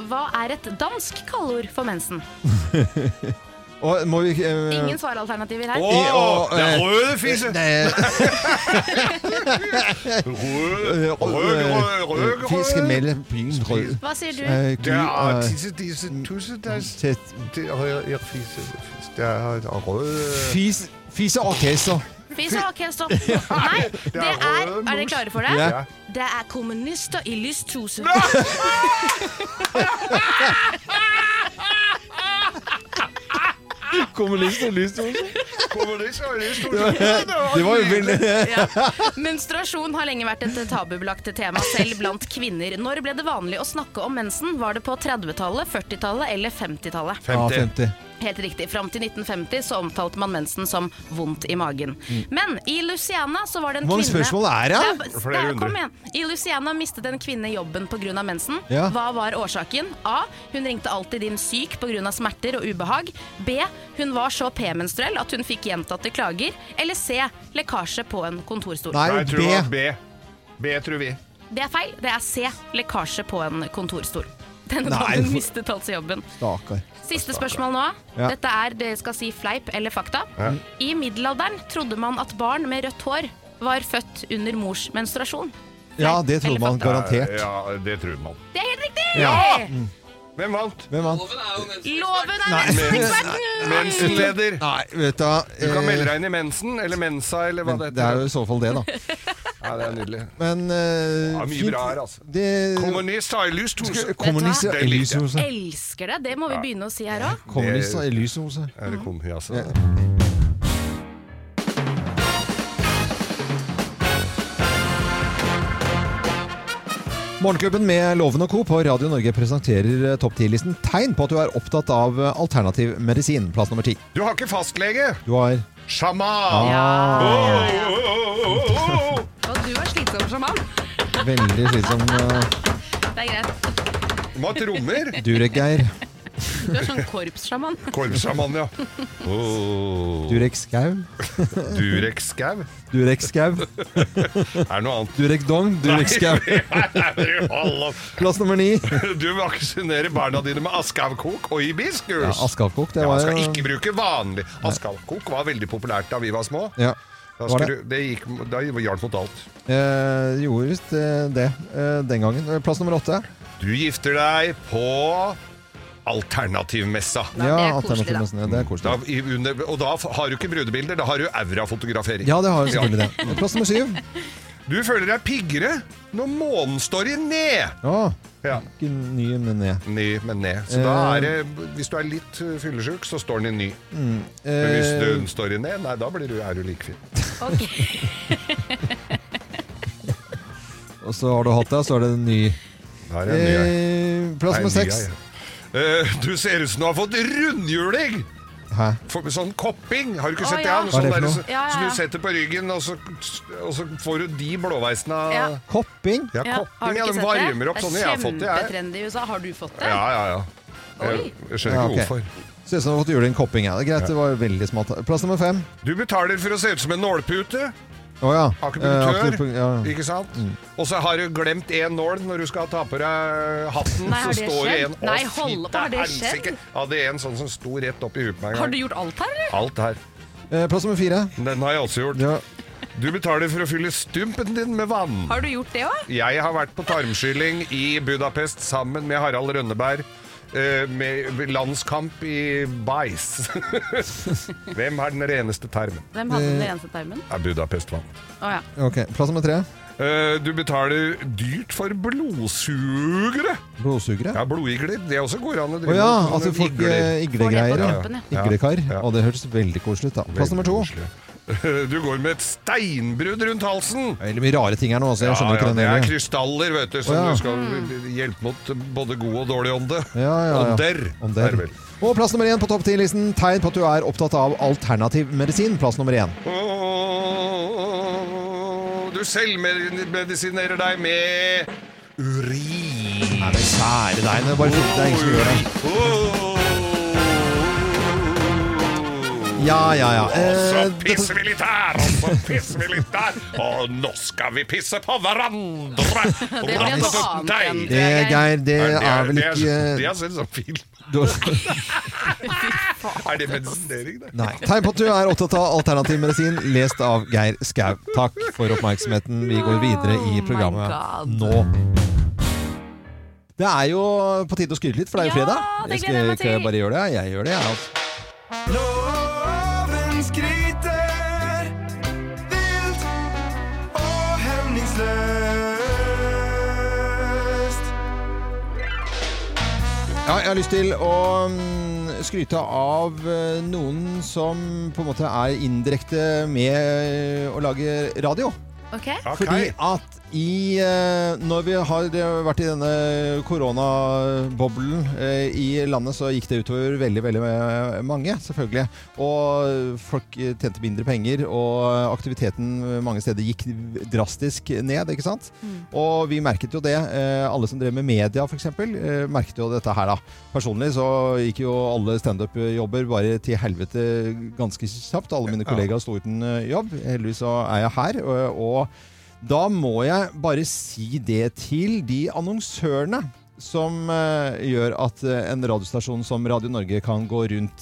Speaker 2: Hva er et dansk kalleord for mensen?
Speaker 1: Å, Må vi eh,
Speaker 2: Ingen svaralternativer her.
Speaker 3: Åh,
Speaker 1: I- og,
Speaker 3: det
Speaker 1: eh,
Speaker 3: er røde fisse!
Speaker 1: Nei,
Speaker 3: Røde,
Speaker 1: eh,
Speaker 3: røde, røde,
Speaker 1: eh,
Speaker 3: røde.
Speaker 1: Fisk mellom bryn, rød.
Speaker 2: Hva sier du?
Speaker 1: Eh, gul,
Speaker 3: Det er
Speaker 1: eh,
Speaker 3: tisse, tisse, tusse,
Speaker 1: øh,
Speaker 3: tess.
Speaker 1: tett.
Speaker 3: Det er røde fisse. Det er røde
Speaker 1: Fis, fiseorkester.
Speaker 2: Fis og hakehester. Nei, det er Er dere klare for det?
Speaker 1: Ja.
Speaker 2: Det er kommunister i lysthuset.
Speaker 1: Kommunist og lyst også.
Speaker 3: Kommunist er veldig stor skyld.
Speaker 1: Det var jo veldig
Speaker 2: Ja. Menstruasjon har lenge vært et tabubelagt tema selv blant kvinner. Når ble det vanlig å snakke om mensen? Var det på 30-tallet, 40-tallet eller
Speaker 1: Ja,
Speaker 2: 50-tallet?
Speaker 3: 50.
Speaker 1: 50.
Speaker 2: Helt riktig. Fram til 1950 så omtalte man mensen som vondt i magen. Men i Luciana så var det en
Speaker 1: Mm. Hvor mange
Speaker 2: kvinne
Speaker 1: spørsmål er det?
Speaker 2: Ja, b-
Speaker 3: Flere
Speaker 2: ja, kom
Speaker 3: hundre.
Speaker 2: igjen. I Luciana mistet en kvinne jobben pga. mensen.
Speaker 1: Ja.
Speaker 2: Hva var årsaken? A. Hun ringte alltid inn syk pga. smerter og ubehag. B. Hun var så p-menstruell at hun fikk gjentatte klager. Eller C. Lekkasje på en kontorstol.
Speaker 1: Nei,
Speaker 3: Nei, jeg tror
Speaker 1: B.
Speaker 3: det var B. B tror vi.
Speaker 2: Det er feil. Det er C. Lekkasje på en kontorstol. Denne
Speaker 1: Nei,
Speaker 2: damen
Speaker 1: for-
Speaker 2: mistet altså jobben.
Speaker 1: Stakkar.
Speaker 2: Siste spørsmål nå.
Speaker 1: Ja.
Speaker 2: Dette er det skal si fleip eller fakta. I middelalderen trodde man at barn med rødt hår var født under mors menstruasjon.
Speaker 1: Ja, det trodde
Speaker 2: Eller
Speaker 1: man
Speaker 2: fakta.
Speaker 1: garantert.
Speaker 3: Ja, det tror man.
Speaker 2: Det er helt riktig!
Speaker 1: Ja.
Speaker 3: Hvem vant?
Speaker 1: Hvem vant?
Speaker 2: Loven er menseneksperten!
Speaker 3: Mensleder.
Speaker 1: Nei, vet du hva
Speaker 3: Du kan
Speaker 1: eh,
Speaker 3: melde deg inn i mensen, eller mensa, eller hva
Speaker 1: men
Speaker 3: det
Speaker 1: Det er
Speaker 3: heter.
Speaker 1: jo i så fall det, da.
Speaker 3: Ja, det er nydelig.
Speaker 1: Men eh,
Speaker 3: Ja, mye
Speaker 1: fint.
Speaker 3: bra her, altså.
Speaker 1: Det,
Speaker 3: Kommunist har jeg lyst hos
Speaker 1: kommunist
Speaker 3: Det likte jeg.
Speaker 1: Elysose.
Speaker 2: Elsker det. Det må vi begynne å si her òg.
Speaker 1: Kommunist Elysose.
Speaker 3: Er det kom, ja, så.
Speaker 1: Ja. Morgenklubben med Loven og Co. på Radio Norge presenterer eh, topp 10-listen tegn på at du er opptatt av eh, alternativ medisin. Plass nummer ti.
Speaker 3: Du har ikke fastlege!
Speaker 1: Du har
Speaker 3: Sjaman! Åh, åh, åh, åh, åh.
Speaker 2: Og du er slitsom sjaman.
Speaker 1: veldig slitsom eh,
Speaker 2: Det er greit.
Speaker 3: Hva trommer?
Speaker 1: Durek-Geir.
Speaker 2: Du er sånn korpssjaman.
Speaker 3: Korpssjaman, ja. Åh.
Speaker 1: Durek-Skau.
Speaker 3: Durek Skau?
Speaker 1: Durek-Skau.
Speaker 3: Er det noe annet?
Speaker 1: Durek-Dong. Durek-Skau.
Speaker 3: Hold opp.
Speaker 1: Plass nummer ni.
Speaker 3: Du vaksinerer barna dine med askavkok og hibiskus.
Speaker 1: Ja, Askavkok. Det
Speaker 3: Ja, man
Speaker 1: var
Speaker 3: skal
Speaker 1: jo
Speaker 3: ikke bruke vanlig. Askavkok var veldig populært da vi var små.
Speaker 1: Ja.
Speaker 3: Da,
Speaker 1: Var det?
Speaker 3: skulle, det gikk, da hjalp mot alt.
Speaker 1: Eh, gjorde visst eh, det eh, den gangen. Eh, Plass nummer åtte.
Speaker 3: Du gifter deg på alternativmessa.
Speaker 2: det er koselig,
Speaker 1: alternativ
Speaker 2: da.
Speaker 1: med snø, Det er
Speaker 3: Da,
Speaker 1: koselig.
Speaker 3: i, under, og da f- har du ikke brudebilder, da har du aurafotografering.
Speaker 1: Ja, det har jo selvfølgelig det. Plass nummer syv.
Speaker 3: Du føler deg piggere når månen står i ned.
Speaker 1: Ja,
Speaker 3: Ja,
Speaker 1: ikke ny, men ned.
Speaker 3: ny, men ned. Så da er det, hvis du er litt eh, fyllesyk, så står den i ny. Men hvis
Speaker 1: Eh,
Speaker 3: den står i ned, nei, da blir du, er du like fin.
Speaker 2: Ok.
Speaker 1: Eh, og så har du hatt det, og så er det en ny.
Speaker 3: Da er det en ny ei.
Speaker 1: Eh, plass
Speaker 3: Nei,
Speaker 1: nummer
Speaker 3: ny
Speaker 1: seks.
Speaker 3: ei. Eh, du ser ut som du har fått rundhjuling!
Speaker 1: Hæ?
Speaker 3: For, sånn kopping, har du ikke
Speaker 2: Å,
Speaker 3: sett det?
Speaker 2: ja.
Speaker 3: han?
Speaker 1: Hva er
Speaker 3: Sånn
Speaker 1: det for
Speaker 3: der,
Speaker 1: noe?
Speaker 3: så,
Speaker 2: Ja, ja,
Speaker 3: Som
Speaker 2: ja.
Speaker 3: du setter på ryggen, og så, og så får du de blåveisene av ja.
Speaker 2: Ja.
Speaker 1: Kopping.
Speaker 3: Ja,
Speaker 2: Ja, har
Speaker 3: kopping,
Speaker 2: du
Speaker 3: ja,
Speaker 2: ikke
Speaker 3: de
Speaker 2: sett det?
Speaker 3: varmer opp sånn. Jeg har fått det, jeg.
Speaker 2: kjempetrendy i USA. Har du fått det?
Speaker 3: Ja, ja, ja. Jeg, jeg skjønner
Speaker 1: Ja,
Speaker 3: ikke
Speaker 1: ok.
Speaker 3: hvorfor.
Speaker 1: Ser ut som du har fått juling kopping. Ja. Det er greit, det var veldig smalt. Plass nummer fem.
Speaker 3: Du betaler for å se ut som en nålpute.
Speaker 1: Å ja. Eh,
Speaker 3: Akupunktør.
Speaker 1: akupunktur, ja.
Speaker 3: Ikke sant? Og så har du glemt én nål når du skal ta på deg hatten.
Speaker 2: Nei, har
Speaker 3: så
Speaker 2: det
Speaker 3: står
Speaker 2: skjedd?
Speaker 3: en Å,
Speaker 2: Nei, hold opp, har
Speaker 3: fitte
Speaker 2: det skjedd?
Speaker 3: helsike. Ja, det er en sånn som sto rett opp i huet på meg
Speaker 2: Har
Speaker 3: en
Speaker 2: du
Speaker 3: gang.
Speaker 2: gjort alt her, eller?
Speaker 3: Alt her.
Speaker 1: Eh, Plass nummer fire.
Speaker 3: Den har jeg også gjort.
Speaker 1: Ja.
Speaker 3: Du betaler for å fylle stumpen din med vann.
Speaker 2: Har du gjort det òg?
Speaker 3: Jeg har vært på tarmskylling i Budapest sammen med Harald Rønneberg. eh, Med landskamp i bæsj. Hvem har den reneste termen?
Speaker 2: Hvem hadde
Speaker 3: Eh.
Speaker 2: den renset tarmen?
Speaker 3: Er Budapest vant.
Speaker 2: Å ja.
Speaker 1: Ok, Plass nummer tre.
Speaker 3: Eh, Du betaler dyrt for blodsugere.
Speaker 1: Blodsugere.
Speaker 3: Ja, blodigler. Det også går an å
Speaker 1: Å
Speaker 3: drive
Speaker 1: ja.
Speaker 3: med sånne
Speaker 1: Altså folk
Speaker 3: igler.
Speaker 1: eh, iglegreier. Ja.
Speaker 2: Får det på kroppen,
Speaker 3: ja.
Speaker 1: Iglekar.
Speaker 3: Ja, ja.
Speaker 1: Og det høres veldig koselig ut, da. Plass nummer to.
Speaker 3: Veldig koselig. Du går med et steinbrudd rundt halsen.
Speaker 1: Veldig mye rare ting her nå, så jeg skjønner
Speaker 3: Ja, ja,
Speaker 1: ikke den
Speaker 3: det er
Speaker 1: delen.
Speaker 3: krystaller vet du, som
Speaker 1: Å, ja.
Speaker 3: du skal hjelpe mot både god og dårlig ånde.
Speaker 1: Ja, ja, ja.
Speaker 3: Ånder.
Speaker 1: Om der.
Speaker 3: er det vel.
Speaker 1: Og plass nummer én på topp ti-listen. Tegn på at du er opptatt av alternativ medisin. Plass nummer én.
Speaker 3: Åh, Du selvmedisinerer deg med
Speaker 1: Nei,
Speaker 3: urin.
Speaker 1: men kjære deg, det er bare fint det er ingen som gjør det.
Speaker 3: Åh.
Speaker 1: Ja, ja, ja.
Speaker 3: Og så
Speaker 1: Eh,
Speaker 3: pisser vi litt her, og så pisser vi litt der. Og nå skal vi pisse på hverandre!
Speaker 2: Det blir noe annet enn-
Speaker 1: det, Geir, det
Speaker 3: Nei,
Speaker 1: er vel
Speaker 3: det
Speaker 1: ikke eh,
Speaker 3: er- Det er sånn som film.
Speaker 1: du-
Speaker 3: Er det medisinering, det?
Speaker 1: Nei. Tegn på at du er opptatt av alternativ medisin, lest av Geir Skau. Takk for oppmerksomheten. Vi går videre i
Speaker 2: Oh my
Speaker 1: programmet
Speaker 2: God.
Speaker 1: nå. Det er jo på tide å skryte litt, for det er jo
Speaker 2: Ja,
Speaker 1: fredag.
Speaker 2: det
Speaker 1: Jeg skal,
Speaker 2: gleder jeg meg
Speaker 1: skal jeg
Speaker 2: til.
Speaker 1: bare gjøre det? Jeg gjør det, jeg. Altså.
Speaker 6: Loven skryter vilt og hemningsløst.
Speaker 1: Ja, jeg har lyst til å mm, skryte av eh, noen som på en måte er indirekte med å lage radio.
Speaker 2: Ok?
Speaker 3: Ok.
Speaker 1: Fordi at i, eh, når vi har eh, vært i denne koronaboblen eh, i landet, så gikk det utover veldig, veldig eh, mange, selvfølgelig. Og folk eh, tjente mindre penger, og aktiviteten mange steder gikk drastisk ned, ikke sant? Og vi merket jo det. eh, Alle som drev med media, f.eks., merket jo dette her, da. Personlig så gikk jo alle standup-jobber bare til helvete ganske kjapt. Alle mine kollegaer sto uten eh, jobb. Heldigvis så er jeg her. og- og da må jeg bare si det til de annonsørene som eh, gjør at eh, en radiostasjon som Radio Norge kan gå rundt.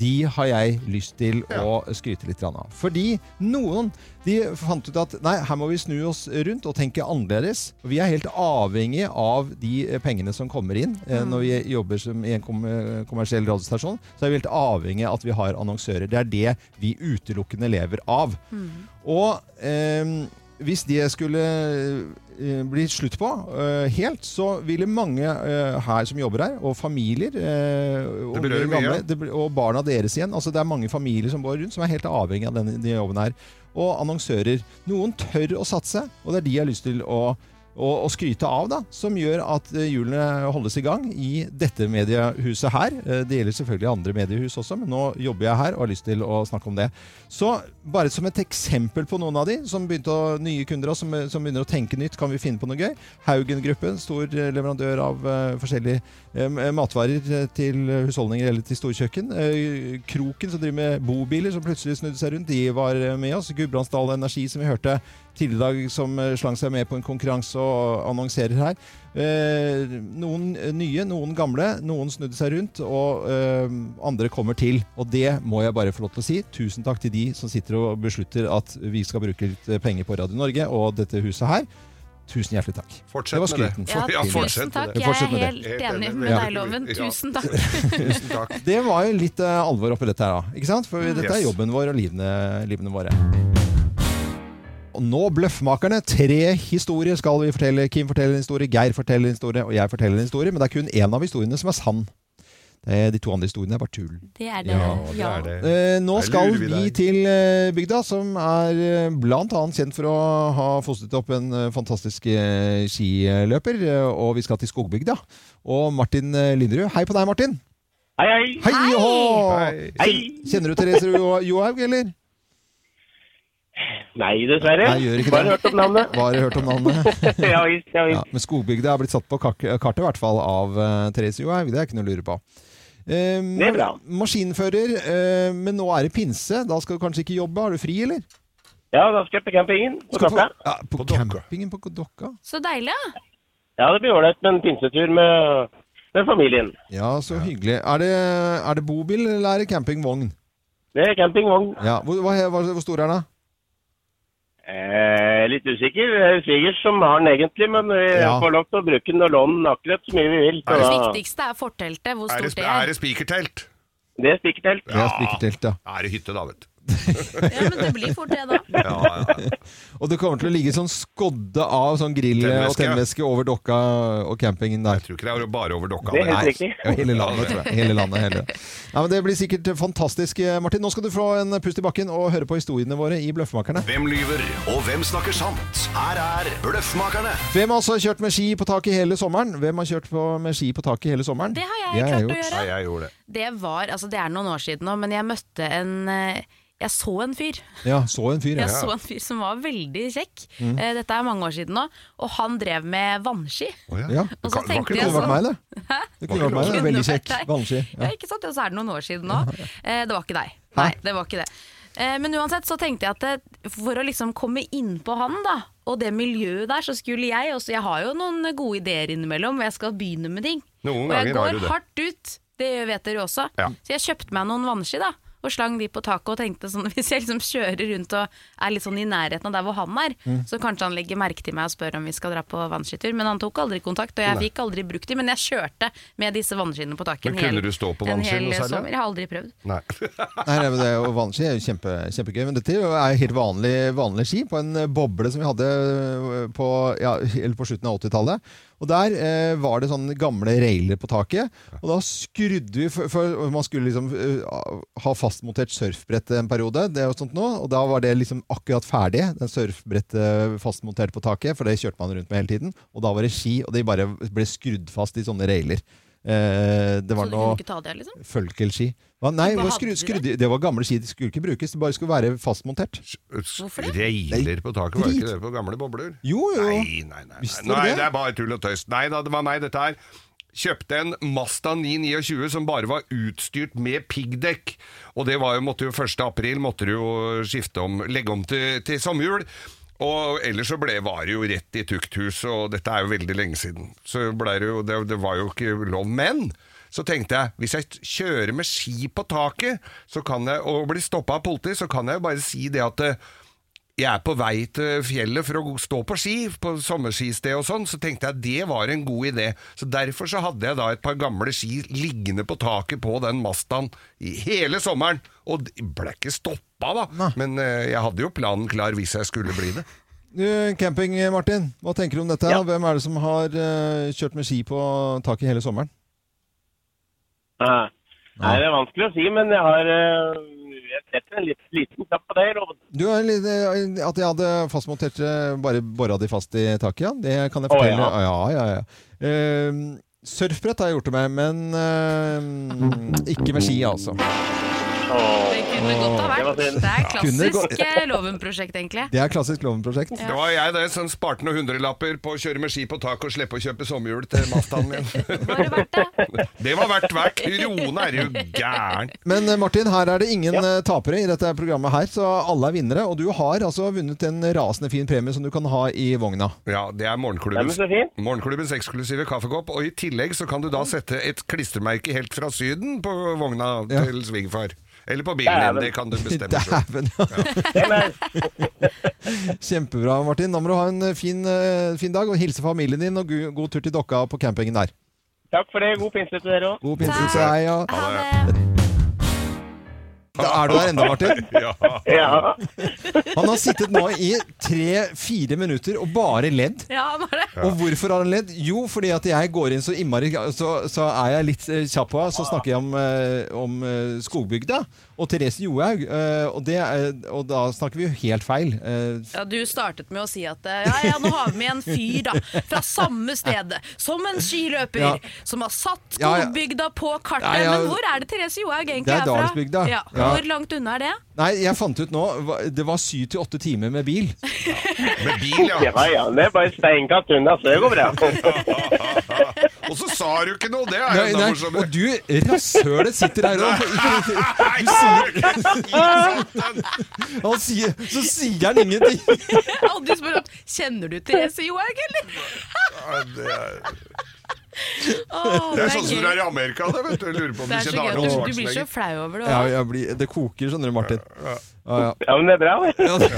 Speaker 1: De har jeg lyst til å skryte litt grann av. Fordi noen de fant ut at nei, her må vi snu oss rundt og tenke annerledes. Vi er helt avhengig av de eh, pengene som kommer inn. Eh, Når vi jobber som i en kom eh, kommersiell radiostasjon, så er vi helt avhengig av at vi har annonsører. Det er det vi utelukkende lever av. Og ehm, hvis det skulle eh, bli slutt på eh, helt, så ville mange eh, her som jobber her, og familier eh, og
Speaker 3: Det berører
Speaker 1: de gamle,
Speaker 3: mye.
Speaker 1: det, blir- og barna deres igjen altså Det er mange familier som går rundt som er helt avhengig av denne denne jobben her. Og annonsører. Noen tør å satse, og det er de jeg har lyst til å og, og skryte av, da, som gjør at eh, hjulene holdes i gang i dette mediehuset her. Eh, Det gjelder selvfølgelig andre mediehus også, men nå jobber jeg her og har lyst til å snakke om det. Så bare som et eksempel på noen av de som begynte å, nye kunder og som, som begynner å tenke nytt, kan vi finne på noe gøy. Haugen-gruppen, stor eh, leverandør av eh, forskjellige eh, matvarer eh, til husholdninger eller til storkjøkken. Eh, Kroken, som driver med bobiler, som plutselig snudde seg rundt, de var eh, med oss. Gudbrandsdal Energi, som vi hørte tidligere i dag, som eh, slang seg med på en konkurranse og annonserer her. Eh, Noen eh, nye, noen gamle, noen snudde seg rundt, og eh, andre kommer til. Og det må jeg bare få lov til å si. Tusen takk til de som sitter og beslutter at vi skal bruke litt eh, penger på Radio Norge og dette huset her. Tusen hjertelig takk.
Speaker 3: Fortsett
Speaker 1: det var
Speaker 3: med det.
Speaker 1: skryten.
Speaker 3: For- ja,
Speaker 2: tusen
Speaker 3: fortsett
Speaker 2: takk.
Speaker 3: med det.
Speaker 2: Jeg er
Speaker 1: Fortsett med det.
Speaker 2: helt enig med
Speaker 3: Ja.
Speaker 2: deg, Loven.
Speaker 3: Ja.
Speaker 2: Tusen takk.
Speaker 3: Tusen takk.
Speaker 1: Det var jo litt eh, alvor oppi dette her, da. Ikke sant? For dette er
Speaker 3: Mm. Yes.
Speaker 1: jobben vår og livene, livene våre. Og nå Bløffmakerne. Tre historier skal vi fortelle. Kim forteller en historie, Geir forteller en historie, og jeg forteller en historie. Men det er kun én av historiene som er sann. Eh, De to andre historiene er bare tull.
Speaker 2: Det er det.
Speaker 3: Ja, det er det.
Speaker 1: Eh, nå
Speaker 3: Der
Speaker 1: skal
Speaker 3: lurer
Speaker 1: vi,
Speaker 3: vi deg.
Speaker 1: til eh, bygda, som er eh, blant annet kjent for å ha fostret opp en eh, fantastisk eh, skiløper. eh, og vi skal til skogbygda. Og Martin eh, Linderud. Hei på deg, Martin.
Speaker 7: Hei, hei.
Speaker 1: Hei! og hå!
Speaker 3: Hei.
Speaker 7: Hei.
Speaker 1: Kjenner du Therese Jo- Johaug, eller?
Speaker 7: Nei, dessverre.
Speaker 1: Nei, gjør ikke det.
Speaker 7: Bare hørt om navnet.
Speaker 1: Bare hørt om navnet.
Speaker 7: ja visst, ja
Speaker 1: Ja,
Speaker 7: visst.
Speaker 1: men skogbygda er blitt satt på kak- kartet, i hvert fall, av eh, Therese Johaug. Det er ikke noe å lure på. Eh,
Speaker 7: Det er bra.
Speaker 1: maskinfører, eh, men nå er det pinse. Da skal du kanskje ikke jobbe. Har du fri, eller?
Speaker 7: Ja, da skal jeg på campingen. På
Speaker 1: Skal du
Speaker 7: Klappa.
Speaker 1: ja, på,
Speaker 3: På Dokka.
Speaker 1: campingen på Dokka?
Speaker 2: Så deilig, ja.
Speaker 7: Ja, det blir ålreit med en pinsetur med, med familien.
Speaker 1: Ja, så hyggelig. Er det, er det bobil eller er det campingvogn?
Speaker 7: Det er campingvogn.
Speaker 1: Ja, hvor, hva, hva, hvor stor er den da?
Speaker 7: Eh, litt usikker. Det er jo svigers som har den egentlig, men vi
Speaker 1: Ja.
Speaker 7: får lov til å bruke den og låne den akkurat så mye vi vil. Så
Speaker 3: Er
Speaker 7: da,
Speaker 2: Det viktigste er forteltet, hvor
Speaker 3: Er
Speaker 2: stort
Speaker 3: det, sp-
Speaker 2: det
Speaker 3: er
Speaker 2: er.
Speaker 3: det spikertelt?
Speaker 7: det stikker til.
Speaker 1: Det er spikertelt, ja.
Speaker 3: Er det hytte, da, vet du.
Speaker 2: Ja, men det blir fort det, da.
Speaker 3: Ja, ja, ja.
Speaker 1: Og det kommer til å ligge sånn skodde av sånn grill og
Speaker 3: Tennveske.
Speaker 1: tennveske over dokka og campingen der.
Speaker 3: Jeg tror ikke det er bare over dokka.
Speaker 7: Det er
Speaker 3: men-
Speaker 7: helt
Speaker 3: Nei.
Speaker 7: riktig.
Speaker 1: Ja, hele landet, tror jeg. Hele landet, hele. Nei, men det blir sikkert fantastisk, Martin. Nå skal du få en pust i bakken og høre på historiene våre i Bløffmakerne.
Speaker 12: Hvem lyver, og hvem snakker sant? Her er Bløffmakerne.
Speaker 1: Hvem har også kjørt med ski på taket hele sommeren? Hvem har kjørt på, med ski på taket hele sommeren?
Speaker 2: Det har jeg klart å
Speaker 1: gjort.
Speaker 2: gjøre.
Speaker 3: Nei, jeg gjorde det.
Speaker 2: Det var, altså det er noen år siden nå, men jeg møtte en eh, Jeg så en fyr.
Speaker 1: Ja, så en fyr, ja.
Speaker 2: Jeg så en fyr som var veldig kjekk. Eh, Dette er mange år siden nå. Og han drev med vannski.
Speaker 3: Å, ja.
Speaker 1: ja.
Speaker 3: Du
Speaker 2: Og så
Speaker 3: kan- du kan
Speaker 2: tenkte
Speaker 1: Det
Speaker 3: ikke
Speaker 2: jeg
Speaker 1: kunne vært
Speaker 2: sånn-
Speaker 1: meg, det. Det kunne vært meg, det. Veldig kjekk. Vannski.
Speaker 2: Ja,
Speaker 1: Ja.
Speaker 2: ikke sant? Og så er det noen år siden nå. Eh, Det var ikke deg. Nei, det var ikke det. Eh, Men uansett så tenkte jeg at det, for å liksom komme innpå han da, og det miljøet der, så skulle jeg også Jeg har jo noen gode ideer innimellom, og jeg skal begynne med ting.
Speaker 3: Noen
Speaker 2: og jeg
Speaker 3: ganger har du
Speaker 2: går
Speaker 3: det.
Speaker 2: hardt ut, det vet dere jo også.
Speaker 3: Ja.
Speaker 2: Så jeg kjøpte meg noen vannski da,
Speaker 8: og slang de på taket og tenkte sånn Hvis jeg liksom kjører rundt og er litt sånn i nærheten av der hvor han er,
Speaker 3: Mm.
Speaker 8: så kanskje han legger merke til meg og spør om vi skal dra på vannskitur. Men han tok aldri kontakt, og jeg fikk aldri brukt de, men jeg kjørte med disse vannskiene på taket. en
Speaker 3: Men kunne
Speaker 8: hel-
Speaker 3: du stå på
Speaker 8: en
Speaker 3: vannski
Speaker 8: hel
Speaker 3: noe særlig?
Speaker 8: sommer. Jeg har aldri prøvd.
Speaker 3: Nei.
Speaker 1: Nei, nei, men det er jo vannski er jo kjempe, kjempegøy, men dette er jo er helt vanlig, vanlig ski på en eh, boble som vi hadde eh, på, ja, helt på slutten av 80-tallet. Og der eh, var det sånne gamle railer på taket, og da skrudde vi, for, for og man skulle liksom eh, ha fastmontert surfbrett en periode, det og sånt nå, og da var det liksom akkurat ferdig, den surfbrettet eh, fastmontert på taket, for det kjørte man rundt med hele tiden, og da var det ski, og de bare ble skrudd fast i sånne railer. Eh, det
Speaker 8: Så
Speaker 1: var
Speaker 8: du
Speaker 1: noe
Speaker 8: kunne ikke ta det, liksom?
Speaker 1: Følkelski. Hva? Nei,
Speaker 8: Hva
Speaker 1: hva
Speaker 8: hadde
Speaker 1: skru,
Speaker 8: de
Speaker 1: skru, det? var gamle ski. De skulle ikke brukes, det bare skulle være fastmontert.
Speaker 8: Hvorfor det?
Speaker 3: Reiler på taket, var
Speaker 1: Drit.
Speaker 3: ikke det på gamle bobler?
Speaker 1: Jo, jo.
Speaker 3: Nei, nei, nei.
Speaker 1: Visste
Speaker 3: nei.
Speaker 1: dere
Speaker 3: nei
Speaker 1: det?
Speaker 3: det er bare tull og tøys. Nei da, det var meg, dette her. Kjøpte en Mazda 929 som bare var utstyrt med piggdekk. Og det var jo, måtte jo 1. april måtte du jo skifte om, legge om til, til sommerhjul. Og ellers så ble, var det jo rett i tukthus, og dette er jo veldig lenge siden. Så ble det jo, det, det var jo ikke lov. Men så tenkte jeg, hvis jeg kjører med ski på taket så kan jeg, og blir stoppa av politiet, så kan jeg jo bare si det at eh, jeg er på vei til fjellet for å stå på ski, på sommerskisted og sånn, så tenkte jeg det var en god idé. Så derfor så hadde jeg da et par gamle ski liggende på taket på den Mazdaen i hele sommeren. Og de ble ikke stoppa, da. Men eh, jeg hadde jo planen klar hvis jeg skulle bli det.
Speaker 1: Du, camping, Martin. Hva tenker du om dette? her?
Speaker 13: Ja.
Speaker 1: Hvem er det som har eh, kjørt med ski på taket hele sommeren?
Speaker 13: Nei. Nei, det er vanskelig å si, men jeg har eh, Jeg setter en litt, liten knapp på det. og-
Speaker 1: Du, er litt, eh, At jeg hadde fastmontert eh, Bare bora de fast i taket, ja. Det kan jeg
Speaker 13: Å,
Speaker 1: fortelle.
Speaker 13: ja.
Speaker 1: ja, ja, ja. Eh, surfbrett har jeg gjort det med, men eh, ikke med ski, altså.
Speaker 13: og-
Speaker 8: Det kunne godt ha vært.
Speaker 13: Det var synd.
Speaker 8: Det er
Speaker 1: Kunne
Speaker 8: klassisk eh, Loven-prosjekt, egentlig.
Speaker 1: Det er klassisk Loven-prosjekt.
Speaker 3: Det var jeg, det, som sparte noen hundrelapper på å kjøre med ski på taket og slippe å kjøpe sommerhjul til Mazdaen min.
Speaker 8: Var det verdt det?
Speaker 3: det var verdt hver krone, er du gæren!
Speaker 1: Men eh, Martin, her er det ingen eh, tapere i dette programmet her, så alle er vinnere. Og du har altså vunnet en rasende fin premie som du kan ha i vogna.
Speaker 3: Ja, det er
Speaker 13: Nei, men
Speaker 3: morgenklubbens
Speaker 13: så fint.
Speaker 3: Morgenklubbens eksklusive kaffekopp, og i tillegg så kan du da sette et klistremerke helt fra Syden på vogna
Speaker 1: Ja.
Speaker 3: til svigerfar. Eller på bilen din, det kan du bestemme selv.
Speaker 1: Dæven, ja.
Speaker 13: Det er-
Speaker 1: Kjempebra, Martin. Da må du ha en eh, fin, eh, fin dag, og hilse familien din, og gu- god tur til Dokka på campingen der.
Speaker 13: Takk for det. God pinse til dere òg.
Speaker 1: God pinse til deg. Ja.
Speaker 8: Ha det.
Speaker 1: Da er du der ennå, Martin.
Speaker 3: Ja.
Speaker 13: Ja.
Speaker 1: Han har sittet nå i tre-fire minutter og bare ledd.
Speaker 8: Ja, bare.
Speaker 1: Og hvorfor har han ledd? Jo, fordi at jeg går inn så innmari Så, så er jeg litt eh, kjapp på henne, så snakker jeg om, eh, om eh, skogbygda og Therese Johaug. eh, og, det, eh, og da snakker vi jo helt feil. eh,
Speaker 8: Ja, du startet med å si at eh, ja, ja, nå har vi med en fyr da, fra samme sted, som en skiløper,
Speaker 1: Ja.
Speaker 8: som har satt
Speaker 1: Ja, ja.
Speaker 8: storbygda på kartet.
Speaker 1: Ja, ja.
Speaker 8: Men hvor er det Therese Johaug egentlig
Speaker 1: Det er
Speaker 8: fra?
Speaker 1: Dalsbygda.
Speaker 8: Ja.
Speaker 1: Ja.
Speaker 8: Hvor langt unna er det?
Speaker 1: nei, jeg fant ut nå hva- Det var syv til åtte timer med bil.
Speaker 3: Med bil, ja.
Speaker 13: Ja, ja. Det er bare steinkatt unna, så det går bra.
Speaker 3: Og så sa du ikke noe, det er jo
Speaker 1: Nei,
Speaker 3: enda
Speaker 1: nei,
Speaker 3: morsommere.
Speaker 1: og du rasshølet sitter her og
Speaker 3: Nei, satan!
Speaker 1: han sier, Så sier han ingenting!
Speaker 8: Og du spør om kjenner du Therese Johaug, eller?
Speaker 3: Ja, det er-
Speaker 8: Åh,
Speaker 3: Det er sånn som
Speaker 8: gøy.
Speaker 3: du er i Amerika, det, vet du. Jeg Lurer på om
Speaker 8: Det
Speaker 3: du
Speaker 8: er så gøy
Speaker 3: kjenner
Speaker 8: at du,
Speaker 3: Arnold
Speaker 8: du blir så
Speaker 3: Schwarzenegger.
Speaker 8: flau over det.
Speaker 1: Ja,
Speaker 8: også.
Speaker 1: jeg blir, det koker, skjønner du, Martin. Ja, ja.
Speaker 13: Ja, men det er bra. vet du.
Speaker 1: Ja, det-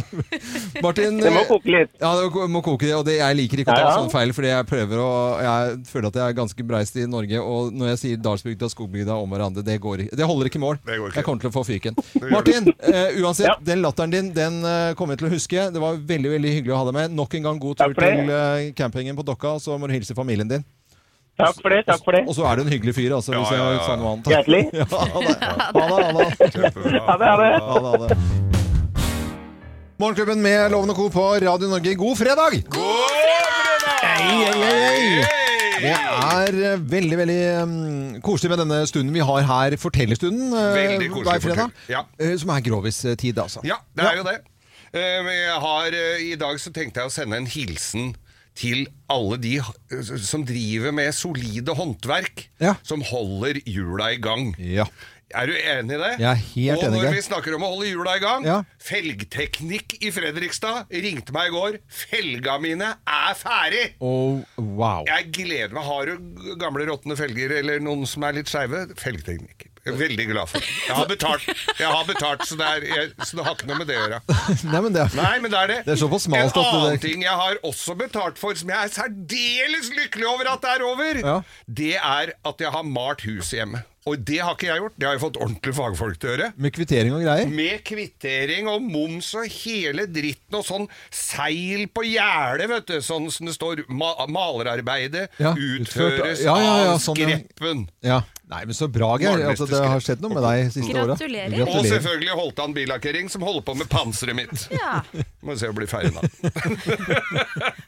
Speaker 1: Martin
Speaker 13: Det må
Speaker 1: eh,
Speaker 13: koke litt.
Speaker 1: Ja, det må- må koke, og det, jeg liker ikke å ta
Speaker 13: Ja, ja.
Speaker 1: sånne feil, fordi jeg prøver å Jeg føler at jeg er ganske breist i Norge, og når jeg sier Dalsbygda og Skogbygda om hverandre, det, går, ikke- det holder ikke mål.
Speaker 3: Det går ikke.
Speaker 1: Jeg kommer til å få fyken. Martin, eh, uansett,
Speaker 13: Ja.
Speaker 1: den latteren din den eh, kommer jeg til å huske. Det var veldig veldig hyggelig å ha deg med. Nok en gang god tur
Speaker 13: Takk for det.
Speaker 1: til eh, campingen på Dokka, så må du hilse familien din.
Speaker 13: Takk for det. Takk for det.
Speaker 1: Og så er du en hyggelig fyr, altså, hvis
Speaker 3: Ja, ja,
Speaker 1: jeg
Speaker 3: ja.
Speaker 1: sa noe annet.
Speaker 13: Hjertelig.
Speaker 1: Ja, ha det. Ha det, ha det.
Speaker 13: Ha det, ha det.
Speaker 1: Ha det, ha det. Morgenklubben med Loven og Co. på Radio Norge, god fredag!
Speaker 3: God fredag!
Speaker 1: Hei, hei, hei, hei! Det
Speaker 3: Hei!
Speaker 1: er eh, veldig veldig mm, koselig med denne stunden vi har her, fortellerstunden eh,
Speaker 3: Veldig koselig
Speaker 1: hver fredag.
Speaker 3: fortell- ja.
Speaker 1: Eh, Som er grovis-tid, altså.
Speaker 3: Ja, det er jo det. Eh, men jeg har, eh, I dag så tenkte jeg å sende en hilsen til alle de eh, som driver med solide håndverk,
Speaker 1: Ja.
Speaker 3: som holder hjula i gang.
Speaker 1: Ja.
Speaker 3: Er du enig i det?
Speaker 1: Jeg er helt
Speaker 3: Og
Speaker 1: enig, Geir.
Speaker 3: når vi snakker om å holde hjula i gang
Speaker 1: Ja.
Speaker 3: Felgteknikk i Fredrikstad ringte meg i går. Felga mine er ferdig!
Speaker 1: Og wow.
Speaker 3: Jeg gleder meg. Har du gamle råtne felger eller noen som er litt skeive? Felgteknikk. Jeg er veldig glad for. Jeg har betalt, jeg har betalt så, det er, jeg, så det har ikke noe med det å gjøre.
Speaker 1: Nei, men det er,
Speaker 3: Nei, men det er det.
Speaker 1: Det er såpass smalt
Speaker 3: en
Speaker 1: at det-
Speaker 3: annen ting jeg har også betalt for, som jeg er særdeles lykkelig over at det er over,
Speaker 1: Ja.
Speaker 3: det er at jeg har malt huset hjemme. Og det har ikke jeg gjort. Det har jeg fått ordentlige fagfolk til å gjøre.
Speaker 1: Med kvittering og greier.
Speaker 3: Med kvittering og moms og hele dritten og sånn seil på gjerdet, vet du. Sånn som det står ma malerarbeidet
Speaker 1: Ja, utført-
Speaker 3: utføres
Speaker 1: ja, ja, ja,
Speaker 3: av
Speaker 1: sånn, ja.
Speaker 3: skreppen.
Speaker 1: Ja. Nei, men så bra, Geir.
Speaker 3: Malermester
Speaker 1: Altså, det har skjedd noe med deg siste året.
Speaker 2: Gratulerer.
Speaker 3: Og selvfølgelig Holtan billakkering, som holder på med panseret mitt.
Speaker 2: Ja.
Speaker 3: Må se å bli ferdig nå.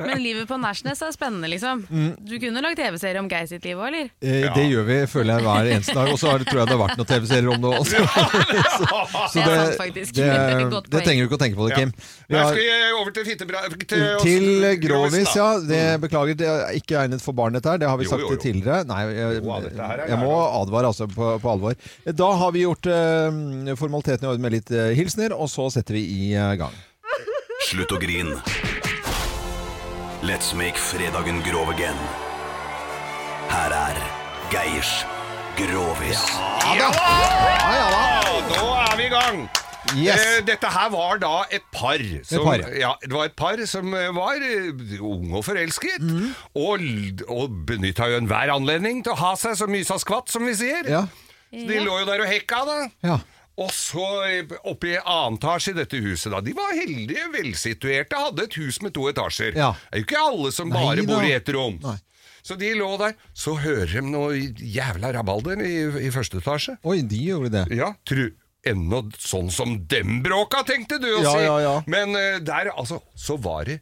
Speaker 2: Men livet på Nærsnes er spennende, liksom. Du kunne lagd TV-serie om Geir sitt liv òg, eller?
Speaker 1: Eh, Det gjør vi, føler jeg, hver eneste dag. Og så har det- tror jeg det har vært noen TV-serier om det også. Så
Speaker 2: Det er sant, faktisk.
Speaker 1: det,
Speaker 2: Godt poeng.
Speaker 1: det trenger du ikke å tenke på det,
Speaker 3: Ja.
Speaker 1: Kim. Vi
Speaker 3: Nei,
Speaker 1: har-
Speaker 3: skal eh, vi over til fittebra...
Speaker 1: Til Grovis,
Speaker 3: da? Mm.
Speaker 1: ja. Det, beklager, det er ikke egnet for barn, dette her. Det har vi
Speaker 3: Jo,
Speaker 1: sagt
Speaker 3: jo, jo.
Speaker 1: tidligere. Nei, jeg,
Speaker 3: Jo, dette her er
Speaker 1: jeg må advare altså, på, på alvor. Da har vi gjort eh, formalitetene i orden med litt eh, hilsener, og så setter vi i eh, gang.
Speaker 6: Slutt å grin. Let's make fredagen grov again. Her er Geirs Grovis.
Speaker 1: Ja, ja da.
Speaker 3: Ja, Nå er vi i gang!
Speaker 1: Yes.
Speaker 3: Eh, dette her var da et par. Som,
Speaker 1: par, ja.
Speaker 3: ja, det var et par som eh, var eh, unge og forelsket,
Speaker 1: Mm.
Speaker 3: og, l- og benytta jo enhver anledning til å ha seg så mye sa skvatt, som vi sier.
Speaker 1: Ja.
Speaker 3: Så de lå jo der og hekka, da.
Speaker 1: Ja.
Speaker 3: Og så eh, oppe i annen etasje i dette huset, da. De var heldige, velsituerte, hadde et hus med to etasjer.
Speaker 1: Ja.
Speaker 3: Det er jo ikke alle som
Speaker 1: Nei
Speaker 3: bare
Speaker 1: da.
Speaker 3: bor i ett rom.
Speaker 1: Nei.
Speaker 3: Så de lå der. Så hører de noe jævla rabalder i, i første etasje.
Speaker 1: Oi, de gjorde det.
Speaker 3: Ja, tru Ennå sånn som dem bråka, tenkte du å
Speaker 1: Ja,
Speaker 3: si.
Speaker 1: ja, ja.
Speaker 3: Men eh, der, altså, så var det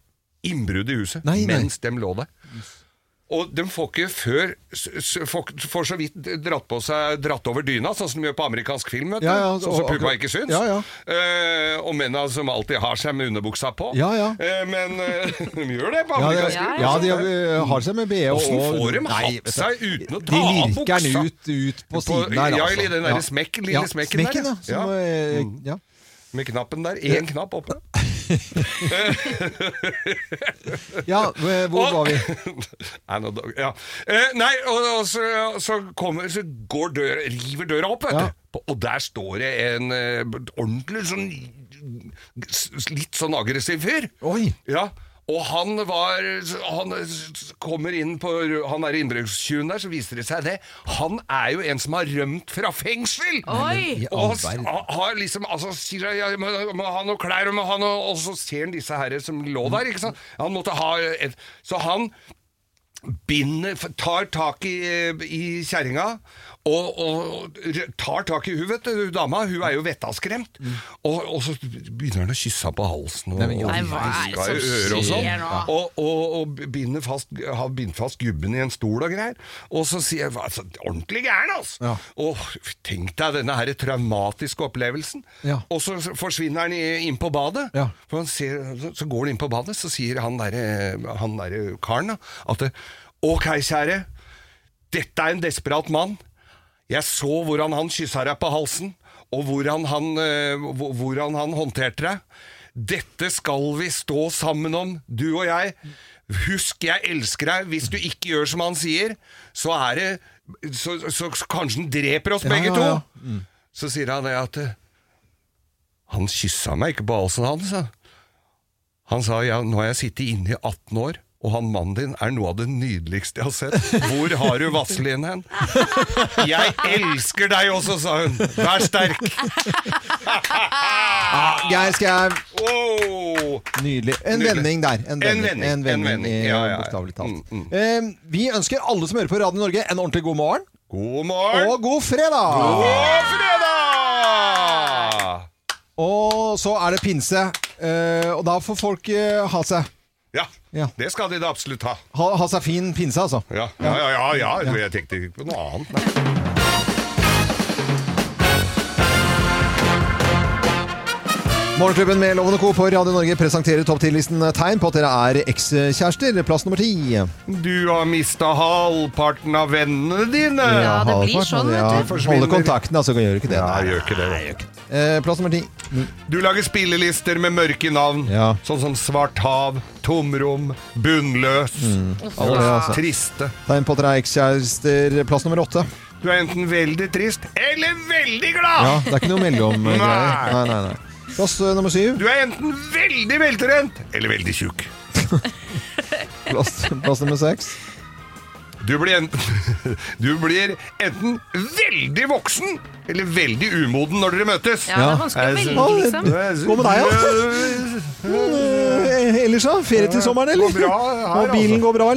Speaker 3: innbrudd i huset
Speaker 1: Nei, nei.
Speaker 3: mens dem lå der. Og de får ikke før s- s- Får får så vidt dratt på seg Dratt over dyna, sånn som de gjør på amerikansk film. Vet du?
Speaker 1: Ja, ja,
Speaker 3: sånn som
Speaker 1: og-
Speaker 3: puppa
Speaker 1: akkurat-
Speaker 3: ikke syns.
Speaker 1: Ja, ja.
Speaker 3: Eh, og mennene som alltid har seg med underbuksa på.
Speaker 1: Ja, ja.
Speaker 3: Eh, men eh, de gjør det på
Speaker 1: Ja,
Speaker 3: amerikansk
Speaker 1: det,
Speaker 3: film. Sånn
Speaker 1: ja, de har, har seg med BH og
Speaker 3: Åssen får de
Speaker 1: Nei,
Speaker 3: hatt
Speaker 1: vet du.
Speaker 3: seg uten å ta
Speaker 1: De
Speaker 3: av
Speaker 1: lirker
Speaker 3: buksa?
Speaker 1: den ut, ut på siden her,
Speaker 3: ja,
Speaker 1: altså.
Speaker 3: i den der smekk- lille smekken der,
Speaker 1: ja.
Speaker 3: ja.
Speaker 1: Som,
Speaker 3: Ja. Mm.
Speaker 1: eh, ja.
Speaker 3: Med knappen der. Én knapp oppe.
Speaker 1: ja, Eh, hvor var vi?
Speaker 3: nei, nå, ja. eh, nei, og, og så, så kommer Så går døra River døra opp, vet
Speaker 1: Ja.
Speaker 3: du. På- Og der står det en eh, ordentlig sånn s- s- Litt sånn aggressiv fyr.
Speaker 1: Oi.
Speaker 3: Ja. Og han var Han kommer inn på Han er innbruddstyven der, så viser det seg det. Han er jo en som har rømt fra fengsel!
Speaker 2: Oi!
Speaker 1: I all
Speaker 3: Og s-
Speaker 1: verden.
Speaker 3: ha- har liksom, altså, sier jeg, jeg må, må ha noe klær, og må ha noe, og så ser han disse herre som lå der, ikke sant? Han måtte ha et, så han binder, f- tar tak i, i kjerringa, og, og r- tar tak i hun, vet du, hun dama, hun er jo vettaskremt, og, og så begynner han å kysse henne på halsen, og,
Speaker 1: Mm. Nei, men jo,
Speaker 2: Nei, hva er det
Speaker 3: hvisker i
Speaker 2: som
Speaker 3: øret og sånn,
Speaker 2: skjer nå?
Speaker 3: og, og, og binder fast, har bindt fast gubben i en stol og greier. Og så sier jeg "Hva, altså, ordentlig gæren, altså!
Speaker 1: Ja.
Speaker 3: Og tenk deg denne her traumatiske opplevelsen.
Speaker 1: Ja.
Speaker 3: Og så forsvinner han i- inn på badet.
Speaker 1: Ja.
Speaker 3: For han ser, så- så går han inn på badet, så sier han derre han der karen da, at det, Ok, kjære, dette er en desperat mann. Jeg så hvordan han kyssa deg på halsen, og hvordan han, eh, hvor- hvordan han håndterte deg. Dette skal vi stå sammen om, du og jeg. Husk, jeg elsker deg. Hvis du ikke gjør som han sier, så er det Så, så, så kanskje han dreper oss
Speaker 1: Ja,
Speaker 3: begge
Speaker 1: ja,
Speaker 3: to.
Speaker 1: ja.
Speaker 3: Så sier han det at eh, Han kyssa meg ikke på halsen, han, sa han. Han sa ja, nå har jeg sittet inne i 18 år, og han mannen din er noe av det nydeligste jeg har sett. Hvor har du Vazelin hen? Jeg elsker deg også, sa hun. Vær sterk.
Speaker 1: Geir Skau.
Speaker 3: Wow.
Speaker 1: Nydelig. En
Speaker 3: Nydelig.
Speaker 1: vending der. En vending, en vending,
Speaker 3: vending, en vending.
Speaker 1: i-
Speaker 3: Ja, ja, ja.
Speaker 1: bokstavelig talt.
Speaker 3: Mm,
Speaker 1: Eh, vi ønsker alle som hører på Radio Norge, en ordentlig god morgen
Speaker 3: God morgen
Speaker 1: og god fredag!
Speaker 3: og fredag!
Speaker 1: Og så er det pinse, eh, og da får folk eh, ha seg.
Speaker 3: Ja,
Speaker 1: Ja.
Speaker 3: det skal de da absolutt ha.
Speaker 1: Ha, ha seg fin pinse, altså.
Speaker 3: Ja, ja, ja. ja, ja. Jeg tenkte ikke på noe annet. Nei.
Speaker 1: Morgenklubben med Lovende Co. på Radio Norge presenterer topp 10-listen tegn på at dere er ekskjærester. Plass nummer ti.
Speaker 3: Du har mista halvparten av vennene dine.
Speaker 2: Ja, det blir
Speaker 1: Halvparten,
Speaker 2: sånn,
Speaker 1: ja.
Speaker 2: vet
Speaker 3: du.
Speaker 1: Holde kontakten, altså. Gjør ikke det.
Speaker 3: Nei,
Speaker 1: Nei.
Speaker 3: gjør ikke det.
Speaker 1: Eh, plass nummer ti.
Speaker 3: Du lager spillelister med mørke navn,
Speaker 1: Ja.
Speaker 3: sånn som Svart hav, Tomrom, Bunnløs,
Speaker 1: Alle, altså.
Speaker 3: Triste.
Speaker 1: Tegn på at dere er ekskjærester. Plass nummer åtte.
Speaker 3: Du er enten veldig trist eller veldig glad!
Speaker 1: Ja, det er ikke noe mellomgreier. Nei,
Speaker 3: Nei.
Speaker 1: nei, nei. Plass eh, nummer syv.
Speaker 3: Du er enten veldig veltrent eller veldig tjukk.
Speaker 1: Plass, plass nummer seks.
Speaker 3: Du blir enten, du blir enten veldig voksen eller veldig umoden når dere møtes.
Speaker 8: Ja, det er vanskelig å
Speaker 3: Jeg
Speaker 8: velge,
Speaker 1: synes-
Speaker 8: liksom.
Speaker 1: Gå med deg, ja. Eh, Ellers da? Ferie til sommeren, eller?
Speaker 3: Går bra her,
Speaker 1: Og bilen
Speaker 3: altså.
Speaker 1: går bra,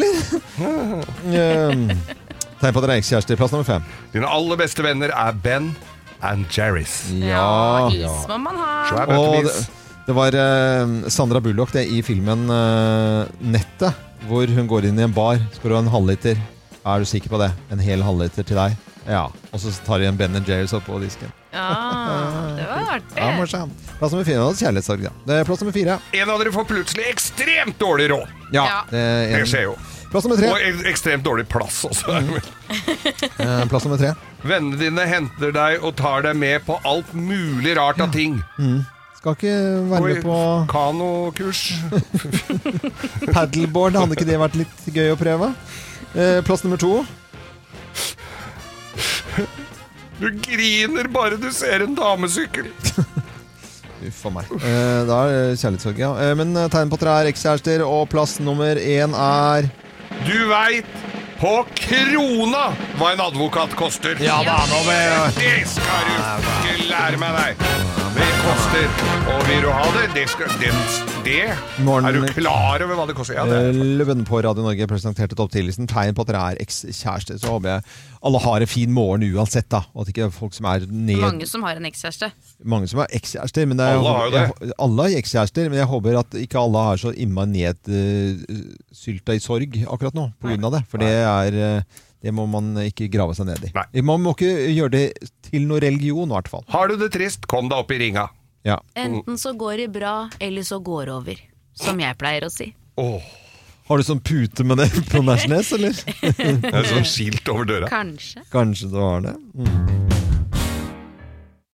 Speaker 1: eller? Eh, Tegn på at dere er ekskjærester. Plass nummer fem.
Speaker 3: Dine aller beste venner er Ben and Jerris.
Speaker 1: Ja, ja.
Speaker 8: Is må man ha.
Speaker 3: Svær
Speaker 1: Og det,
Speaker 3: bøttemis.
Speaker 1: det var eh, Sandra Bullock det, i filmen eh, Nettet, hvor hun går inn i en bar. Spør om en halvliter. Er du sikker på det? En hel halvliter til deg? Ja. Og så tar de en Ben Jerry's opp på disken.
Speaker 8: Ja, det var artig.
Speaker 1: Ja, morsomt. Plass nummer fire. Det var et kjærlighetssorg, da. Det er Plass nummer fire.
Speaker 3: En av dere får plutselig ekstremt dårlig råd.
Speaker 1: Ja.
Speaker 8: Ja.
Speaker 1: det er en-
Speaker 3: Det skjer jo.
Speaker 1: Plass nummer tre.
Speaker 3: Og ek- ekstremt dårlig plass også. er det
Speaker 1: Mm.
Speaker 3: vel.
Speaker 1: Eh, Plass nummer tre.
Speaker 3: Vennene dine henter deg og tar deg med på alt mulig rart av ting.
Speaker 1: Skal ikke være
Speaker 3: Oi,
Speaker 1: med på
Speaker 3: Kanokurs.
Speaker 1: paddleboard. Hadde ikke det vært litt gøy å prøve? Eh, Plass nummer to.
Speaker 3: Du griner bare du ser en damesykkel.
Speaker 1: Uff a meg. Eh, Da er det kjærlighetssorg, ja. Eh, Men eh, tegn på at dere er ekskjærester, og plass nummer én er
Speaker 3: Du veit på krona hva en advokat koster. Ja da, nå Det skal du ikke lære meg, nei. Det koster. Og vil du ha det, det skal den, Det
Speaker 1: Morgen.
Speaker 3: Er du klar over hva det koster? Ja, det.
Speaker 1: Eh, Løven på Radio Norge presenterte topptillitsen tegn på at dere er ekskjærester. Så håper jeg alle har en fin morgen uansett, da. Og at ikke folk som er ned
Speaker 8: Mange som har en ekskjæreste.
Speaker 1: mange som har ekskjærester. Men det er,
Speaker 3: Alle har jo det.
Speaker 1: Jeg, alle har ekskjærester, men jeg håper at ikke alle har så innmari nedsylta i sorg akkurat nå pga. det. For det er eh, det må man ikke grave seg ned i.
Speaker 3: Nei.
Speaker 1: Man må ikke gjøre det til noe religion, i hvert fall.
Speaker 3: Har du det trist, kom deg opp i ringa.
Speaker 1: Ja.
Speaker 8: Enten så går det bra, eller så går det over. Som jeg pleier å si.
Speaker 3: Åh,
Speaker 1: Har du sånn pute med det på Nesjnes, eller?
Speaker 3: det er sånn skilt over døra.
Speaker 8: Kanskje.
Speaker 1: Kanskje du har det. Mm.